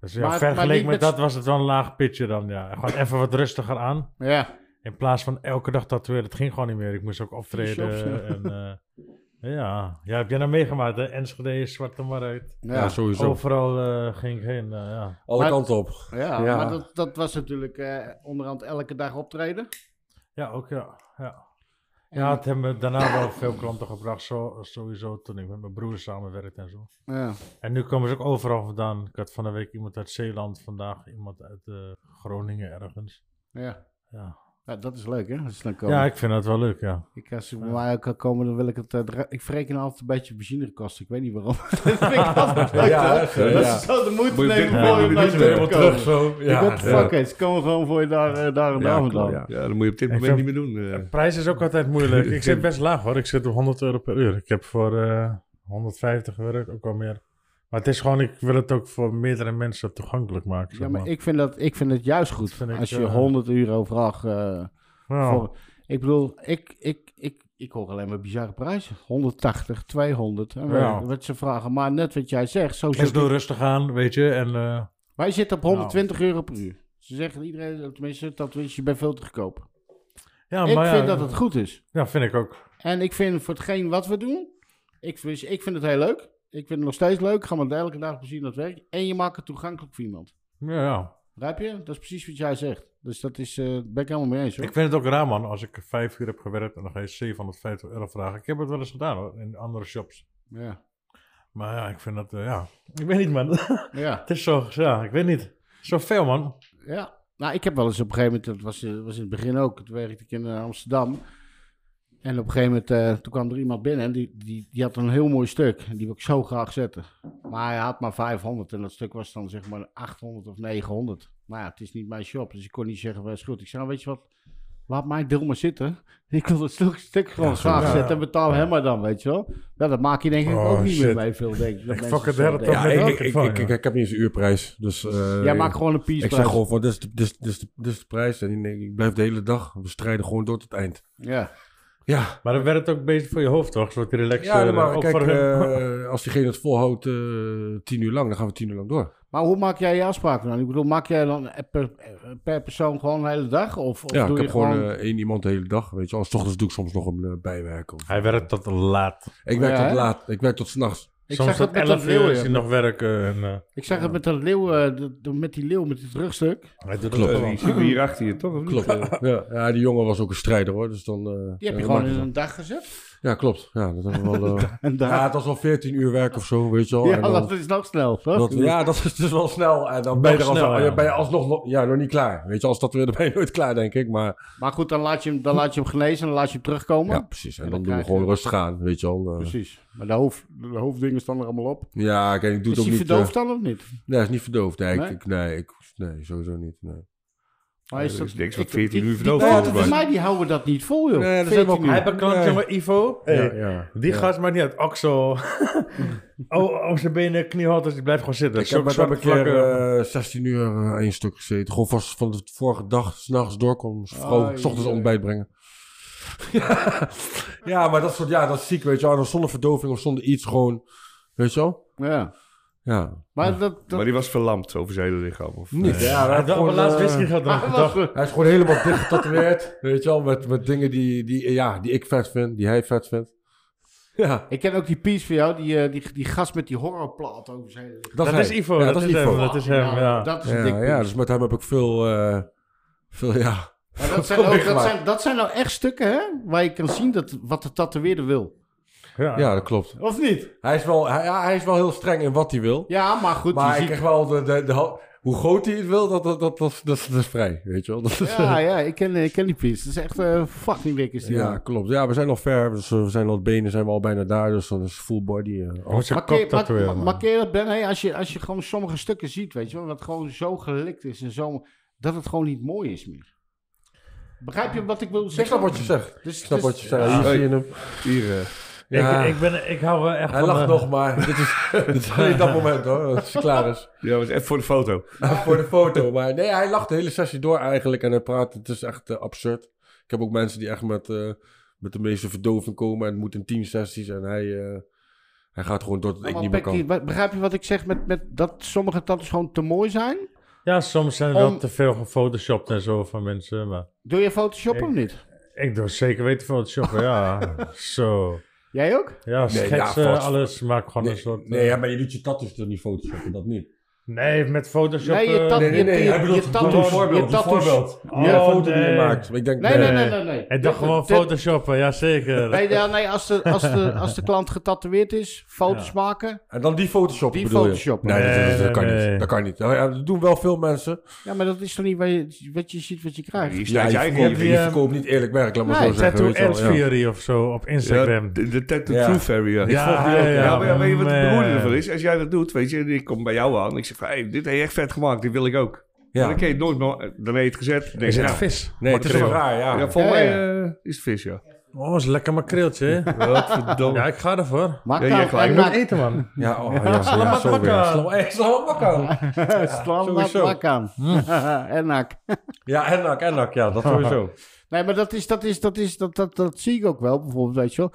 Speaker 1: dus ja,
Speaker 2: Maar- maar
Speaker 1: vergeleken
Speaker 2: niet
Speaker 1: met
Speaker 2: met-
Speaker 1: dat was het wel een laag pitje dan, ja. Gewoon even wat rustiger aan.
Speaker 2: Ja,
Speaker 1: In plaats van elke dag tatoeëren, dat ging gewoon niet meer. Ik moest ook optreden.
Speaker 2: Shops, ja.
Speaker 1: en, eh, ja. ja, heb jij nou meegemaakt, hè? Enschede, Zwarte Markt.
Speaker 2: ja.
Speaker 4: Ja,
Speaker 2: ja,
Speaker 4: sowieso.
Speaker 1: Overal eh, ging ik heen, eh, ja.
Speaker 4: Alle
Speaker 2: Maar-
Speaker 4: kanten op. Ja.
Speaker 2: maar dat, dat was natuurlijk eh, onderhand elke dag optreden.
Speaker 1: Ja, ook ja. Ja, ja het hebben me daarna wel veel klanten gebracht, zo, sowieso, toen ik met mijn broer samenwerkte en zo.
Speaker 2: Ja,
Speaker 1: En nu komen ze ook overal vandaan. Ik had van de week iemand uit Zeeland, vandaag iemand uit eh, Groningen ergens.
Speaker 2: ja.
Speaker 1: Ja.
Speaker 2: Ja, dat is leuk, hè? Als ze dan komen.
Speaker 1: ja,
Speaker 2: Ja, ik,
Speaker 1: ik vind dat wel leuk, ja.
Speaker 2: als ze bij mij ook kan komen, dan wil ik het... eh, dra- ik verreken altijd een beetje benzinekosten. Ik weet niet waarom. dat vind ik altijd leuk,
Speaker 4: Ja,
Speaker 2: hoor.
Speaker 4: echt, hè?
Speaker 2: Dat
Speaker 4: Ja.
Speaker 2: ze zo de moeite
Speaker 3: Moet je
Speaker 2: nemen
Speaker 3: dit-
Speaker 2: voor je
Speaker 3: moet je
Speaker 2: naar
Speaker 3: dit
Speaker 2: je
Speaker 3: helemaal
Speaker 2: te komen.
Speaker 4: zo.
Speaker 2: Ik what the
Speaker 4: ja.
Speaker 2: fuck, eens. Ze komen gewoon voor je daar, eh, daar en daar vandaan.
Speaker 3: Ja, ja, dat moet je op dit moment
Speaker 1: vind-
Speaker 3: niet meer doen. eh.
Speaker 1: Prijs is ook altijd moeilijk. Ik zit best laag hoor. Ik zit op 100 euro per uur. Ik heb voor eh, 150 gewerkt, ook al meer. Maar het is gewoon, ik wil het ook voor meerdere mensen toegankelijk maken.
Speaker 2: Ja, maar ik vind dat, ik vind het juist goed.
Speaker 1: vind ik,
Speaker 2: als je
Speaker 1: eh,
Speaker 2: 100 euro vraagt... eh, Voor- ik bedoel, ik, ik, ik, ik hoor alleen maar bizarre prijzen. 180, 200. En
Speaker 1: Ja.
Speaker 2: wat- wat ze vragen. Maar net wat jij zegt. Zo
Speaker 1: Dus
Speaker 2: zit
Speaker 1: doe rustig aan, weet je. En, eh,
Speaker 2: Wij zitten op 120 euro per uur. Ze zeggen iedereen, tenminste, dat is je bij veel te goedkoop.
Speaker 1: ja,
Speaker 2: ik
Speaker 1: maar
Speaker 2: vind
Speaker 1: ja,
Speaker 2: dat het goed is.
Speaker 1: Ja, vind ik ook.
Speaker 2: En ik vind voor hetgeen wat we doen, ik, vind- ik vind het heel leuk. Ik vind het nog steeds leuk. Ga maar elke dag plezier naar het werk. En je maakt het toegankelijk voor iemand.
Speaker 1: Ja, ja.
Speaker 2: Begrijp je? Dat is precies wat jij zegt. Dus dat is, eh, ben ik helemaal mee eens hoor.
Speaker 1: Ik vind het ook raar man, als ik vijf uur heb gewerkt en dan ga je 750 euro vragen. Ik heb het wel eens gedaan hoor, in andere shops.
Speaker 2: Ja.
Speaker 1: Maar ja, ik vind dat, eh, ja. Ik weet niet man. het
Speaker 2: Ja.
Speaker 1: is zo, ja, ik weet niet. Zoveel man.
Speaker 2: ja. Nou, ik heb wel eens op een gegeven moment, dat was, eh, was in het begin ook, toen werkte ik in eh, Amsterdam. En op een gegeven moment, eh, toen kwam er iemand binnen en die, die, die had een heel mooi stuk. En die wil ik zo graag zetten. Maar hij had maar 500 en dat stuk was dan zeg maar 800 of 900. Maar ja, het is niet mijn shop, dus ik kon niet zeggen, was goed. Ik zei, "Nou, weet je wat, laat mijn deel maar zitten. Ik wil dat stuk, stuk gewoon graag
Speaker 1: ja.
Speaker 2: zetten en betaal hem maar dan, weet je wel. Ja, dat maak je denk ik
Speaker 1: Oh,
Speaker 2: ook niet meer
Speaker 1: shit.
Speaker 2: mee veel, denk ik. dat
Speaker 1: Ik
Speaker 2: mensen
Speaker 1: fuck het
Speaker 2: zo
Speaker 1: hele
Speaker 2: denken.
Speaker 1: Ja,
Speaker 4: Ja,
Speaker 1: dat
Speaker 4: ik,
Speaker 1: weet
Speaker 4: ik,
Speaker 1: ik
Speaker 4: ik,
Speaker 1: van,
Speaker 4: ik,
Speaker 1: ja.
Speaker 4: ik- ik heb niet eens een uurprijs. Dus, eh,
Speaker 2: Jij maakt gewoon een piece
Speaker 4: ik zeg gewoon van, dit is, de- dit, is, dit, is de, dit is de prijs. En ik denk, ik blijf de hele dag. We strijden gewoon door tot het eind.
Speaker 2: Ja.
Speaker 4: Ja,
Speaker 1: Maar dan werd het ook bezig voor je hoofd, toch? Zodat die relax...
Speaker 4: Ja,
Speaker 1: eh,
Speaker 4: maar
Speaker 1: ook
Speaker 4: kijk,
Speaker 1: voor hem-
Speaker 4: eh, als diegene het volhoudt eh, tien uur lang, dan gaan we tien uur lang door.
Speaker 2: Maar hoe maak jij je afspraken dan? Ik bedoel, maak jij dan per, per persoon gewoon een hele dag? Of, of
Speaker 4: ja,
Speaker 2: doe
Speaker 4: ik heb
Speaker 2: je
Speaker 4: gewoon
Speaker 2: gewoon...
Speaker 4: eh, één iemand de hele dag, weet je wel. En 's ochtends doe ik soms nog een eh, bijwerk. Of...
Speaker 1: Hij werkt tot laat.
Speaker 4: Ik werk
Speaker 2: Oh Ja, hè?
Speaker 4: tot laat, ik werk tot s'nachts.
Speaker 2: ik
Speaker 1: Soms
Speaker 2: zag
Speaker 1: tot
Speaker 2: dat met dat
Speaker 1: 11 uur is
Speaker 2: leeuw.
Speaker 1: hij
Speaker 2: ja.
Speaker 1: nog werken. En, eh,
Speaker 2: Ik zag het met dat leeuw, eh, de- de- met die leeuw, met het rugstuk.
Speaker 1: hij doet
Speaker 4: Klopt.
Speaker 1: het
Speaker 3: Eh,
Speaker 1: wel.
Speaker 3: die zitten we hier achter je, toch? of niet?
Speaker 4: Klopt. ja, ja, die jongen was ook een strijder hoor. Dus dan, eh,
Speaker 2: Die heb
Speaker 4: ja,
Speaker 2: je gewoon
Speaker 4: maakt
Speaker 2: in
Speaker 4: het
Speaker 2: een dag gezet.
Speaker 4: wel. Ja, klopt. Ja, dat hebben we wel, eh,
Speaker 2: Een
Speaker 4: ja,
Speaker 2: dag.
Speaker 4: het was al 14 uur werk of zo, weet je wel.
Speaker 2: Ja,
Speaker 4: Oh, En dan-
Speaker 2: dat is nog snel, toch?
Speaker 4: dat- ja, dat is dus wel snel. En dan ben je,
Speaker 1: Nog
Speaker 4: er alsnog-
Speaker 1: snel, ja.
Speaker 4: ja, ben je alsnog nog- ja, nog niet klaar. Weet je, als dat weer, dan ben je nooit klaar, denk ik. Maar
Speaker 2: Maar goed, dan laat, je hem, dan laat je hem genezen en dan laat je hem terugkomen.
Speaker 4: ja, precies. En,
Speaker 2: En
Speaker 4: dan,
Speaker 2: dan
Speaker 4: doen we
Speaker 2: krijg je-
Speaker 4: gewoon rustig aan, weet je wel. Eh,
Speaker 2: Precies. Maar de, hoofd, de hoofddingen staan er allemaal op.
Speaker 4: Ja, kijk, ik doe
Speaker 2: Is
Speaker 4: het ook niet...
Speaker 2: hij
Speaker 4: eh,
Speaker 2: verdoofd dan of niet?
Speaker 4: Nee, hij is niet verdoofd. Nee,
Speaker 2: Nee?
Speaker 4: Ik, ik- nee, ik, nee sowieso niet. Nee,
Speaker 2: Maar is
Speaker 3: Er
Speaker 2: dat...
Speaker 3: is niks
Speaker 2: ik-
Speaker 3: wat 14
Speaker 2: ik-
Speaker 3: uur
Speaker 2: die-
Speaker 3: verdoofd
Speaker 2: Nou,
Speaker 3: wordt,
Speaker 2: dat
Speaker 3: maar-
Speaker 2: is mij, die houden dat niet vol, joh.
Speaker 4: Nee, dat zijn we ook
Speaker 2: 14 uur.
Speaker 1: Hij beklaagt
Speaker 4: Nee.
Speaker 1: jongen Ivo. Hey,
Speaker 4: Ja, ja,
Speaker 1: die
Speaker 4: ja.
Speaker 1: gast maakt niet uit. Oksel. oh, op zijn benen, kniehouders. Die blijft gewoon zitten.
Speaker 4: Ik heb
Speaker 1: Zulke
Speaker 4: met hem een
Speaker 1: zwarte
Speaker 4: keer
Speaker 1: vlakken.
Speaker 4: eh, 16 uur eh, één stuk gezeten. Gewoon vast van de vorige dag, s'nachts doorkomen. Vroeg,
Speaker 2: Ai,
Speaker 4: s ochtends
Speaker 2: ai.
Speaker 4: ontbijt brengen. ja, ja, maar dat soort, ja, dat is ziek, weet je wel. En dan Zonder verdoving of zonder iets, gewoon, weet je wel.
Speaker 2: Ja.
Speaker 4: Ja,
Speaker 2: Maar dat... dat-
Speaker 3: Maar die was verlamd over zijn hele lichaam. Of,
Speaker 4: niet. Ja, hij,
Speaker 1: Hij
Speaker 4: heeft
Speaker 1: had wel
Speaker 4: gewoon,
Speaker 1: laatst
Speaker 4: eh,
Speaker 1: whisky gehad. dan gedacht.
Speaker 4: hij is gewoon helemaal dicht getatoeëerd, weet je wel. Met, met dingen die, die, eh, ja, die ik vet vind, die hij vet vindt. Ja,
Speaker 2: Ik ken ook die piece van jou, die, eh, die, die gast met die horrorplaat over zijn...
Speaker 4: dat,
Speaker 1: Dat
Speaker 4: hij.
Speaker 1: is Ivo.
Speaker 4: Ja,
Speaker 1: dat, is hem. Dat is hem,
Speaker 2: Nou,
Speaker 1: ja.
Speaker 2: Dat is een
Speaker 4: Ja,
Speaker 2: dik
Speaker 4: ja,
Speaker 2: piece.
Speaker 4: dus met hem heb ik veel, eh, veel ja.
Speaker 2: Maar dat, zijn ook, dat,
Speaker 4: meegemaakt.
Speaker 2: zijn, dat zijn nou echt stukken, hè? Waar je kan zien dat, wat de tatoeëerder wil.
Speaker 1: Ja.
Speaker 4: ja, dat klopt.
Speaker 2: Of niet?
Speaker 4: Hij is wel, hij, ja, hij is wel heel streng in wat hij wil.
Speaker 2: Ja, maar goed.
Speaker 4: maar
Speaker 2: je
Speaker 4: ik
Speaker 2: ziet,
Speaker 4: krijg wel de, de, de hal- hoe groot hij het wil, dat, dat, dat, dat, dat, is- dat is vrij, weet je wel. Dat is,
Speaker 2: ja, ja, ik ken, ik ken die piece. Dat is echt eh, fucking dik is die.
Speaker 4: ja,
Speaker 2: man.
Speaker 4: klopt. Ja, we zijn al ver, dus eh, we zijn al benen, zijn we al bijna daar, dus dat is full body. eh.
Speaker 1: Hoe zijn
Speaker 2: Maar ken je-
Speaker 1: kop
Speaker 2: maar-
Speaker 1: tatoeëren,
Speaker 2: maar-
Speaker 1: man.
Speaker 2: maar ken je dat, Ben? Hey, als, je, als je gewoon sommige stukken ziet, weet je wel, wat gewoon zo gelikt is en zo... Dat het gewoon niet mooi is meer. Begrijp je wat ik wil zeggen?
Speaker 4: ik snap wat je zegt.
Speaker 2: Dus-
Speaker 4: ik snap
Speaker 2: dus-
Speaker 4: wat je zegt. Hier
Speaker 3: Hey.
Speaker 4: zie je hem.
Speaker 3: Hier, eh,
Speaker 4: Ja,
Speaker 1: Ik, ik, ben, ik hou wel echt
Speaker 4: hij
Speaker 1: van...
Speaker 4: lacht
Speaker 1: eh,
Speaker 4: nog, maar dit is, dit is alleen dat moment hoor, als hij klaar is.
Speaker 3: ja, was even voor de foto.
Speaker 4: Nou, voor de foto. Maar nee, hij lacht de hele sessie door eigenlijk. En hij praat, het is echt eh, absurd. Ik heb ook mensen die echt met, eh, met de meeste verdoving komen. En het moet in tien sessies. En hij, eh, hij gaat gewoon door dat ik
Speaker 2: Maar
Speaker 4: niet meer
Speaker 2: Pekkie,
Speaker 4: kan.
Speaker 2: wa- begrijp je wat ik zeg met, met dat sommige tattoos gewoon te mooi zijn?
Speaker 1: Ja, soms zijn er wel
Speaker 2: Om-
Speaker 1: te veel gefotoshopt en zo van mensen. Maar
Speaker 2: Doe je Photoshop of niet?
Speaker 1: ik doe zeker weten photoshoppen, ja. Zo.
Speaker 2: Jij ook?
Speaker 1: Ja, schetsen,
Speaker 4: ja, foto's-
Speaker 1: alles. Maak gewoon
Speaker 4: Nee,
Speaker 1: een soort... eh,
Speaker 4: nee ja, maar je doet je tattoos toch niet photoshoppen, dat niet.
Speaker 1: nee, met photoshop...
Speaker 2: Nee, je
Speaker 1: eh,
Speaker 2: tat-
Speaker 4: Nee, nee, nee.
Speaker 2: je-
Speaker 4: Hij
Speaker 2: je
Speaker 4: bedoelt
Speaker 2: tattoos-
Speaker 4: een voorbeeld.
Speaker 2: je
Speaker 4: een
Speaker 2: tattoos-
Speaker 4: voorbeeld.
Speaker 1: Oh,
Speaker 4: Ja, een foto die je
Speaker 1: nee.
Speaker 4: maakt. Maar ik denk,
Speaker 2: Nee, nee, nee, nee. nee.
Speaker 1: Ik dacht
Speaker 2: Dit-
Speaker 1: gewoon
Speaker 2: dit-
Speaker 1: photoshoppen, ja zeker.
Speaker 2: Nee, ja, nee als, de, als, de, als de klant getatoeëerd is, foto's
Speaker 1: Ja.
Speaker 2: maken.
Speaker 4: En dan die Photoshop
Speaker 2: Die
Speaker 4: bedoel je?
Speaker 2: photoshoppen.
Speaker 4: Nee, dat, dat- dat
Speaker 1: Nee,
Speaker 4: kan
Speaker 1: nee.
Speaker 4: niet. Dat kan niet. Nou ja, dat doen wel veel mensen.
Speaker 2: Ja, maar dat is toch niet wat je, wat je ziet, wat je krijgt?
Speaker 3: Hier
Speaker 4: Ja,
Speaker 3: staat
Speaker 4: je
Speaker 3: je eigen
Speaker 4: verkoopt,
Speaker 1: die,
Speaker 4: je
Speaker 1: eh,
Speaker 4: verkoopt niet eerlijk werk, laat maar
Speaker 2: nee,
Speaker 4: zo zeggen.
Speaker 1: Tattoo
Speaker 4: weet je wel,
Speaker 1: Ants
Speaker 4: ja.
Speaker 1: Fury of zo op Instagram.
Speaker 3: Ja, de, de Tattoo
Speaker 4: Ja.
Speaker 3: Truth Fairy, ja.
Speaker 1: Ja,
Speaker 4: volg die ook, ja.
Speaker 3: Ja, maar ja, weet je wat het beroerde
Speaker 1: man.
Speaker 3: ervan is? Als jij dat doet, weet je, en ik kom bij jou aan. Ik zeg van, hey, dit heb je echt vet gemaakt, dit wil ik ook.
Speaker 4: Ja.
Speaker 3: Maar dan ken je het nooit meer, dan heb je het gezet. Dan denk
Speaker 1: Is
Speaker 3: je,
Speaker 1: het
Speaker 3: nou,
Speaker 1: vis?
Speaker 4: Nee, het is wel
Speaker 3: Makkelijk.
Speaker 4: raar,
Speaker 3: Ja, volgens
Speaker 2: Ja,
Speaker 3: mij
Speaker 2: ja.
Speaker 3: eh, is het vis, ja.
Speaker 1: Oh, is een lekker makreeltje. hè?
Speaker 3: Wat verdomme.
Speaker 1: ja, ik ga ervoor.
Speaker 2: Maak
Speaker 3: Ja, jij
Speaker 2: nou,
Speaker 3: gelijk.
Speaker 2: en
Speaker 1: Ik moet
Speaker 2: maak,
Speaker 1: eten, man.
Speaker 4: Ja, oh, ja, ja, zo weer.
Speaker 1: makkelijk.
Speaker 4: Slam- eh, slam mak aan.
Speaker 2: slaan maar
Speaker 4: sowieso.
Speaker 2: plak aan.
Speaker 1: Hm.
Speaker 2: en nak.
Speaker 4: Ja, en nak, en nak, ja, dat sowieso.
Speaker 2: Nee, maar dat is, dat is, dat is, dat, dat, dat zie ik ook wel, bijvoorbeeld, weet je wel.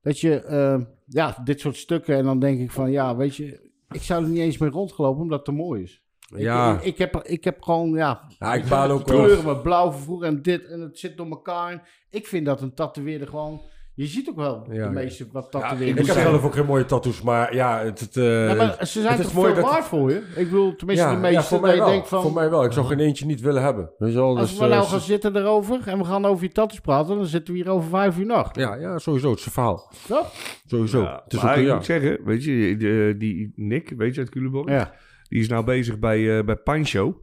Speaker 2: Dat je, eh, ja, dit soort stukken en dan denk ik van, ja, weet je, ik zou er niet eens mee rondgelopen omdat het te mooi is. Ik-
Speaker 4: Ja.
Speaker 2: Ik, ik, heb, ik heb gewoon, ja,
Speaker 4: Ja, ik baal ook
Speaker 2: kleuren
Speaker 4: wel.
Speaker 2: met blauw vervoer en dit en het zit door elkaar. Ik vind dat een tatoeëerder gewoon, je ziet ook wel
Speaker 4: Ja.
Speaker 2: de meeste wat
Speaker 4: Ja,
Speaker 2: tatoeëerders
Speaker 4: ik heb
Speaker 2: zijn.
Speaker 4: zelf ook geen mooie tattoos, maar ja, het... het eh,
Speaker 2: Ja, maar ze zijn
Speaker 4: het is
Speaker 2: toch
Speaker 4: mooi
Speaker 2: veel
Speaker 4: dat-
Speaker 2: waard voor je? Ik bedoel, tenminste
Speaker 4: ja,
Speaker 2: de
Speaker 4: ja,
Speaker 2: meeste,
Speaker 4: voor
Speaker 2: dat
Speaker 4: mij
Speaker 2: je
Speaker 4: wel.
Speaker 2: denkt van...
Speaker 4: Voor mij wel. Ik zou geen eentje niet willen hebben. Weet je wel,
Speaker 2: als
Speaker 4: dus,
Speaker 2: we
Speaker 4: eh,
Speaker 2: nou
Speaker 4: ze-
Speaker 2: gaan zitten erover en we gaan over die tattoos praten, dan zitten we hier over vijf uur nog.
Speaker 4: ja, ja, sowieso. Het is een verhaal.
Speaker 2: Toch?
Speaker 4: Sowieso.
Speaker 3: Ja,
Speaker 4: het is ook
Speaker 3: maar
Speaker 4: een
Speaker 3: ik
Speaker 4: ja.
Speaker 3: moet zeggen, weet je, de- die Nick, weet je, uit Culemborg,
Speaker 2: Ja.
Speaker 3: die is nou bezig bij, eh bij Pancho.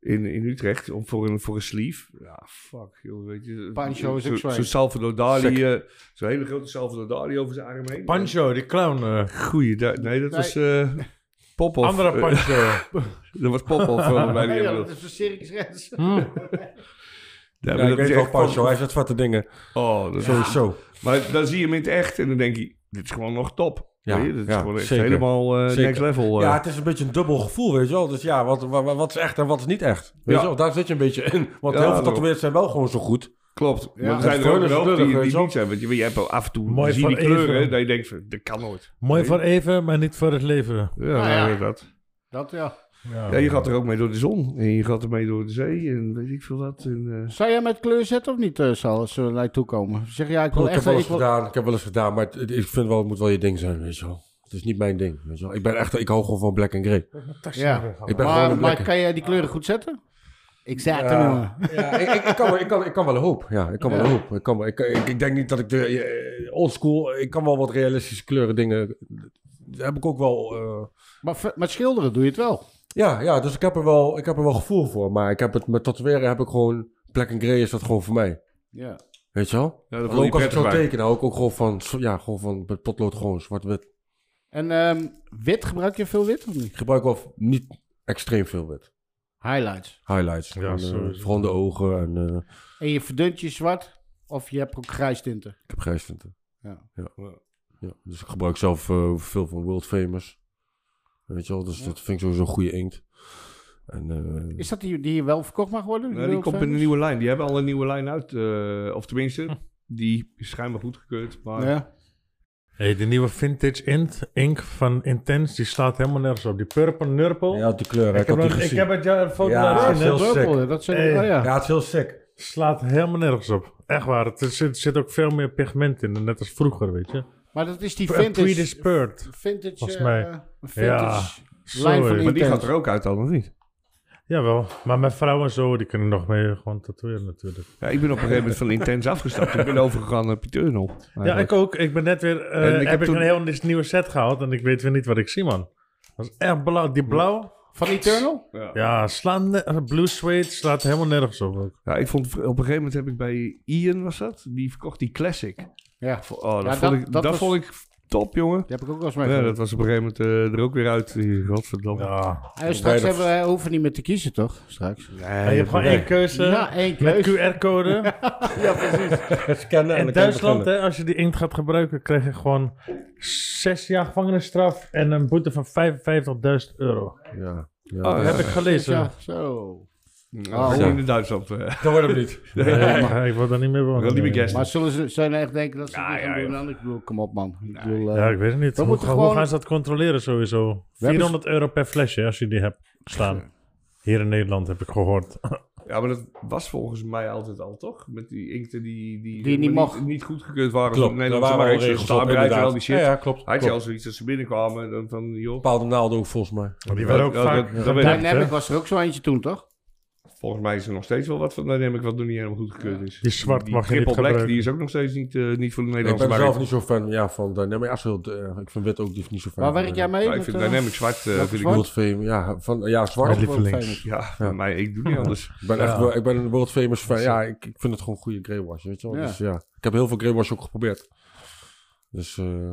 Speaker 3: in, in Utrecht om voor, een, voor een sleeve. Ja, fuck, joh, weet je.
Speaker 2: Pancho is
Speaker 3: Zo-
Speaker 2: ook zwaar.
Speaker 3: Zo'n Salvador Dali, eh, zo'n hele grote Salvador Dali over zijn arm heen.
Speaker 1: Pancho, die clown. eh,
Speaker 3: Goeie, da- nee, dat
Speaker 2: Nee.
Speaker 3: was eh Popov.
Speaker 1: andere
Speaker 3: Eh,
Speaker 1: Pancho.
Speaker 3: dat was Popov, volgens mij. die
Speaker 2: Nee,
Speaker 3: hebben
Speaker 2: dat
Speaker 3: we-
Speaker 2: is een Circus Rens.
Speaker 1: Hmm.
Speaker 3: Ja, maar
Speaker 4: Ja, ik
Speaker 3: dat
Speaker 4: weet
Speaker 3: is
Speaker 4: wel,
Speaker 3: echt
Speaker 4: Pancho, hij
Speaker 3: Popov.
Speaker 4: zet zwarte dingen.
Speaker 3: Oh, dat is
Speaker 4: Sowieso.
Speaker 3: Maar dan zie je hem in het echt en dan denk je, dit is gewoon nog top.
Speaker 4: Ja,
Speaker 3: Weet je, dit is
Speaker 4: ja,
Speaker 3: gewoon echt
Speaker 4: zeker.
Speaker 3: helemaal eh,
Speaker 4: Zeker.
Speaker 3: next level. eh.
Speaker 4: Ja, het is een beetje een dubbel gevoel, weet je wel. Dus ja, wat, wat, wat is echt en wat is niet echt? Weet
Speaker 3: Ja.
Speaker 4: je wel, daar zit je een beetje in. Want
Speaker 3: Ja,
Speaker 4: heel veel
Speaker 3: daarom.
Speaker 4: tatoeëerders zijn wel gewoon zo goed.
Speaker 3: klopt. Maar er
Speaker 2: het
Speaker 3: zijn er ook
Speaker 4: voordeel is
Speaker 3: wel die,
Speaker 4: lullig, weet
Speaker 3: die
Speaker 4: je wel.
Speaker 3: niet zijn. Want je, je hebt wel af en toe
Speaker 1: Mooi
Speaker 3: Mooi zie je die
Speaker 1: voor even.
Speaker 3: kleuren dat je denkt, van, dat kan nooit.
Speaker 1: Mooi voor even, maar niet voor het leven.
Speaker 3: Ja,
Speaker 2: Ah, ja.
Speaker 3: nou, dat.
Speaker 2: Dat ja.
Speaker 1: Ja,
Speaker 3: Ja, je gaat er ook mee door de zon. En je gaat er mee door de zee en weet ik veel wat. En, eh,
Speaker 2: Zou jij met kleur zetten of niet, eh Sal, als ze naar toe komen? Zeg jij, ik wil
Speaker 4: Ik heb
Speaker 2: echt...
Speaker 4: wel
Speaker 2: Ik
Speaker 4: eens
Speaker 2: wil...
Speaker 4: gedaan, ik heb wel eens gedaan. Maar het, het- ik vind wel, het moet wel je ding zijn, weet je wel. Het is niet mijn ding, weet je wel. Ik ben echt, ik hou gewoon van black and grey.
Speaker 2: Ja.
Speaker 4: Ik ben gewoon
Speaker 2: Maar,
Speaker 4: een
Speaker 2: maar
Speaker 4: black
Speaker 2: kan jij die kleuren goed zetten? Ik zet
Speaker 4: Ja.
Speaker 2: hem, eh, jongen.
Speaker 4: Ja, ik, ik, ik, kan, wel- ik, kan, ik kan wel een hoop. Ja, ik kan wel
Speaker 2: Ja.
Speaker 4: een hoop. Ik, kan, wel- ik, ik, ik denk niet dat ik de eh, oldschool... Ik kan wel wat realistische kleuren dingen... Daar heb ik ook wel... eh,
Speaker 2: Maar, ver- maar schilderen doe je het wel.
Speaker 4: ja, ja, dus ik heb, er wel, ik heb er wel gevoel voor. Maar ik heb het met tatoeëren heb ik gewoon... Black and grey is dat gewoon voor mij.
Speaker 2: Ja.
Speaker 4: Weet je wel?
Speaker 3: ja, dat
Speaker 4: Maar ook
Speaker 3: vond ik
Speaker 4: als ik
Speaker 3: prettig
Speaker 4: zou
Speaker 3: bij.
Speaker 4: tekenen, hou ik ook gewoon van... zo- Ja, gewoon van met potlood gewoon zwart-wit.
Speaker 2: En ehm, wit, gebruik je veel wit of niet?
Speaker 4: Ik gebruik wel niet extreem veel wit.
Speaker 2: Highlights.
Speaker 4: Highlights.
Speaker 1: Ja,
Speaker 4: Ja, en, eh,
Speaker 1: sowieso.
Speaker 4: vooral de ogen en... eh,
Speaker 2: En je verdunt je zwart of je hebt ook grijs tinten.
Speaker 4: ik heb grijstinten.
Speaker 2: Ja.
Speaker 4: Ja. Ja, Dus ik gebruik zelf eh, veel van World Famous. Weet je wel, dus dat vind ik sowieso een goede inkt. En, eh,
Speaker 2: Is dat die die hier wel verkocht mag worden?
Speaker 3: Nou, die
Speaker 2: World
Speaker 3: komt in een
Speaker 2: Famous?
Speaker 3: nieuwe lijn. Die hebben al een nieuwe lijn uit. eh, of tenminste, die is schijnbaar goedgekeurd. Maar
Speaker 2: Ja.
Speaker 1: Hey, die nieuwe vintage int, ink van Intense, die slaat helemaal nergens op. Die purple nurple.
Speaker 4: ja, die kleur, ik,
Speaker 1: ik, heb
Speaker 4: had die
Speaker 1: nog- ik
Speaker 4: gezien.
Speaker 1: heb het jou een foto
Speaker 4: Ja,
Speaker 1: laten zien.
Speaker 4: heel
Speaker 1: hè?
Speaker 4: sick.
Speaker 2: Purple, dat zijn,
Speaker 1: Hey.
Speaker 2: oh ja.
Speaker 4: Ja, het is heel sick.
Speaker 1: Slaat helemaal nergens op. Echt waar. Het is- Er zit, zit ook veel meer pigment in, net als vroeger, weet je.
Speaker 2: Maar dat is die vintage...
Speaker 1: Predispeurd.
Speaker 2: Vintage,
Speaker 1: volgens
Speaker 2: eh,
Speaker 1: mij.
Speaker 2: vintage lijn van
Speaker 1: Sorry.
Speaker 3: maar die
Speaker 2: Intens.
Speaker 3: gaat er ook uit dan, of niet?
Speaker 1: Jawel, maar mijn vrouw en zo, die kunnen nog mee gewoon tatoeëren natuurlijk.
Speaker 3: Ja, ik ben op een gegeven moment van intens afgestapt. Ik ben overgegaan naar Piternal.
Speaker 1: Ja, ik ook. Ik ben net weer, eh,
Speaker 3: En ik
Speaker 1: heb,
Speaker 3: heb
Speaker 1: ik
Speaker 3: toen-
Speaker 1: een heel niks nieuwe set gehaald en ik weet weer niet wat ik zie, man. Dat is echt blauw. Die blauw,
Speaker 2: Van Eternal?
Speaker 1: ja, slaat ne- Blue Suede slaat helemaal nergens op ook.
Speaker 3: Ja, ik vond op een gegeven moment heb ik bij Ian was dat. Die verkocht die classic.
Speaker 2: Ja.
Speaker 3: Oh, dat,
Speaker 2: Ja,
Speaker 3: vond,
Speaker 2: dat-
Speaker 3: ik,
Speaker 2: dat
Speaker 3: dat,
Speaker 2: was-
Speaker 3: vond ik top, jongen.
Speaker 2: Die heb ik ook wel eens mee
Speaker 3: Ja,
Speaker 2: gedaan.
Speaker 3: dat was op een gegeven moment eh, er ook weer uit. Hier, Godverdamme.
Speaker 1: Ja.
Speaker 2: Eh, straks hebben we, hoeven we niet meer te kiezen, toch? Straks.
Speaker 1: En je hebt gewoon één keuze
Speaker 2: Ja, één
Speaker 1: met
Speaker 2: keus.
Speaker 1: QR-code.
Speaker 2: Ja, precies.
Speaker 4: Scannen en
Speaker 1: In
Speaker 4: dan kan je
Speaker 1: Duitsland,
Speaker 4: beginnen.
Speaker 1: hè, als je die inkt gaat gebruiken, krijg je gewoon zes jaar gevangenisstraf en een boete van 55.000 euro.
Speaker 4: Ja. ja.
Speaker 3: Oh,
Speaker 1: Dat heb ik gelezen.
Speaker 2: Ja, zo.
Speaker 3: Nou,
Speaker 4: Ja.
Speaker 3: in de Duitsland. eh.
Speaker 4: Dat wordt hem niet.
Speaker 1: Nee, maar ik word daar niet meer
Speaker 3: Ik wil
Speaker 1: van.
Speaker 3: niet meer guesten.
Speaker 2: Maar zullen ze, zullen ze echt denken dat ze
Speaker 3: Ja,
Speaker 2: het niet gaan
Speaker 3: ja,
Speaker 2: doen?
Speaker 3: joh.
Speaker 2: Dan? Ik bedoel, kom op man. Ik bedoel, eh,
Speaker 1: Ja, ik weet het niet.
Speaker 2: We
Speaker 1: Hoe,
Speaker 2: moeten
Speaker 1: hoe
Speaker 2: gewoon-
Speaker 1: gaan ze dat controleren sowieso?
Speaker 2: hebben
Speaker 1: 400 euro per flesje als je die hebt staan. Hier in Nederland heb ik gehoord.
Speaker 3: Ja, maar dat was volgens mij altijd al, toch? Met die inkten die, die,
Speaker 2: Die niet mocht.
Speaker 3: niet, goedgekeurd waren
Speaker 4: Klopt,
Speaker 3: voor
Speaker 4: daar
Speaker 3: Nederlandse
Speaker 4: waren al
Speaker 3: markt. Ze
Speaker 4: regels op,
Speaker 3: staan en al
Speaker 4: inderdaad.
Speaker 3: die shit.
Speaker 4: Ja, ja, klopt.
Speaker 3: Hij had
Speaker 4: klopt.
Speaker 3: zelf zoiets als ze binnenkwamen en dan van, joh.
Speaker 4: Bepaalde naalden ook volgens mij.
Speaker 1: Die werden ook
Speaker 3: dat-
Speaker 1: vaak
Speaker 3: dat- dat
Speaker 1: gedempt,
Speaker 3: weet
Speaker 2: Dynamic
Speaker 1: hè?
Speaker 2: was er ook zo eentje toen, toch?
Speaker 3: Volgens mij is er nog steeds wel wat van Dynamic wat nog niet helemaal goedgekeurd is.
Speaker 1: Die zwart mag je niet
Speaker 3: triple black,
Speaker 1: gebruiken.
Speaker 3: die is ook nog steeds niet, eh, niet voor de
Speaker 4: Ik ben
Speaker 3: Nederlandse markt.
Speaker 4: zelf niet zo fan ja, van Dynamic. Axel, eh, ik vind wit ook niet zo fan.
Speaker 2: Waar
Speaker 4: van
Speaker 2: werk jij
Speaker 4: Dynamic.
Speaker 2: mee?
Speaker 3: Maar ik
Speaker 2: Met,
Speaker 3: vind
Speaker 2: eh,
Speaker 3: Dynamic zwart, eh,
Speaker 2: welke
Speaker 3: vind ik
Speaker 2: zwart?
Speaker 3: goed.
Speaker 4: World Famous, ja, van, ja, zwart.
Speaker 1: Mijn lievelings.
Speaker 3: Ja, voor mij, ik doe niet anders.
Speaker 4: Ik ben,
Speaker 1: Ja.
Speaker 4: echt, wel- ik ben een world famous fan. Ja, ik, ik vind het gewoon een goede greywash, weet je wel.
Speaker 2: Ja.
Speaker 4: Dus ja, ik heb heel veel greywash ook geprobeerd. Dus eh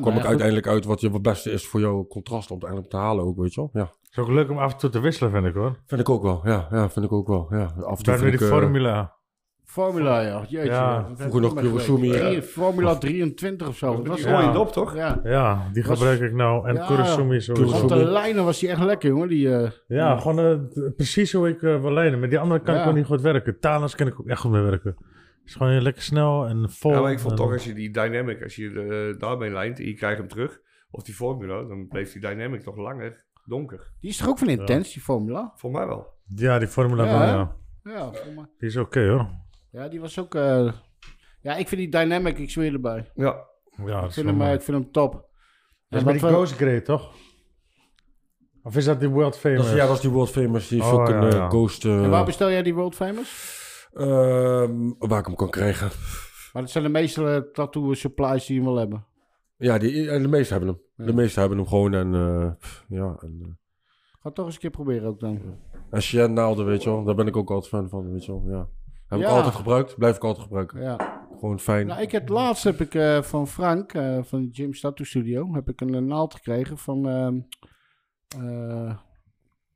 Speaker 4: kwam
Speaker 2: nou
Speaker 4: ik
Speaker 2: ja, goed.
Speaker 4: uiteindelijk uit wat je- wat het beste is voor jouw contrast om uiteindelijk te halen ook, weet je wel. Ja,
Speaker 1: Het is ook leuk om af en toe te wisselen, vind ik hoor.
Speaker 4: vind ik ook wel. Ja, ja vind ik ook wel. Ja, af en toe
Speaker 1: Daar
Speaker 4: vind
Speaker 1: weer
Speaker 4: ik,
Speaker 1: die
Speaker 4: eh,
Speaker 1: formula.
Speaker 2: Formula, ja. Jeetje.
Speaker 1: Ja,
Speaker 2: dat
Speaker 4: vroeger
Speaker 2: heb ik
Speaker 4: nog
Speaker 2: ook maar
Speaker 4: Kurosumi,
Speaker 2: gelezen.
Speaker 4: ja.
Speaker 2: Drie- Formula 23 of zo. Dat was
Speaker 1: Ja.
Speaker 3: Gooi je op, toch?
Speaker 2: Ja.
Speaker 1: Ja, die
Speaker 2: Was-
Speaker 1: gebruik ik nou. En
Speaker 2: Ja,
Speaker 1: Kurosumi sowieso.
Speaker 2: Op de
Speaker 4: Kurosumi.
Speaker 2: lijnen was hij echt lekker, jongen. Die, eh,
Speaker 1: Ja, gewoon eh, t- precies hoe ik eh, wil lijnen. Met die andere kan
Speaker 2: Ja.
Speaker 1: ik ook niet goed werken. Talens kan ik ook echt goed mee werken. Het is gewoon heel lekker snel en vol.
Speaker 3: Ja, maar ik vond
Speaker 1: en-
Speaker 3: toch, als je die Dynamic, als je eh, daarmee lijnt en je krijgt hem terug, of die formula, dan bleef die Dynamic nog langer donker.
Speaker 2: die is toch ook van intens, die Formula?
Speaker 3: Voor mij wel.
Speaker 1: Ja, die formula
Speaker 2: Ja,
Speaker 1: wel,
Speaker 2: hè?
Speaker 1: ja.
Speaker 2: Ja, Formula.
Speaker 1: Die is oké hoor.
Speaker 2: ja die was ook... eh, ja, ik vind die Dynamic, ik zweer erbij.
Speaker 3: Ja,
Speaker 1: Ja, dat
Speaker 2: Ik
Speaker 1: is
Speaker 2: vind,
Speaker 1: wel
Speaker 2: hem, eh,
Speaker 1: mooi.
Speaker 2: ik vind hem top.
Speaker 1: Dat
Speaker 2: En
Speaker 1: is met
Speaker 2: wat
Speaker 1: die
Speaker 2: we-
Speaker 1: Ghost Grey, toch? Of is dat die World
Speaker 4: dat
Speaker 1: Famous?
Speaker 4: is, ja, dat is die world famous, die
Speaker 1: Oh,
Speaker 4: fucking
Speaker 1: ja,
Speaker 4: eh,
Speaker 1: ja.
Speaker 4: ghost... eh,
Speaker 2: En waar bestel jij die World Famous?
Speaker 4: ehm, waar ik hem kan krijgen.
Speaker 2: Maar dat zijn de meeste eh, tattoo supplies die je wil hebben.
Speaker 4: Ja, die, en de meesten hebben hem.
Speaker 2: Ja.
Speaker 4: De meesten hebben hem gewoon en... eh, pff, ja, en, eh,
Speaker 2: Ga het toch eens een keer proberen ook dan.
Speaker 4: En Cheyenne naalden, weet je wel. Daar ben ik ook altijd fan van, weet je wel. Ja. Heb ik
Speaker 2: Ja.
Speaker 4: altijd gebruikt, blijf ik altijd gebruiken.
Speaker 2: Ja.
Speaker 4: Gewoon fijn.
Speaker 2: Nou, ik heb, laatst heb ik eh, van Frank, eh, van Jim's Tattoo Studio, heb ik een, eh, naald gekregen van, ehm, eh,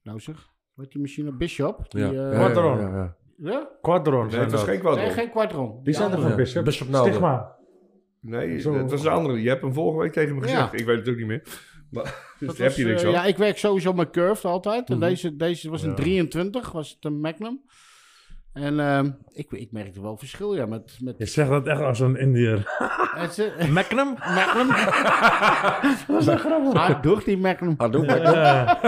Speaker 2: nou zeg, wat die machine? Bishop. Die,
Speaker 4: ja.
Speaker 2: eh,
Speaker 4: Ja,
Speaker 2: ja.
Speaker 4: ja,
Speaker 1: Quadron.
Speaker 4: ja, ja.
Speaker 1: Quadron
Speaker 3: Nee,
Speaker 1: zijn
Speaker 3: het was
Speaker 1: dat.
Speaker 3: geen kwadron.
Speaker 2: Nee, geen kwadron.
Speaker 1: Die zijn
Speaker 2: Ja,
Speaker 1: er van
Speaker 4: Ja,
Speaker 1: Bishop.
Speaker 4: Bishop Naalden.
Speaker 1: Stigma.
Speaker 3: Nee,
Speaker 1: Zo-
Speaker 3: dat was de andere. Je hebt hem vorige week tegen me
Speaker 2: eh, Ja.
Speaker 3: gezegd. Ik weet het ook niet meer. Maar, dus
Speaker 2: dat
Speaker 3: daar heb
Speaker 2: was,
Speaker 3: je niks
Speaker 2: eh,
Speaker 3: aan.
Speaker 2: Ja, ik werk sowieso met curved altijd. En deze, deze was een 23, was het een Magnum. En ehm, ik, ik merkte wel verschil, ja, met... met
Speaker 1: Je zegt dat echt als een Indiër.
Speaker 2: het is, eh,
Speaker 1: Magnum?
Speaker 2: Magnum. Hard door die Magnum.
Speaker 4: Hadoop.
Speaker 1: Ja.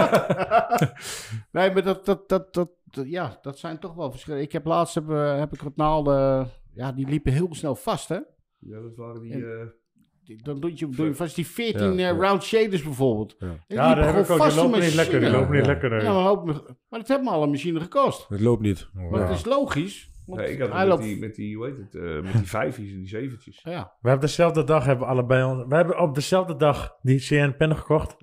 Speaker 2: Nee, maar dat, dat, dat, dat, dat- ja, dat zijn toch wel verschillen. Ik heb laatst heb, eh, heb ik wat naalden. Ja, die liepen heel snel vast, hè?
Speaker 3: Ja, dat waren die...
Speaker 2: En-
Speaker 3: eh,
Speaker 2: Die- Dan doe je, doe je vast die 14
Speaker 4: Ja,
Speaker 2: eh,
Speaker 4: ja.
Speaker 2: round shaders bijvoorbeeld.
Speaker 4: Ja.
Speaker 2: En die
Speaker 1: Ja,
Speaker 2: liepen
Speaker 1: dat heb ik
Speaker 2: gewoon
Speaker 1: ook. Die
Speaker 2: vast
Speaker 1: lopen
Speaker 2: in
Speaker 1: niet lekker. Die
Speaker 2: machine.
Speaker 1: lopen niet
Speaker 4: Ja.
Speaker 1: lekker.
Speaker 2: Ja,
Speaker 1: nee.
Speaker 2: maar, een hoop- maar dat heeft me al een machine gekost.
Speaker 4: Het loopt niet.
Speaker 2: Maar
Speaker 4: Ja.
Speaker 2: het is logisch. Want
Speaker 3: nee, ik had
Speaker 2: hij
Speaker 3: hem met
Speaker 2: loopt...
Speaker 3: die, met die, hoe heet het, eh, met die vijfjes en die zeventjes.
Speaker 2: Ja,
Speaker 1: We hebben dezelfde dag hebben we allebei ons, we hebben op dezelfde dag die CN pen gekocht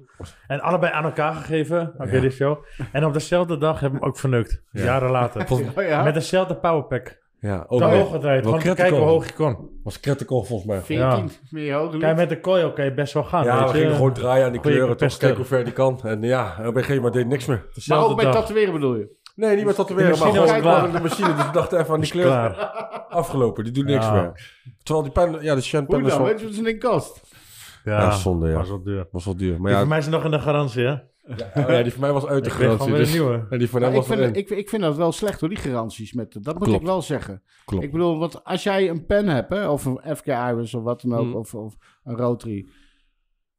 Speaker 1: en allebei aan elkaar gegeven. Oké,
Speaker 4: Ja.
Speaker 1: dit show. En op dezelfde dag hebben we hem ook verneukt.
Speaker 4: Ja.
Speaker 1: Jaren later.
Speaker 2: Oh, ja.
Speaker 1: Met dezelfde powerpack.
Speaker 4: Ja, ook
Speaker 1: Te
Speaker 4: wel.
Speaker 1: hoog gedraaid.
Speaker 4: Wel
Speaker 1: Gewoon te
Speaker 4: critical.
Speaker 1: kijken hoe hoog je kon.
Speaker 4: was Critical volgens mij.
Speaker 2: 14 meer je hoger
Speaker 1: Kijk,
Speaker 2: ligt.
Speaker 1: met de kooi oké, best wel gaan.
Speaker 4: Ja,
Speaker 1: weet
Speaker 4: we
Speaker 1: je.
Speaker 4: gingen gewoon draaien aan die
Speaker 1: Goeie
Speaker 4: kleuren. Toch
Speaker 1: pesten.
Speaker 4: kijken hoe ver die kan. En ja, op een gegeven moment deed niks meer.
Speaker 2: Maar
Speaker 1: Dezelfde
Speaker 2: ook bij
Speaker 1: dag.
Speaker 2: tatoeëren bedoel je?
Speaker 4: Nee, niet met tatoeëren,
Speaker 1: De
Speaker 4: maar
Speaker 1: machine
Speaker 4: gewoon
Speaker 1: was
Speaker 4: kijken
Speaker 1: klaar.
Speaker 4: naar de machine. Dus ik dacht even aan die
Speaker 1: Is
Speaker 4: kleur.
Speaker 1: klaar.
Speaker 4: Afgelopen, die doet niks
Speaker 1: Ja. nou,
Speaker 4: meer. Terwijl die pen, ja, de Shen
Speaker 2: Hoe
Speaker 4: pen is
Speaker 2: dan?
Speaker 4: wel,
Speaker 2: Weet je wat zo'n ding kost?
Speaker 1: Ja,
Speaker 4: Ja, zonde, ja.
Speaker 1: was wel duur.
Speaker 4: was wel duur. Maar
Speaker 1: Die
Speaker 4: ja,
Speaker 1: voor mij is nog in de garantie, hè?
Speaker 4: oh ja, die voor mij was uit de
Speaker 1: Ik kreeg gewoon
Speaker 4: garantie.
Speaker 1: weer een
Speaker 4: Dus,
Speaker 1: nieuwe. Nou,
Speaker 4: en die voor hem
Speaker 2: Maar ik,
Speaker 4: was erin.
Speaker 2: vind, ik, ik vind dat wel slecht hoor, die garanties. Met, dat moet
Speaker 4: Klopt.
Speaker 2: ik wel zeggen.
Speaker 4: Klopt.
Speaker 2: Ik bedoel, want als jij een pen hebt, hè, of een FK Iris of wat dan
Speaker 4: Mm.
Speaker 2: ook, of, of een Rotary.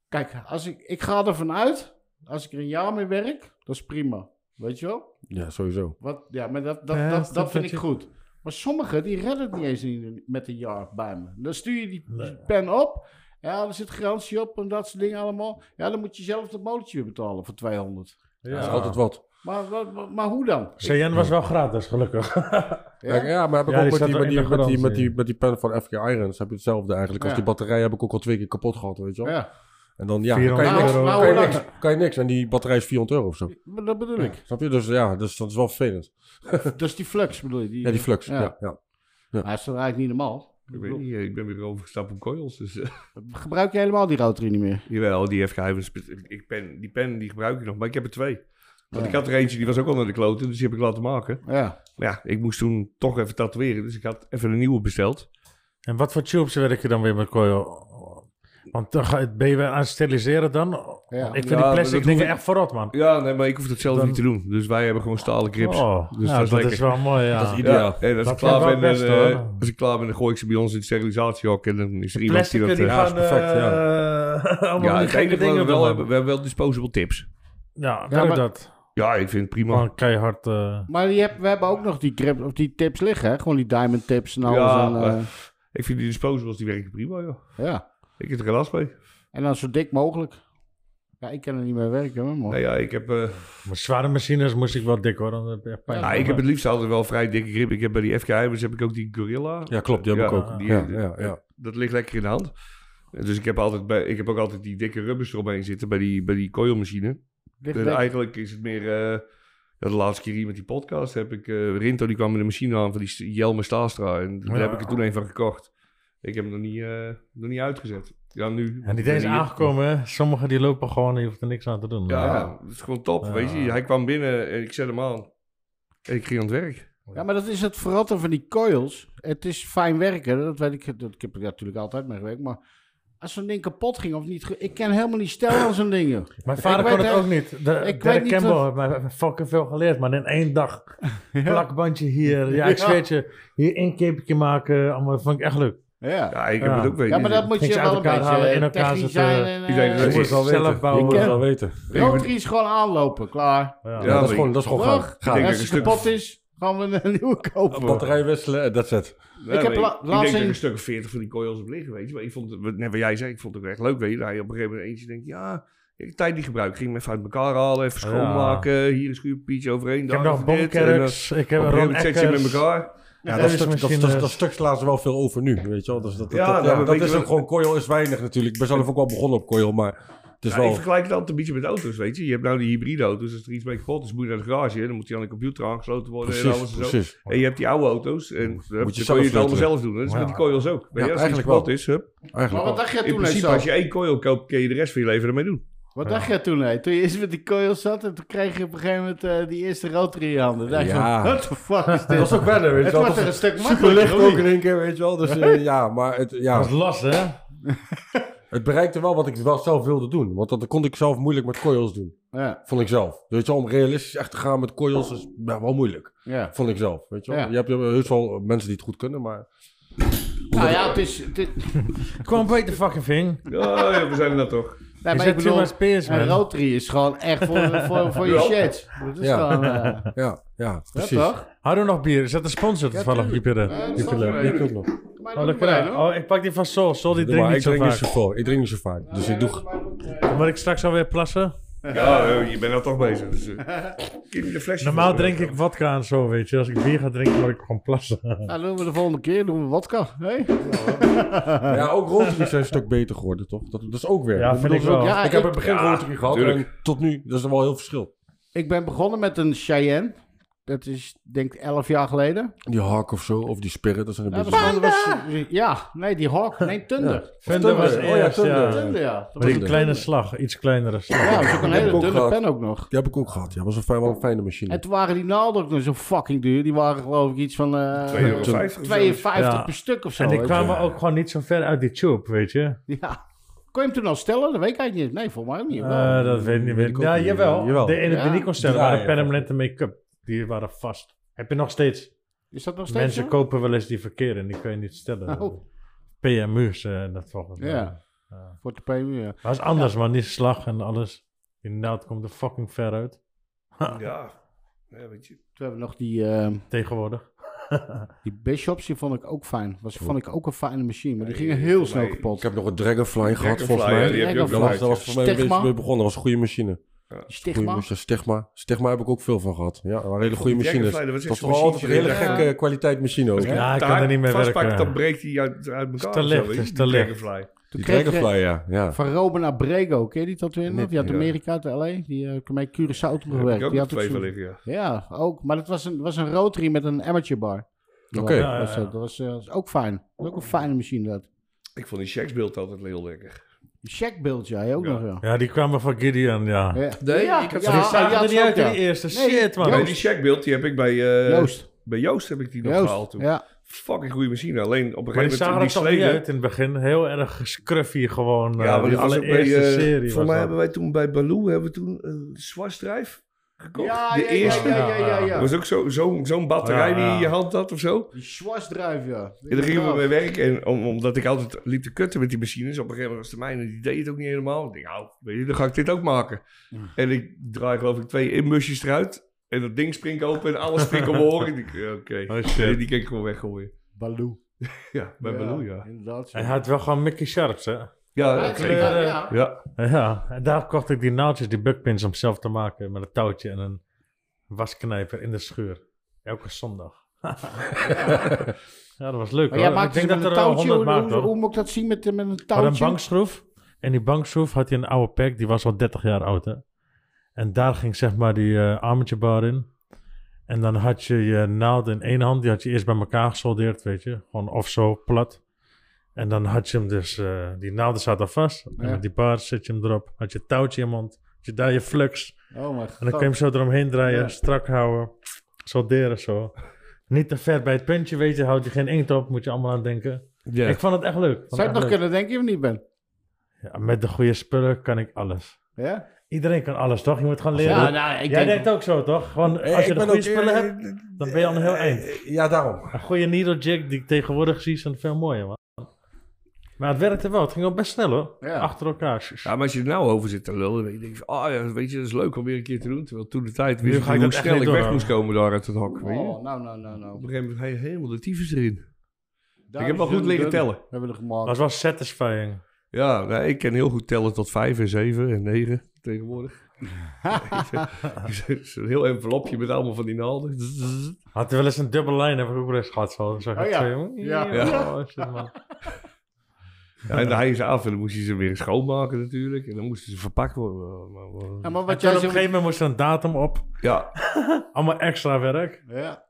Speaker 2: Kijk, als ik, ik ga ervan uit, als ik er een jaar mee werk, dat is prima. Weet je wel?
Speaker 4: Ja, sowieso.
Speaker 2: Wat, ja, maar dat, dat,
Speaker 1: Ja,
Speaker 2: dat,
Speaker 1: dat
Speaker 2: dat vind
Speaker 1: vind
Speaker 2: ik
Speaker 1: je-
Speaker 2: goed. Maar sommigen, die redden het niet eens in- met een jaar bij me. Dan stuur je die
Speaker 1: Nee.
Speaker 2: pen op. Ja, er zit garantie op en dat soort dingen allemaal. Ja, dan moet je zelf dat molletje weer betalen voor 200.
Speaker 4: Dat is altijd wat.
Speaker 2: Maar, wat- maar, maar hoe dan?
Speaker 1: CN was wel gratis, gelukkig.
Speaker 4: Ja, ja maar heb ik
Speaker 1: Ja,
Speaker 4: ook
Speaker 1: die
Speaker 4: met
Speaker 1: staat
Speaker 4: die,
Speaker 1: wel in
Speaker 4: met,
Speaker 1: de
Speaker 4: die, met, die,
Speaker 1: garantie.
Speaker 4: met, die, met die pen van FK Irons heb je hetzelfde eigenlijk. Als
Speaker 2: Ja.
Speaker 4: die batterij heb ik ook al twee keer kapot gehad, weet je wel.
Speaker 2: Ja,
Speaker 4: En dan, ja, dan kan je,
Speaker 1: 400
Speaker 4: niks,
Speaker 1: euro.
Speaker 2: Nou,
Speaker 4: kan, je
Speaker 2: hoe
Speaker 4: niks, kan je niks. En die batterij is 400 euro of zo.
Speaker 2: maar dat bedoel ik.
Speaker 4: Snap je? Dus ja, dus, dat is wel vervelend.
Speaker 2: Dat is die flux bedoel je?
Speaker 4: Ja, die flux.
Speaker 2: Ja.
Speaker 4: Ja, ja.
Speaker 2: Maar dat is toch eigenlijk niet normaal?
Speaker 3: Ik weet niet, eh, ik ben weer overgestapt op coils. Dus, eh,
Speaker 2: Gebruik je helemaal die rotary niet meer?
Speaker 3: jawel, die FK Ivers, ik pen, die pen die gebruik ik nog, maar ik heb er twee. Want
Speaker 2: Ja.
Speaker 3: ik had er eentje, die was ook al naar de kloten, dus die heb ik laten maken.
Speaker 2: Ja.
Speaker 3: Maar ja, ik moest toen toch even tatoeëren, dus ik had even een nieuwe besteld.
Speaker 1: En wat voor tubes werk je dan weer met coil? Want dan ga je, ben je weer aan het steriliseren dan?
Speaker 2: Ja.
Speaker 1: ik vind die
Speaker 3: Ja, maar
Speaker 1: plastic
Speaker 3: dat hoef
Speaker 1: dingen
Speaker 3: ik-
Speaker 1: echt verrot, man.
Speaker 3: Ja, nee, maar ik hoef dat zelf
Speaker 1: Dan-
Speaker 3: niet te doen. Dus wij hebben gewoon stalen grips.
Speaker 2: nou,
Speaker 1: Oh,
Speaker 3: Dus
Speaker 1: ja,
Speaker 3: dat
Speaker 1: dat,
Speaker 3: is
Speaker 1: is
Speaker 3: lekker.
Speaker 1: wel mooi, ja.
Speaker 4: Dat is ideaal.
Speaker 3: Ja, en als,
Speaker 1: Dat
Speaker 3: ik klaar
Speaker 1: vind ik
Speaker 3: ben,
Speaker 1: wel
Speaker 3: dan,
Speaker 1: best,
Speaker 3: eh,
Speaker 1: hoor.
Speaker 3: als ik klaar ben, dan gooi ik ze bij ons in het sterilisatiehok. En dan is er iemand die
Speaker 1: Plastic
Speaker 3: dat...
Speaker 1: die
Speaker 3: eh,
Speaker 4: ja, is
Speaker 1: gaan
Speaker 4: perfect, ja.
Speaker 1: eh, allemaal
Speaker 3: ja,
Speaker 1: die
Speaker 3: het enige
Speaker 1: gekke
Speaker 3: wat we
Speaker 1: dingen
Speaker 3: wel
Speaker 1: wel
Speaker 3: hebben, we hebben wel disposable tips.
Speaker 1: Ja,
Speaker 2: Ja,
Speaker 1: werk
Speaker 2: maar-
Speaker 1: dat.
Speaker 3: Ja, ik vind het prima.
Speaker 1: Gewoon keihard. eh,
Speaker 2: Maar je hebt, we hebben ook nog die, grip, of die tips liggen, hè? Gewoon die diamond tips en alles.
Speaker 3: Ja,
Speaker 2: en,
Speaker 3: maar-
Speaker 2: eh,
Speaker 3: Ik vind die disposables, die werken prima, joh.
Speaker 2: ja.
Speaker 3: Ik heb er geen last
Speaker 4: Oh.
Speaker 3: mee.
Speaker 2: En dan zo dik mogelijk. Ja, ik kan er niet mee werken, hoor, man.
Speaker 3: Nou ja, ik heb... eh,
Speaker 1: maar zware machines moest ik wel dik hoor. Dan heb je echt pijn.
Speaker 3: Nou, ik heb het liefst altijd wel vrij dikke grip. Ik heb bij die FK Hybrids dus heb ik ook die Gorilla.
Speaker 4: Ja, klopt. Die heb ik
Speaker 3: Ja,
Speaker 4: ook.
Speaker 3: die-
Speaker 4: ja, ja, ja.
Speaker 3: Dat ligt lekker in de hand. Dus ik heb, altijd bij, ik heb ook altijd die dikke rubbers eromheen zitten bij die, bij die coilmachine.
Speaker 2: Ligt
Speaker 3: En
Speaker 2: dik.
Speaker 3: eigenlijk is het meer... eh, ja, de laatste keer hier met die podcast heb ik... eh, Rinto die kwam met de machine aan van die S- Jelme Staastra. En daar
Speaker 1: Ja.
Speaker 3: heb ik er toen een van gekocht. Ik heb hem nog niet, eh, nog niet uitgezet. Ja, nu...
Speaker 1: En die deze
Speaker 3: Ja,
Speaker 1: aangekomen, hè. sommigen die lopen gewoon en je hoeft er niks aan te doen.
Speaker 3: Ja, dat is gewoon top,
Speaker 1: Ja.
Speaker 3: weet je. Hij kwam binnen en ik zet hem aan. En ik ging aan het werk.
Speaker 2: Ja, maar dat is het verratten van die coils. Het is fijn werken, dat weet ik. Dat, ik heb er natuurlijk altijd mee gewerkt, maar... Als zo'n ding kapot ging of niet... ge- Ik ken helemaal niet stellen aan zo'n dingen.
Speaker 1: Mijn vader
Speaker 2: Ik
Speaker 1: kon
Speaker 2: weet
Speaker 1: het
Speaker 2: echt-
Speaker 1: ook niet. De,
Speaker 2: ik
Speaker 1: ik
Speaker 2: weet
Speaker 1: Derek
Speaker 2: niet
Speaker 1: Campbell
Speaker 2: wat-
Speaker 1: heeft mij fucking veel geleerd, maar in één dag. Plakbandje hier, ja, ik
Speaker 2: Ja.
Speaker 1: zweer het je. Hier één keepje maken, allemaal, vond ik echt leuk.
Speaker 2: Ja,
Speaker 3: Ja, ik heb
Speaker 1: Ja.
Speaker 3: het ook weten.
Speaker 2: ja maar dat moet je
Speaker 1: Ging ze uit
Speaker 2: wel een
Speaker 1: elkaar
Speaker 2: beetje
Speaker 1: halen,
Speaker 2: eh,
Speaker 1: in elkaar
Speaker 2: technisch
Speaker 1: zetten.
Speaker 2: zijn. En,
Speaker 3: Ik denk dat
Speaker 2: eh,
Speaker 1: Je
Speaker 3: is-
Speaker 1: moet het wel
Speaker 4: Zelf
Speaker 1: weten.
Speaker 4: bouwen.
Speaker 2: Ik
Speaker 4: Je moet
Speaker 2: ken-
Speaker 4: het wel weten.
Speaker 2: Rotary is gewoon aanlopen, klaar.
Speaker 1: Ja.
Speaker 4: Ja, dat, is
Speaker 3: ik-
Speaker 4: gewoon, dat is gewoon
Speaker 2: Terug.
Speaker 4: gaan.
Speaker 3: Ik
Speaker 2: En
Speaker 3: denk
Speaker 2: als
Speaker 3: dat
Speaker 2: die
Speaker 3: ik een
Speaker 2: kapot is, gaan we een nieuwe kopen.
Speaker 4: Batterij wisselen, eh, dat zet.
Speaker 3: Nee,
Speaker 2: Ik heb
Speaker 3: maar
Speaker 2: la-
Speaker 3: ik,
Speaker 2: laatst
Speaker 3: denk dat
Speaker 2: een-
Speaker 3: ik een stuk of 40 van die coils op liggen, weet je. Maar ik vond, het- wat- net wat jij zei, ik vond het ook echt leuk, weet je. Dan je op een gegeven moment eentje denkt, ja, ik heb tijd niet gebruikt. Ik ging hem even uit elkaar halen, even
Speaker 1: Ja.
Speaker 3: schoonmaken. Hier een schuurpietje overheen,
Speaker 1: Ik
Speaker 3: daar
Speaker 1: heb nog
Speaker 3: even dit.
Speaker 1: Bonkerks, ik
Speaker 3: En,
Speaker 1: heb
Speaker 3: eh,
Speaker 1: een
Speaker 3: op een gegeven
Speaker 1: Ron
Speaker 3: moment zet je hem
Speaker 1: Eckers.
Speaker 3: met elkaar.
Speaker 4: Ja,
Speaker 1: Ja,
Speaker 4: dat,
Speaker 1: dus
Speaker 4: stuk, dat,
Speaker 1: misschien,
Speaker 4: dat,
Speaker 1: eh,
Speaker 4: dat stuk slaan ze wel veel over nu, weet je wel. Dus dat, dat,
Speaker 3: Ja,
Speaker 4: dat-
Speaker 3: nou,
Speaker 4: dat
Speaker 3: weet je
Speaker 4: is ook
Speaker 3: wat-
Speaker 4: gewoon, coil is weinig natuurlijk. Ik ben zelf ook wel begonnen op coil, maar Het is
Speaker 3: Ja,
Speaker 4: wel...
Speaker 3: Ik vergelijk het altijd een beetje met auto's, weet je. Je hebt nou die hybride auto's. Als er iets mee kapot is, moet je naar de garage. Dan moet die aan de computer aangesloten worden en alles
Speaker 4: Precies,
Speaker 3: en zo.
Speaker 4: precies.
Speaker 3: En je hebt die oude auto's en hup, dan
Speaker 4: zelf
Speaker 3: kon je het
Speaker 4: filteren.
Speaker 3: allemaal zelf doen. hè. Dat is met die coils ook. Weet je, als er iets
Speaker 4: eigenlijk wel.
Speaker 3: kapot is, hup.
Speaker 2: Maar
Speaker 4: Eigenlijk
Speaker 2: wat
Speaker 4: wel.
Speaker 2: dacht jij
Speaker 3: In
Speaker 2: toen,
Speaker 3: principe,
Speaker 2: Zo?
Speaker 3: als je één coil koopt, kun je de rest van je leven ermee doen.
Speaker 2: Wat dacht jij toen, hè? Toen je eerst met die coil zat en toen kreeg je op een gegeven moment eh, die eerste rotor in je handen. Dacht je
Speaker 4: Ja.
Speaker 2: van, what the fuck is
Speaker 4: Dat
Speaker 2: dit?
Speaker 4: was ook verder, weet je
Speaker 2: Het
Speaker 4: wel.
Speaker 2: wordt
Speaker 4: Dat
Speaker 2: er een
Speaker 4: was
Speaker 2: stuk
Speaker 4: Super licht
Speaker 2: makkelijker,
Speaker 4: ook
Speaker 2: ook
Speaker 4: in één keer, weet je wel. Dus eh, ja, maar het,
Speaker 1: Dat
Speaker 4: ja,
Speaker 1: is last, hè?
Speaker 4: het bereikte wel wat ik wel zelf wilde doen. Want dat kon ik zelf moeilijk met coils doen.
Speaker 2: Ja,
Speaker 4: Vond ik zelf. Weet je wel, om realistisch echt te gaan met coils is ja, wel moeilijk.
Speaker 2: ja.
Speaker 4: Vond ik zelf, weet je wel.
Speaker 2: Ja.
Speaker 4: Je hebt eh, heus wel mensen die het goed kunnen, maar...
Speaker 2: Nou ja, het is... Het is
Speaker 1: Gewoon break the fucking thing.
Speaker 3: Oh, ja, we zijn er nou toch.
Speaker 2: nee,
Speaker 1: Is
Speaker 2: maar ik
Speaker 1: dat too
Speaker 2: bedoel,
Speaker 1: much peers,
Speaker 2: een
Speaker 1: man?
Speaker 2: rotary is gewoon echt voor, voor, voor je
Speaker 3: Ja.
Speaker 2: shit. Dat is
Speaker 4: Ja.
Speaker 2: gewoon... eh,
Speaker 4: Ja, ja,
Speaker 2: ja,
Speaker 4: precies.
Speaker 2: toch?
Speaker 1: Hadden we nog bier? Is dat een sponsor toevallig?
Speaker 2: tuurlijk.
Speaker 1: Jupiter.
Speaker 2: Ja, dat
Speaker 1: Jupiter.
Speaker 2: staat er
Speaker 4: Ja, ik ook nog.
Speaker 2: Kom maar
Speaker 1: Oh,
Speaker 2: nog
Speaker 1: lekker.
Speaker 2: maar een, hoor.
Speaker 1: Oh, ik pak die van Sol. Sol die
Speaker 4: Doe
Speaker 1: drinkt
Speaker 4: maar, ik
Speaker 1: niet zo
Speaker 4: drink niet
Speaker 1: vaak.
Speaker 4: zo vaak. Ik drink niet zo vaak. Dus ik doe...
Speaker 1: Moet ik straks alweer plassen?
Speaker 3: Ja, eh, je bent nou toch bezig. Dus, eh, geef me de flesje
Speaker 1: Normaal
Speaker 3: voor, eh,
Speaker 1: drink ik vodka en zo, weet je. Als ik bier ga drinken, moet ik gewoon plassen.
Speaker 2: Nou, doen we de volgende keer, doen we wodka. Hey?
Speaker 4: Ja, ook rotaries zijn een stuk beter geworden, toch? Dat, dat is ook weer.
Speaker 1: Ja,
Speaker 4: Ik
Speaker 1: vind
Speaker 4: bedoel,
Speaker 1: ik wel.
Speaker 4: ook-
Speaker 2: Ja,
Speaker 4: ik heb
Speaker 2: ik-
Speaker 4: in het begin rotary gehad
Speaker 3: tuurlijk.
Speaker 4: en tot nu. Dat is er wel heel verschil.
Speaker 2: Ik ben begonnen met een Cheyenne. Dat is denk ik 11 jaar geleden.
Speaker 4: Die hak of zo, of die spirit, dat zijn een
Speaker 2: Ja,
Speaker 4: beetje...
Speaker 2: dat was, was- ja nee, die Hawk. Nee, Thunder.
Speaker 1: Thunder was
Speaker 4: Thunder. Oh ja,
Speaker 1: eerst,
Speaker 4: Thunder.
Speaker 1: ja.
Speaker 2: Thunder, ja. Dat
Speaker 1: Met
Speaker 2: was
Speaker 1: een kleine slag. Iets kleinere slag.
Speaker 2: Ja, dat was ook een
Speaker 4: heb ik
Speaker 2: hele
Speaker 4: ook
Speaker 2: dunne
Speaker 4: gehad.
Speaker 2: pen ook nog.
Speaker 4: Die heb ik ook gehad. Ja, was een fijn, wel een fijne
Speaker 2: En
Speaker 4: machine.
Speaker 2: toen waren die naalden ook nog zo fucking duur. Die waren geloof ik iets van eh,
Speaker 3: 2,50 euro. of zo.
Speaker 2: 52
Speaker 1: Ja.
Speaker 2: per stuk of zo.
Speaker 1: En die
Speaker 2: weet
Speaker 1: kwamen ook gewoon niet zo ver uit die tube, weet je.
Speaker 2: je. Ja. Kon je hem toen al stellen? Dat weet ik eigenlijk niet. Nee, volgens mij ook niet.
Speaker 1: Eh, dat weet ik niet
Speaker 4: Weet
Speaker 1: meer.
Speaker 4: ik ook
Speaker 1: Ja,
Speaker 4: niet.
Speaker 1: jawel.
Speaker 4: Jawel.
Speaker 1: De ene
Speaker 2: Ja.
Speaker 1: die niet kon stellen
Speaker 4: Draaien.
Speaker 1: waren permanente make-up. Die waren vast. Heb je nog steeds.
Speaker 2: is dat nog steeds
Speaker 1: Mensen
Speaker 2: zo?
Speaker 1: kopen wel eens die verkeer en die kun je niet stellen.
Speaker 2: Oh.
Speaker 1: PMU's, eh, dat volgens mij.
Speaker 2: Ja. Voor de PMU, ja.
Speaker 1: Maar het is anders, man. Die slag en alles. Die naald komt er fucking ver uit.
Speaker 3: Ja. ja, weet je.
Speaker 2: Toen hebben we nog die, eh
Speaker 1: Tegenwoordig.
Speaker 2: die Bishops. Die vond ik ook fijn. Was, vond ik ook een fijne machine. Maar die gingen heel snel
Speaker 3: mij-
Speaker 2: kapot.
Speaker 4: Ik heb nog een Dragonfly gehad,
Speaker 3: Dragonfly,
Speaker 4: volgens
Speaker 3: ja,
Speaker 4: mij.
Speaker 3: die heb je ook
Speaker 4: Dat was, dat
Speaker 3: gehad.
Speaker 4: was voor mij een beetje
Speaker 2: Stigma.
Speaker 4: mee begonnen. Dat was een goede machine. Goeie
Speaker 2: Stigma.
Speaker 4: machine. Stigma. Stigma heb ik ook veel van gehad. Ja, dat waren hele goede
Speaker 3: Die
Speaker 4: machines.
Speaker 3: Dragonfly, dat was
Speaker 4: Dat was
Speaker 3: echt
Speaker 4: toch
Speaker 3: zo'n
Speaker 4: altijd een hele
Speaker 3: machientje.
Speaker 4: gekke kwaliteit machine ook. hè?
Speaker 1: Ja, ik kan er niet mee werken.
Speaker 3: Vastpakt, dan breekt hij uit, uit elkaar.
Speaker 1: te
Speaker 3: of zo,
Speaker 1: licht,
Speaker 3: weet je.
Speaker 1: is te
Speaker 3: Die
Speaker 1: licht.
Speaker 3: Dragonfly.
Speaker 4: Die
Speaker 2: kreeg je-
Speaker 4: Dragonfly, ja. ja.
Speaker 2: Van Robin Abrego, ken je die tatoeëerder?
Speaker 4: Nee,
Speaker 2: die had
Speaker 3: ja.
Speaker 2: Amerika uit LA, die eh mij Curaçao toen
Speaker 3: Daar heb
Speaker 2: gewerkt.
Speaker 3: ik ook nog
Speaker 2: die had
Speaker 3: twee van
Speaker 2: zo'n-
Speaker 3: liggen, ja.
Speaker 2: Ja, ook. Maar dat was een, was een rotary met een amateur bar.
Speaker 4: Oké.
Speaker 1: Ja,
Speaker 2: Was dat. Dat was, eh, was ook fijn. Dat was ook een fijne machine dat.
Speaker 3: Ik vond die Shaxbeeld altijd heel lekker.
Speaker 2: Check build jij ook
Speaker 3: Ja.
Speaker 2: nog, ja.
Speaker 1: Ja, die kwamen van Gideon, ja.
Speaker 2: Ja.
Speaker 3: Nee,
Speaker 2: ja,
Speaker 3: ik had-
Speaker 1: Die zagen
Speaker 2: ja,
Speaker 1: er niet
Speaker 2: ja,
Speaker 1: uit in
Speaker 2: ja.
Speaker 1: die eerste.
Speaker 2: Nee,
Speaker 1: Shit, man.
Speaker 3: Nee, die Shaxbeeld die heb ik bij, eh,
Speaker 2: Joost.
Speaker 3: bij Joost heb ik die nog gehaald
Speaker 2: Joost.
Speaker 3: toen.
Speaker 2: Ja.
Speaker 3: Fucking goede machine. Alleen op een
Speaker 1: Maar die
Speaker 3: gegeven
Speaker 1: zagen er
Speaker 3: moment
Speaker 1: toch
Speaker 3: toen die
Speaker 1: niet
Speaker 3: sleden...
Speaker 1: uit in het begin. Heel erg scruffy gewoon. eh,
Speaker 3: Ja, maar
Speaker 1: die
Speaker 3: dat was ook bij,
Speaker 1: allereerste
Speaker 3: eh,
Speaker 1: serie was
Speaker 3: Voor mij
Speaker 1: dat.
Speaker 3: hebben wij toen bij Baloo hebben we toen een zwarsdrijf gekocht.
Speaker 2: Ja,
Speaker 3: de
Speaker 2: ja,
Speaker 3: eerste.
Speaker 2: ja, ja, ja, ja, ja.
Speaker 3: Dat was ook zo- zo'n zo'n batterij
Speaker 1: Ja,
Speaker 3: die
Speaker 1: ja.
Speaker 3: in je hand had of zo.
Speaker 2: Die schwarsdruif, ja.
Speaker 3: En daar gingen we mee werken. En om, omdat ik altijd liep te kutten met die machines. Op een gegeven moment was de mijne. Die deed het ook niet helemaal. Ik denk, nou, weet je, dan ga ik dit ook maken. En ik draai geloof ik twee inbusjes eruit. En dat ding springt open en alles springt omhoog. Ik denk, ja, oké.
Speaker 1: Oh, shit.
Speaker 3: Nee, die kan ik gewoon weggooien.
Speaker 2: Baloo.
Speaker 3: Ja, bij Baloo, ja.
Speaker 2: Inderdaad.
Speaker 1: Hij
Speaker 2: Ja.
Speaker 1: had eh, wel gewoon Mickey Sharps, hè.
Speaker 3: Ja,
Speaker 2: Ja,
Speaker 3: dat zeker.
Speaker 1: ja.
Speaker 2: ja.
Speaker 3: Ja,
Speaker 1: Ja, en daar kocht ik die naaldjes, die bugpins om zelf te maken. Met een touwtje en een wasknijper in de schuur. Elke zondag. ja, dat was leuk
Speaker 2: Maar
Speaker 1: hoor.
Speaker 2: jij maakt
Speaker 1: ik denk
Speaker 2: dus
Speaker 1: dat er
Speaker 2: met een
Speaker 1: wel
Speaker 2: touwtje.
Speaker 1: 100
Speaker 2: Hoe,
Speaker 1: maakt
Speaker 2: hoe,
Speaker 1: hoor.
Speaker 2: hoe moet ik dat zien met, met een
Speaker 1: Had een
Speaker 2: touwtje?
Speaker 1: bankschroef. En die bankschroef had hij een oude pack, die was al 30 jaar oud hè. En daar ging zeg maar die eh armetje bar in. En dan had je je naald in één hand, die had je eerst bij elkaar gesoldeerd, weet je. Gewoon of zo, plat. En dan had je hem dus, eh, die naalden zaten vast. En
Speaker 2: Ja.
Speaker 1: met die bar zet je hem erop. Had je touwtje in je mond, had je daar je flux.
Speaker 2: Oh mijn
Speaker 1: En dan kun
Speaker 2: god.
Speaker 1: je hem zo eromheen draaien,
Speaker 2: Ja.
Speaker 1: strak houden, solderen zo. Niet te ver bij het puntje, weet je, houdt je geen inkt op, moet je allemaal aan denken. Ik vond het echt leuk. vond
Speaker 2: Zou je het
Speaker 1: echt
Speaker 2: nog
Speaker 1: leuk.
Speaker 2: kunnen denken of niet, Ben?
Speaker 1: Ja, met de goede spullen kan ik alles.
Speaker 2: Ja?
Speaker 1: Iedereen kan alles, toch? Je moet gewoon leren.
Speaker 2: Ja, nou, ik
Speaker 1: Jij
Speaker 2: denk...
Speaker 1: denkt ook zo, toch? Gewoon,
Speaker 2: Eh,
Speaker 1: als je de goede spullen hebt,
Speaker 3: eh,
Speaker 1: dan ben je al een heel eind.
Speaker 4: Ja, daarom.
Speaker 1: Een goede needle jig die ik tegenwoordig zie, zijn veel mooier, man. Maar het werkte wel. Het ging ook best snel, hoor.
Speaker 2: Ja.
Speaker 1: Achter elkaar.
Speaker 3: maar als je er nou over zit te lullen, dan denk je van, ah ja, weet je, dat is leuk om weer een keer te doen. Terwijl toen de tijd
Speaker 1: Nu
Speaker 3: wist
Speaker 1: ga
Speaker 3: ik
Speaker 1: ik
Speaker 3: hoe
Speaker 1: dat echt
Speaker 3: snel
Speaker 1: niet
Speaker 3: ik weg
Speaker 1: doen,
Speaker 3: moest komen daar uit het hok. Weet je?
Speaker 2: Oh, nou, nou, nou, nou.
Speaker 3: Op een gegeven moment ga je helemaal de tyfus erin.
Speaker 2: Daar
Speaker 3: ik heb wel
Speaker 2: is
Speaker 3: goed
Speaker 2: een
Speaker 3: leren
Speaker 2: dun.
Speaker 3: tellen.
Speaker 2: We hebben er
Speaker 1: Dat
Speaker 2: gemaakt.
Speaker 1: was wel satisfying.
Speaker 3: Ja, nou, ik ken heel goed tellen tot vijf en zeven en negen tegenwoordig. Zo'n heel envelopje met allemaal van die naalden.
Speaker 1: Had er wel eens een dubbele lijn, heb ik ook wel eens gehad. Zo. Dan zag ik
Speaker 2: Oh ja.
Speaker 1: twee,
Speaker 2: Ja.
Speaker 1: oh, shit, man.
Speaker 3: En dan haaien ze af en dan moest je ze weer schoonmaken natuurlijk. En dan moesten ze verpakt worden. Maar- maar-
Speaker 2: Ja, maar
Speaker 1: Want
Speaker 2: wat
Speaker 1: toen
Speaker 2: jij
Speaker 1: op een
Speaker 2: zo...
Speaker 1: gegeven moment moest er een datum op.
Speaker 3: Ja,
Speaker 1: Allemaal extra werk.
Speaker 2: Ja.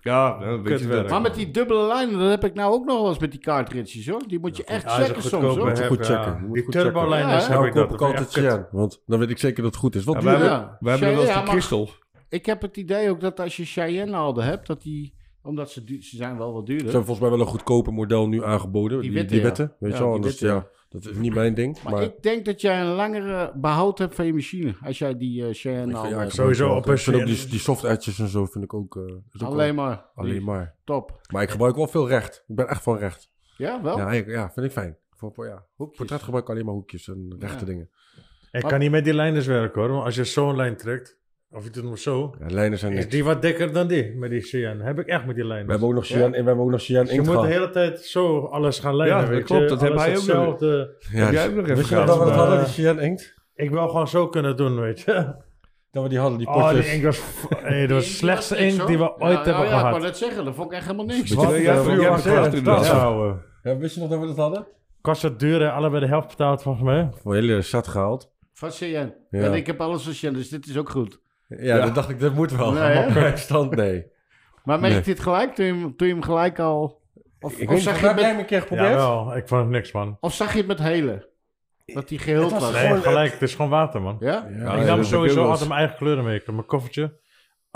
Speaker 3: ja, nou, dan weet je
Speaker 1: Kutwerk.
Speaker 3: dat.
Speaker 2: Maar met die dubbele lijnen, dat heb ik nou ook nog wel eens met die cartridges, hoor. Die moet je echt
Speaker 1: Ja,
Speaker 2: checken soms, hoor.
Speaker 4: Moet je goed checken, moet je
Speaker 1: Die
Speaker 4: goed checken.
Speaker 1: turbolijners
Speaker 2: Ja, hè?
Speaker 1: heb
Speaker 4: Nou
Speaker 1: ik dat.
Speaker 4: koop ik
Speaker 1: dat vind echt
Speaker 4: altijd
Speaker 1: kut.
Speaker 4: Cyan, want dan weet ik zeker dat het goed is. Wat
Speaker 3: Ja,
Speaker 4: duur,
Speaker 3: wij
Speaker 4: hè?
Speaker 3: hebben,
Speaker 2: Ja.
Speaker 3: wij hebben dat
Speaker 2: Ja,
Speaker 3: als de
Speaker 2: maar-
Speaker 3: kristal.
Speaker 2: Ik heb het idee ook dat als je Cheyenne haalde hebt, dat die... Omdat ze, duur- ze zijn wel wat
Speaker 4: Ze
Speaker 2: duurder.
Speaker 4: hebben volgens mij wel een goedkoper model nu aangeboden.
Speaker 2: Die
Speaker 4: Die,
Speaker 2: witte,
Speaker 4: die
Speaker 2: ja.
Speaker 4: wetten, weet
Speaker 2: Ja,
Speaker 4: je wel.
Speaker 2: die
Speaker 4: Dus
Speaker 2: witte,
Speaker 4: ja, dat is niet mijn ding.
Speaker 2: Maar,
Speaker 4: Maar,
Speaker 2: ik denk dat jij een langere behoud hebt van je machine. Als jij die eh Cheyenne
Speaker 4: ja,
Speaker 2: haalt.
Speaker 4: ik heb
Speaker 1: sowieso
Speaker 4: ook wel-
Speaker 1: op een
Speaker 4: ik vind ook
Speaker 1: Cyan.
Speaker 4: die, die soft edges en zo vind ik ook... eh, is ook
Speaker 2: Alleen
Speaker 4: wel-
Speaker 2: maar.
Speaker 4: alleen maar.
Speaker 2: Top.
Speaker 4: Maar ik gebruik wel veel recht. Ik ben echt van recht.
Speaker 2: Ja, wel?
Speaker 4: Ja, ik- ja vind ik fijn. Voor, voor, ja.
Speaker 2: Oh. Hoekjes.
Speaker 4: Portret gebruik ik alleen maar hoekjes en rechte
Speaker 2: Ja.
Speaker 4: dingen.
Speaker 1: Ik kan niet met die lijners werken hoor. Want als je zo'n lijn trekt, of je doet hem zo,
Speaker 4: Ja, lijnen zijn
Speaker 1: is
Speaker 4: niks.
Speaker 1: die wat dikker dan die met die Cyan. Heb ik echt met die
Speaker 4: We
Speaker 1: lijners. Dus
Speaker 4: hebben ook nog Cyan, en we hebben ook nog Cyan
Speaker 1: je
Speaker 4: inkt
Speaker 1: moet de
Speaker 4: gehad.
Speaker 1: hele tijd zo alles gaan lijnen.
Speaker 3: Ja, dat
Speaker 1: weet je.
Speaker 3: klopt, dat heb
Speaker 1: Alles
Speaker 3: hij ook nog.
Speaker 1: hetzelfde.
Speaker 4: Ja,
Speaker 3: Heb jij ook nog even
Speaker 4: Weet je wat
Speaker 3: gehad?
Speaker 4: we dat
Speaker 1: maar-
Speaker 4: hadden, die Cyan inkt?
Speaker 1: Ik wil gewoon zo kunnen doen, weet je.
Speaker 4: Dat we die hadden, die
Speaker 1: Oh,
Speaker 4: potjes.
Speaker 1: die inkt was, f- hey, dat was de slechtste inkt die we ooit
Speaker 2: ja,
Speaker 1: hebben
Speaker 2: ja, ik
Speaker 1: gehad.
Speaker 2: wou net zeggen, dat vond ik echt helemaal niks.
Speaker 4: Wat?
Speaker 1: Wat
Speaker 3: Ja,
Speaker 1: een
Speaker 3: vroeger was het echt
Speaker 1: wakker
Speaker 3: toen dat.
Speaker 1: tas houden.
Speaker 4: Ja, wist je nog dat we dat hadden?
Speaker 1: eh, Kost het duur, hè? allebei de helft betaald volgens mij.
Speaker 4: Voor hele zat gehaald.
Speaker 2: Van Cheyenne.
Speaker 4: Ja.
Speaker 2: En ik heb alles van Cheyenne, dus dit is ook goed.
Speaker 4: Ja, dan dacht ik, dat moet wel.
Speaker 2: Nee, hè?
Speaker 4: maar per stand, nee.
Speaker 2: Maar merk je
Speaker 4: Nee.
Speaker 2: dit gelijk? Toen je, hem- toen je hem gelijk al... Of,
Speaker 4: Ik
Speaker 2: of,
Speaker 4: weet niet,
Speaker 2: zag
Speaker 4: heb
Speaker 2: je het
Speaker 4: jij
Speaker 2: met,
Speaker 4: hem een keer geprobeerd?
Speaker 1: Jawel, ik vond het niks, man.
Speaker 2: of zag je het met hele? Dat die gehuld
Speaker 4: Het
Speaker 2: was.
Speaker 4: was
Speaker 1: Nee,
Speaker 4: Gewoon,
Speaker 1: gelijk, het is gewoon water, man.
Speaker 2: Ja?
Speaker 4: Ja, dus
Speaker 1: ik
Speaker 4: ja,
Speaker 1: nam
Speaker 4: dat-
Speaker 1: sowieso
Speaker 3: ook wel
Speaker 1: altijd mijn eigen kleuren mee. Ik nam mijn koffertje,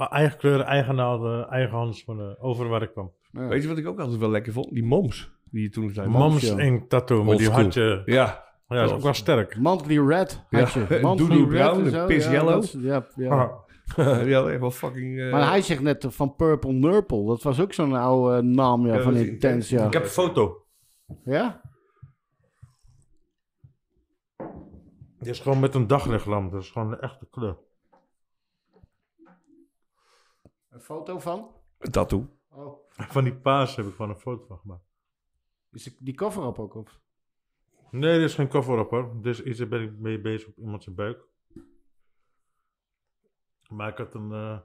Speaker 1: a- eigen kleuren, eigen naalden, eigen handschoenen, over waar ik kwam.
Speaker 2: Ja.
Speaker 3: Weet je wat ik ook altijd wel lekker vond? Die moms. Die je toen zei.
Speaker 1: Moms
Speaker 2: ja.
Speaker 1: ink tattoo, maar
Speaker 4: Old
Speaker 1: die
Speaker 4: school.
Speaker 1: had je.
Speaker 3: Ja.
Speaker 1: Ja, is ook wel sterk.
Speaker 2: Monthly Red had
Speaker 3: Ja,
Speaker 2: je.
Speaker 3: en
Speaker 2: Monthly
Speaker 3: Doody
Speaker 2: Red
Speaker 3: Brown
Speaker 2: en
Speaker 3: en
Speaker 2: zo,
Speaker 3: Piss
Speaker 2: ja,
Speaker 3: Yellow.
Speaker 2: dat is- ja, ja.
Speaker 1: Ah.
Speaker 3: Die hadden echt wel fucking... eh,
Speaker 2: Maar hij zegt net eh, van Purple Nurple. Dat was ook zo'n oude eh, naam ja,
Speaker 3: Ja,
Speaker 2: van
Speaker 3: dat is
Speaker 2: Intense. Ja.
Speaker 3: Intense.
Speaker 1: heb een foto.
Speaker 2: ja?
Speaker 1: Die is gewoon met een daglichtlamp, dat is gewoon de echte kleur.
Speaker 2: Een foto van?
Speaker 3: Een tattoo.
Speaker 2: Oh.
Speaker 1: Van die paas heb ik van een foto van gemaakt.
Speaker 2: Is die- die cover op ook op?
Speaker 1: Nee, er is geen cover op hoor. Dus iets daar ben ik mee bezig op iemand zijn buik. Maar ik had een. eh,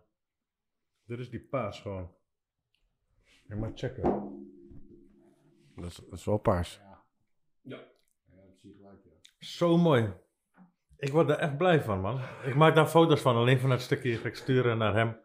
Speaker 1: dit is die paas gewoon. Ik moet checken.
Speaker 4: dat, is, dat is wel paars.
Speaker 1: Zo mooi. Ik word daar echt blij van, man. Ik maak daar foto's van, alleen van dat stukje ga ik sturen naar hem.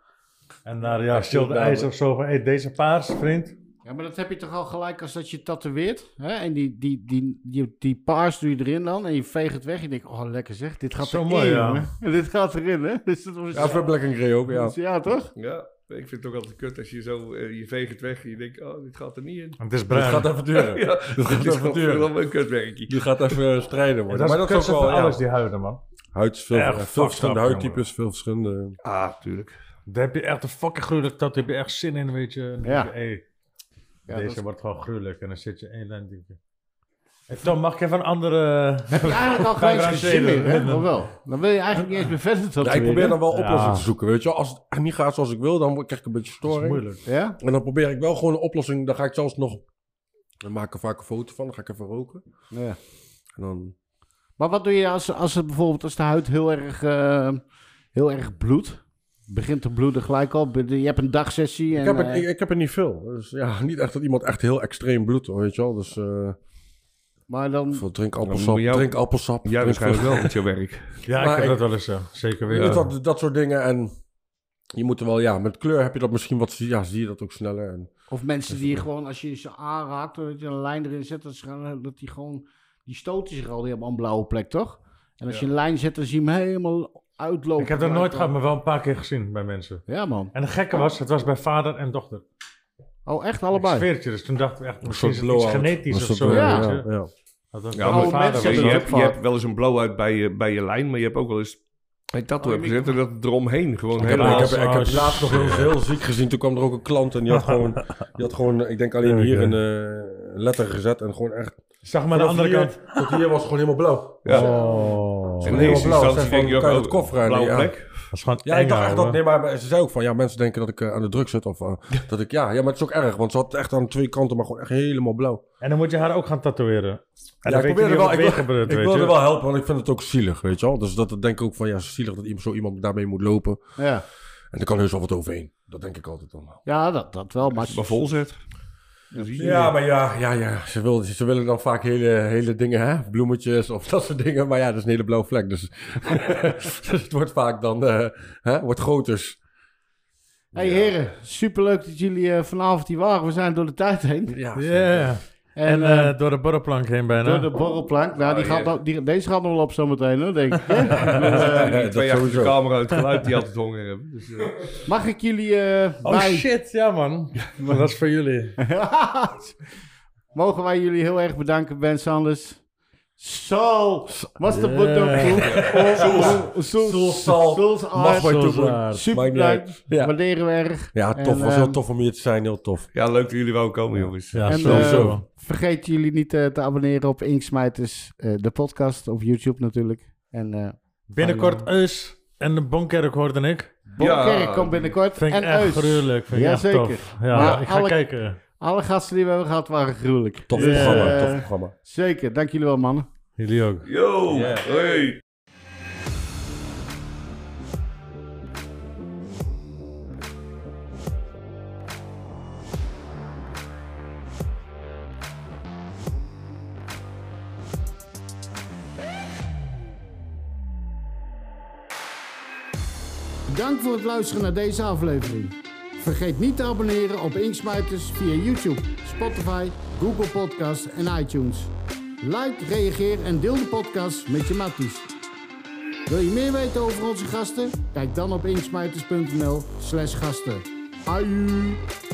Speaker 1: En naar ja, Silde IJs of zo. Van, hey, deze paars, vriend.
Speaker 2: Ja, maar dat heb je toch al gelijk als dat je tatoeëert. Hè? En die, die, die, die, die paars doe je erin dan en je veegt het weg. En je denkt, oh lekker zeg, dit gaat
Speaker 1: Zo
Speaker 2: erin.
Speaker 1: mooi, ja.
Speaker 2: jongen. En dit gaat erin, hè? Dus dat was
Speaker 4: Ja, voor Black and Grey ook, ja.
Speaker 2: Dus ja, toch?
Speaker 3: Ja. Ik vind het ook altijd kut als je zo... eh, je veegt het weg en je denkt... Oh, dit gaat er niet in.
Speaker 1: Het is
Speaker 4: Dit
Speaker 1: bruin.
Speaker 4: gaat even duren.
Speaker 3: Ja.
Speaker 4: Dit gaat
Speaker 3: Dit is
Speaker 4: even duren.
Speaker 3: gewoon een kutwerkje.
Speaker 4: Die gaat even eh, strijden
Speaker 1: En
Speaker 4: worden.
Speaker 1: dat is
Speaker 4: maar dat is ook wel, ja.
Speaker 1: alles, die huiden, man.
Speaker 4: Huid, veel,
Speaker 1: Erg
Speaker 4: eh,
Speaker 1: fucked
Speaker 4: veel verschillende
Speaker 1: up,
Speaker 4: huidtypes, veel verschillende...
Speaker 3: Ah, tuurlijk.
Speaker 1: Daar heb je echt een fucking gruwelijk dat heb je echt zin in, weet je. En dan
Speaker 2: Ja.
Speaker 1: denk je, hey,
Speaker 2: Ja,
Speaker 1: deze
Speaker 2: dat is-
Speaker 1: wordt gewoon gruwelijk. En dan zit je één lijn denk je. En Tom, mag ik even een andere...
Speaker 2: Heb je eigenlijk al geen
Speaker 1: Bijna
Speaker 2: eens zin
Speaker 1: zelen.
Speaker 2: in, hè? Of wel? Dan wil je eigenlijk niet eens meer verder
Speaker 4: Ja,
Speaker 2: tatoeëren.
Speaker 4: ik probeer dan wel
Speaker 1: Ja.
Speaker 4: oplossingen te zoeken, weet je wel. Als het echt niet gaat zoals ik wil, dan krijg ik een beetje
Speaker 1: Dat is
Speaker 4: storing.
Speaker 1: moeilijk.
Speaker 2: Ja?
Speaker 4: En dan probeer ik wel gewoon een oplossing. Dan ga ik zelfs nog... Dan maak ik er vaak een foto van, dan ga ik even roken.
Speaker 2: ja.
Speaker 4: En dan...
Speaker 2: Maar wat doe je als, als het bijvoorbeeld als de huid heel erg, eh, heel erg bloedt? Begint te bloeden gelijk al. Je hebt een dagsessie. En,
Speaker 4: Ik heb, e- er,
Speaker 2: eh,
Speaker 4: ik, ik heb er niet veel. Dus ja, niet echt dat iemand echt heel extreem bloedt, hoor, weet je wel. Dus eh,
Speaker 2: maar dan,
Speaker 4: veel drink appelsap,
Speaker 3: moet jou-
Speaker 4: drink appelsap.
Speaker 3: Jij
Speaker 4: drink
Speaker 3: waarschijnlijk wel met jouw werk.
Speaker 1: Ja,
Speaker 4: Maar
Speaker 1: ik heb
Speaker 4: ik-
Speaker 1: dat wel eens, ja. Zeker
Speaker 4: veel-
Speaker 1: weten.
Speaker 4: Dus Dat, dat soort dingen. En je moet er wel, ja, met kleur heb je dat misschien wat... Ja, zie je dat ook sneller. En,
Speaker 2: Of mensen die gewoon, als je ze aanraakt, dat je een lijn erin zet, dat, ze gaan, dat die gewoon, die stoten zich al, die hebben al een blauwe plek, toch? En als je een lijn zet, dan zie je hem helemaal uitlopen.
Speaker 1: Ik heb dat nooit gehad, maar wel een paar keer gezien bij mensen.
Speaker 2: Ja, man.
Speaker 1: En het gekke was, het was bij vader en dochter.
Speaker 2: Oh, echt
Speaker 1: Ik
Speaker 2: allebei?
Speaker 1: zweer het je, dus toen dachten we echt, misschien is het iets
Speaker 4: blowout.
Speaker 1: genetisch
Speaker 4: Een
Speaker 1: of
Speaker 4: soort,
Speaker 1: zo.
Speaker 4: eh,
Speaker 2: ja.
Speaker 1: weet je.
Speaker 4: ja.
Speaker 1: Dat was
Speaker 3: Ja,
Speaker 1: bij
Speaker 2: maar-
Speaker 1: vader
Speaker 2: mensen
Speaker 1: weet
Speaker 3: Je,
Speaker 1: je.
Speaker 3: hebt, je
Speaker 2: vaak.
Speaker 3: hebt wel eens een blow-out bij je, bij je lijn, maar je hebt ook wel eens een tattoo hebben gezet en dat het eromheen gewoon
Speaker 4: Ik heb, ik
Speaker 3: helemaal...
Speaker 4: heb, ik heb
Speaker 1: Oh,
Speaker 4: laatst nog heel, heel ziek gezien. Toen kwam er ook een klant en die had gewoon, die had gewoon ik denk alleen hier een eh, letter gezet. En gewoon echt...
Speaker 1: Zag maar de andere
Speaker 4: hier,
Speaker 1: kant.
Speaker 4: Tot hier was het gewoon helemaal blauw.
Speaker 3: Ja.
Speaker 1: Oh.
Speaker 3: In
Speaker 4: Helemaal
Speaker 3: eerste
Speaker 4: blauw,
Speaker 3: instantie
Speaker 4: zeg van,
Speaker 3: denk je ook,
Speaker 4: kan je
Speaker 3: oh,
Speaker 4: het koffer aan,
Speaker 3: blauwe
Speaker 4: ja.
Speaker 3: plek.
Speaker 1: Dat is gewoon
Speaker 4: Ja, ik dacht echt dat...
Speaker 1: dat
Speaker 4: Nee, maar ze zei ook van... Ja, mensen denken dat ik eh, aan de druk zit. Of eh, dat ik... Ja, ja, maar het is ook erg. Want ze had echt aan twee kanten, maar gewoon echt helemaal blauw.
Speaker 1: En dan moet je haar ook gaan tatoeëren. En
Speaker 4: ja,
Speaker 1: dan weet je niet wat er
Speaker 4: wil-
Speaker 1: mee gebeurt,
Speaker 4: ik
Speaker 1: weet
Speaker 4: wilde
Speaker 1: je.
Speaker 4: wel helpen, want ik vind het ook zielig, weet je wel. Dus dat dat denk ik ook van... Ja, zielig dat iemand, zo iemand daarmee moet lopen.
Speaker 2: Ja,
Speaker 4: En er kan heus wel wat overheen. Dat denk ik altijd allemaal.
Speaker 2: ja dat, dat wel. Maar,
Speaker 3: Maar vol zet. Dat zie je
Speaker 4: Ja,
Speaker 3: niet.
Speaker 4: maar ja, ja, ja. Ze, wil, ze willen dan vaak hele, hele dingen, hè? bloemetjes of dat soort dingen. Maar ja, dat is een hele blauwe vlek. Dus, dus het wordt vaak dan, eh, hè? wordt groter.
Speaker 2: Hey heren, superleuk dat jullie eh, vanavond hier waren. We zijn door de tijd heen.
Speaker 4: Ja,
Speaker 1: Ja.
Speaker 2: En,
Speaker 1: En
Speaker 2: eh,
Speaker 1: eh, door de borrelplank heen bijna.
Speaker 2: door de borrelplank. Nou, die
Speaker 3: Oh,
Speaker 2: gaat
Speaker 3: jee.
Speaker 2: nog- die, deze gaat nog wel op zometeen, hoor, denk ik.
Speaker 3: Ja,
Speaker 4: Ja,
Speaker 3: die
Speaker 4: dat
Speaker 3: twee achter de
Speaker 4: sowieso.
Speaker 3: camera, het geluid die altijd honger hebben. Dus, eh,
Speaker 2: Mag ik jullie eh,
Speaker 1: Oh
Speaker 2: bij...
Speaker 1: shit, ja man. Maar dat is voor jullie.
Speaker 2: Mogen wij jullie heel erg bedanken, Ben Sanders. Sol, was de boek Sol,
Speaker 4: Sol. Mag
Speaker 2: Art.
Speaker 4: wel
Speaker 1: Zoals
Speaker 4: doen.
Speaker 1: waar.
Speaker 2: Super
Speaker 4: Maakt niet
Speaker 2: bedankt,
Speaker 4: uit. Ja.
Speaker 2: waarderen we erg.
Speaker 4: Ja,
Speaker 2: En,
Speaker 4: tof. was heel
Speaker 2: ehm,
Speaker 4: tof om hier te zijn. Heel tof.
Speaker 3: ja, leuk dat jullie wel komen, jongens.
Speaker 1: Ja,
Speaker 2: en
Speaker 1: sowieso.
Speaker 2: eh, vergeet jullie niet eh, te abonneren op Inksmijters, eh, de podcast op YouTube natuurlijk. En eh
Speaker 1: Binnenkort Eus en de Bonkerk hoorde ik.
Speaker 2: Bonkerk komt binnenkort.
Speaker 1: Vind ik
Speaker 2: en
Speaker 1: echt
Speaker 2: Eus.
Speaker 1: gruwelijk. Vind ik echt
Speaker 2: Jazeker.
Speaker 1: tof. Ja,
Speaker 2: Maar
Speaker 1: ik ga
Speaker 2: alle-
Speaker 1: kijken.
Speaker 2: Alle gasten die we hebben gehad waren gruwelijk. Eh,
Speaker 4: Tof
Speaker 1: Ja.
Speaker 4: programma. Tof programma.
Speaker 2: Zeker, dank jullie wel mannen.
Speaker 1: Jullie ook.
Speaker 3: Yo, hey.
Speaker 2: Dank voor het luisteren naar deze aflevering. Vergeet niet te abonneren op Inksmijters via YouTube, Spotify, Google Podcast en iTunes. Like, reageer en deel de podcast met je matties. Wil je meer weten over onze gasten? Kijk dan op inksmijters.nl slash gasten. Aju!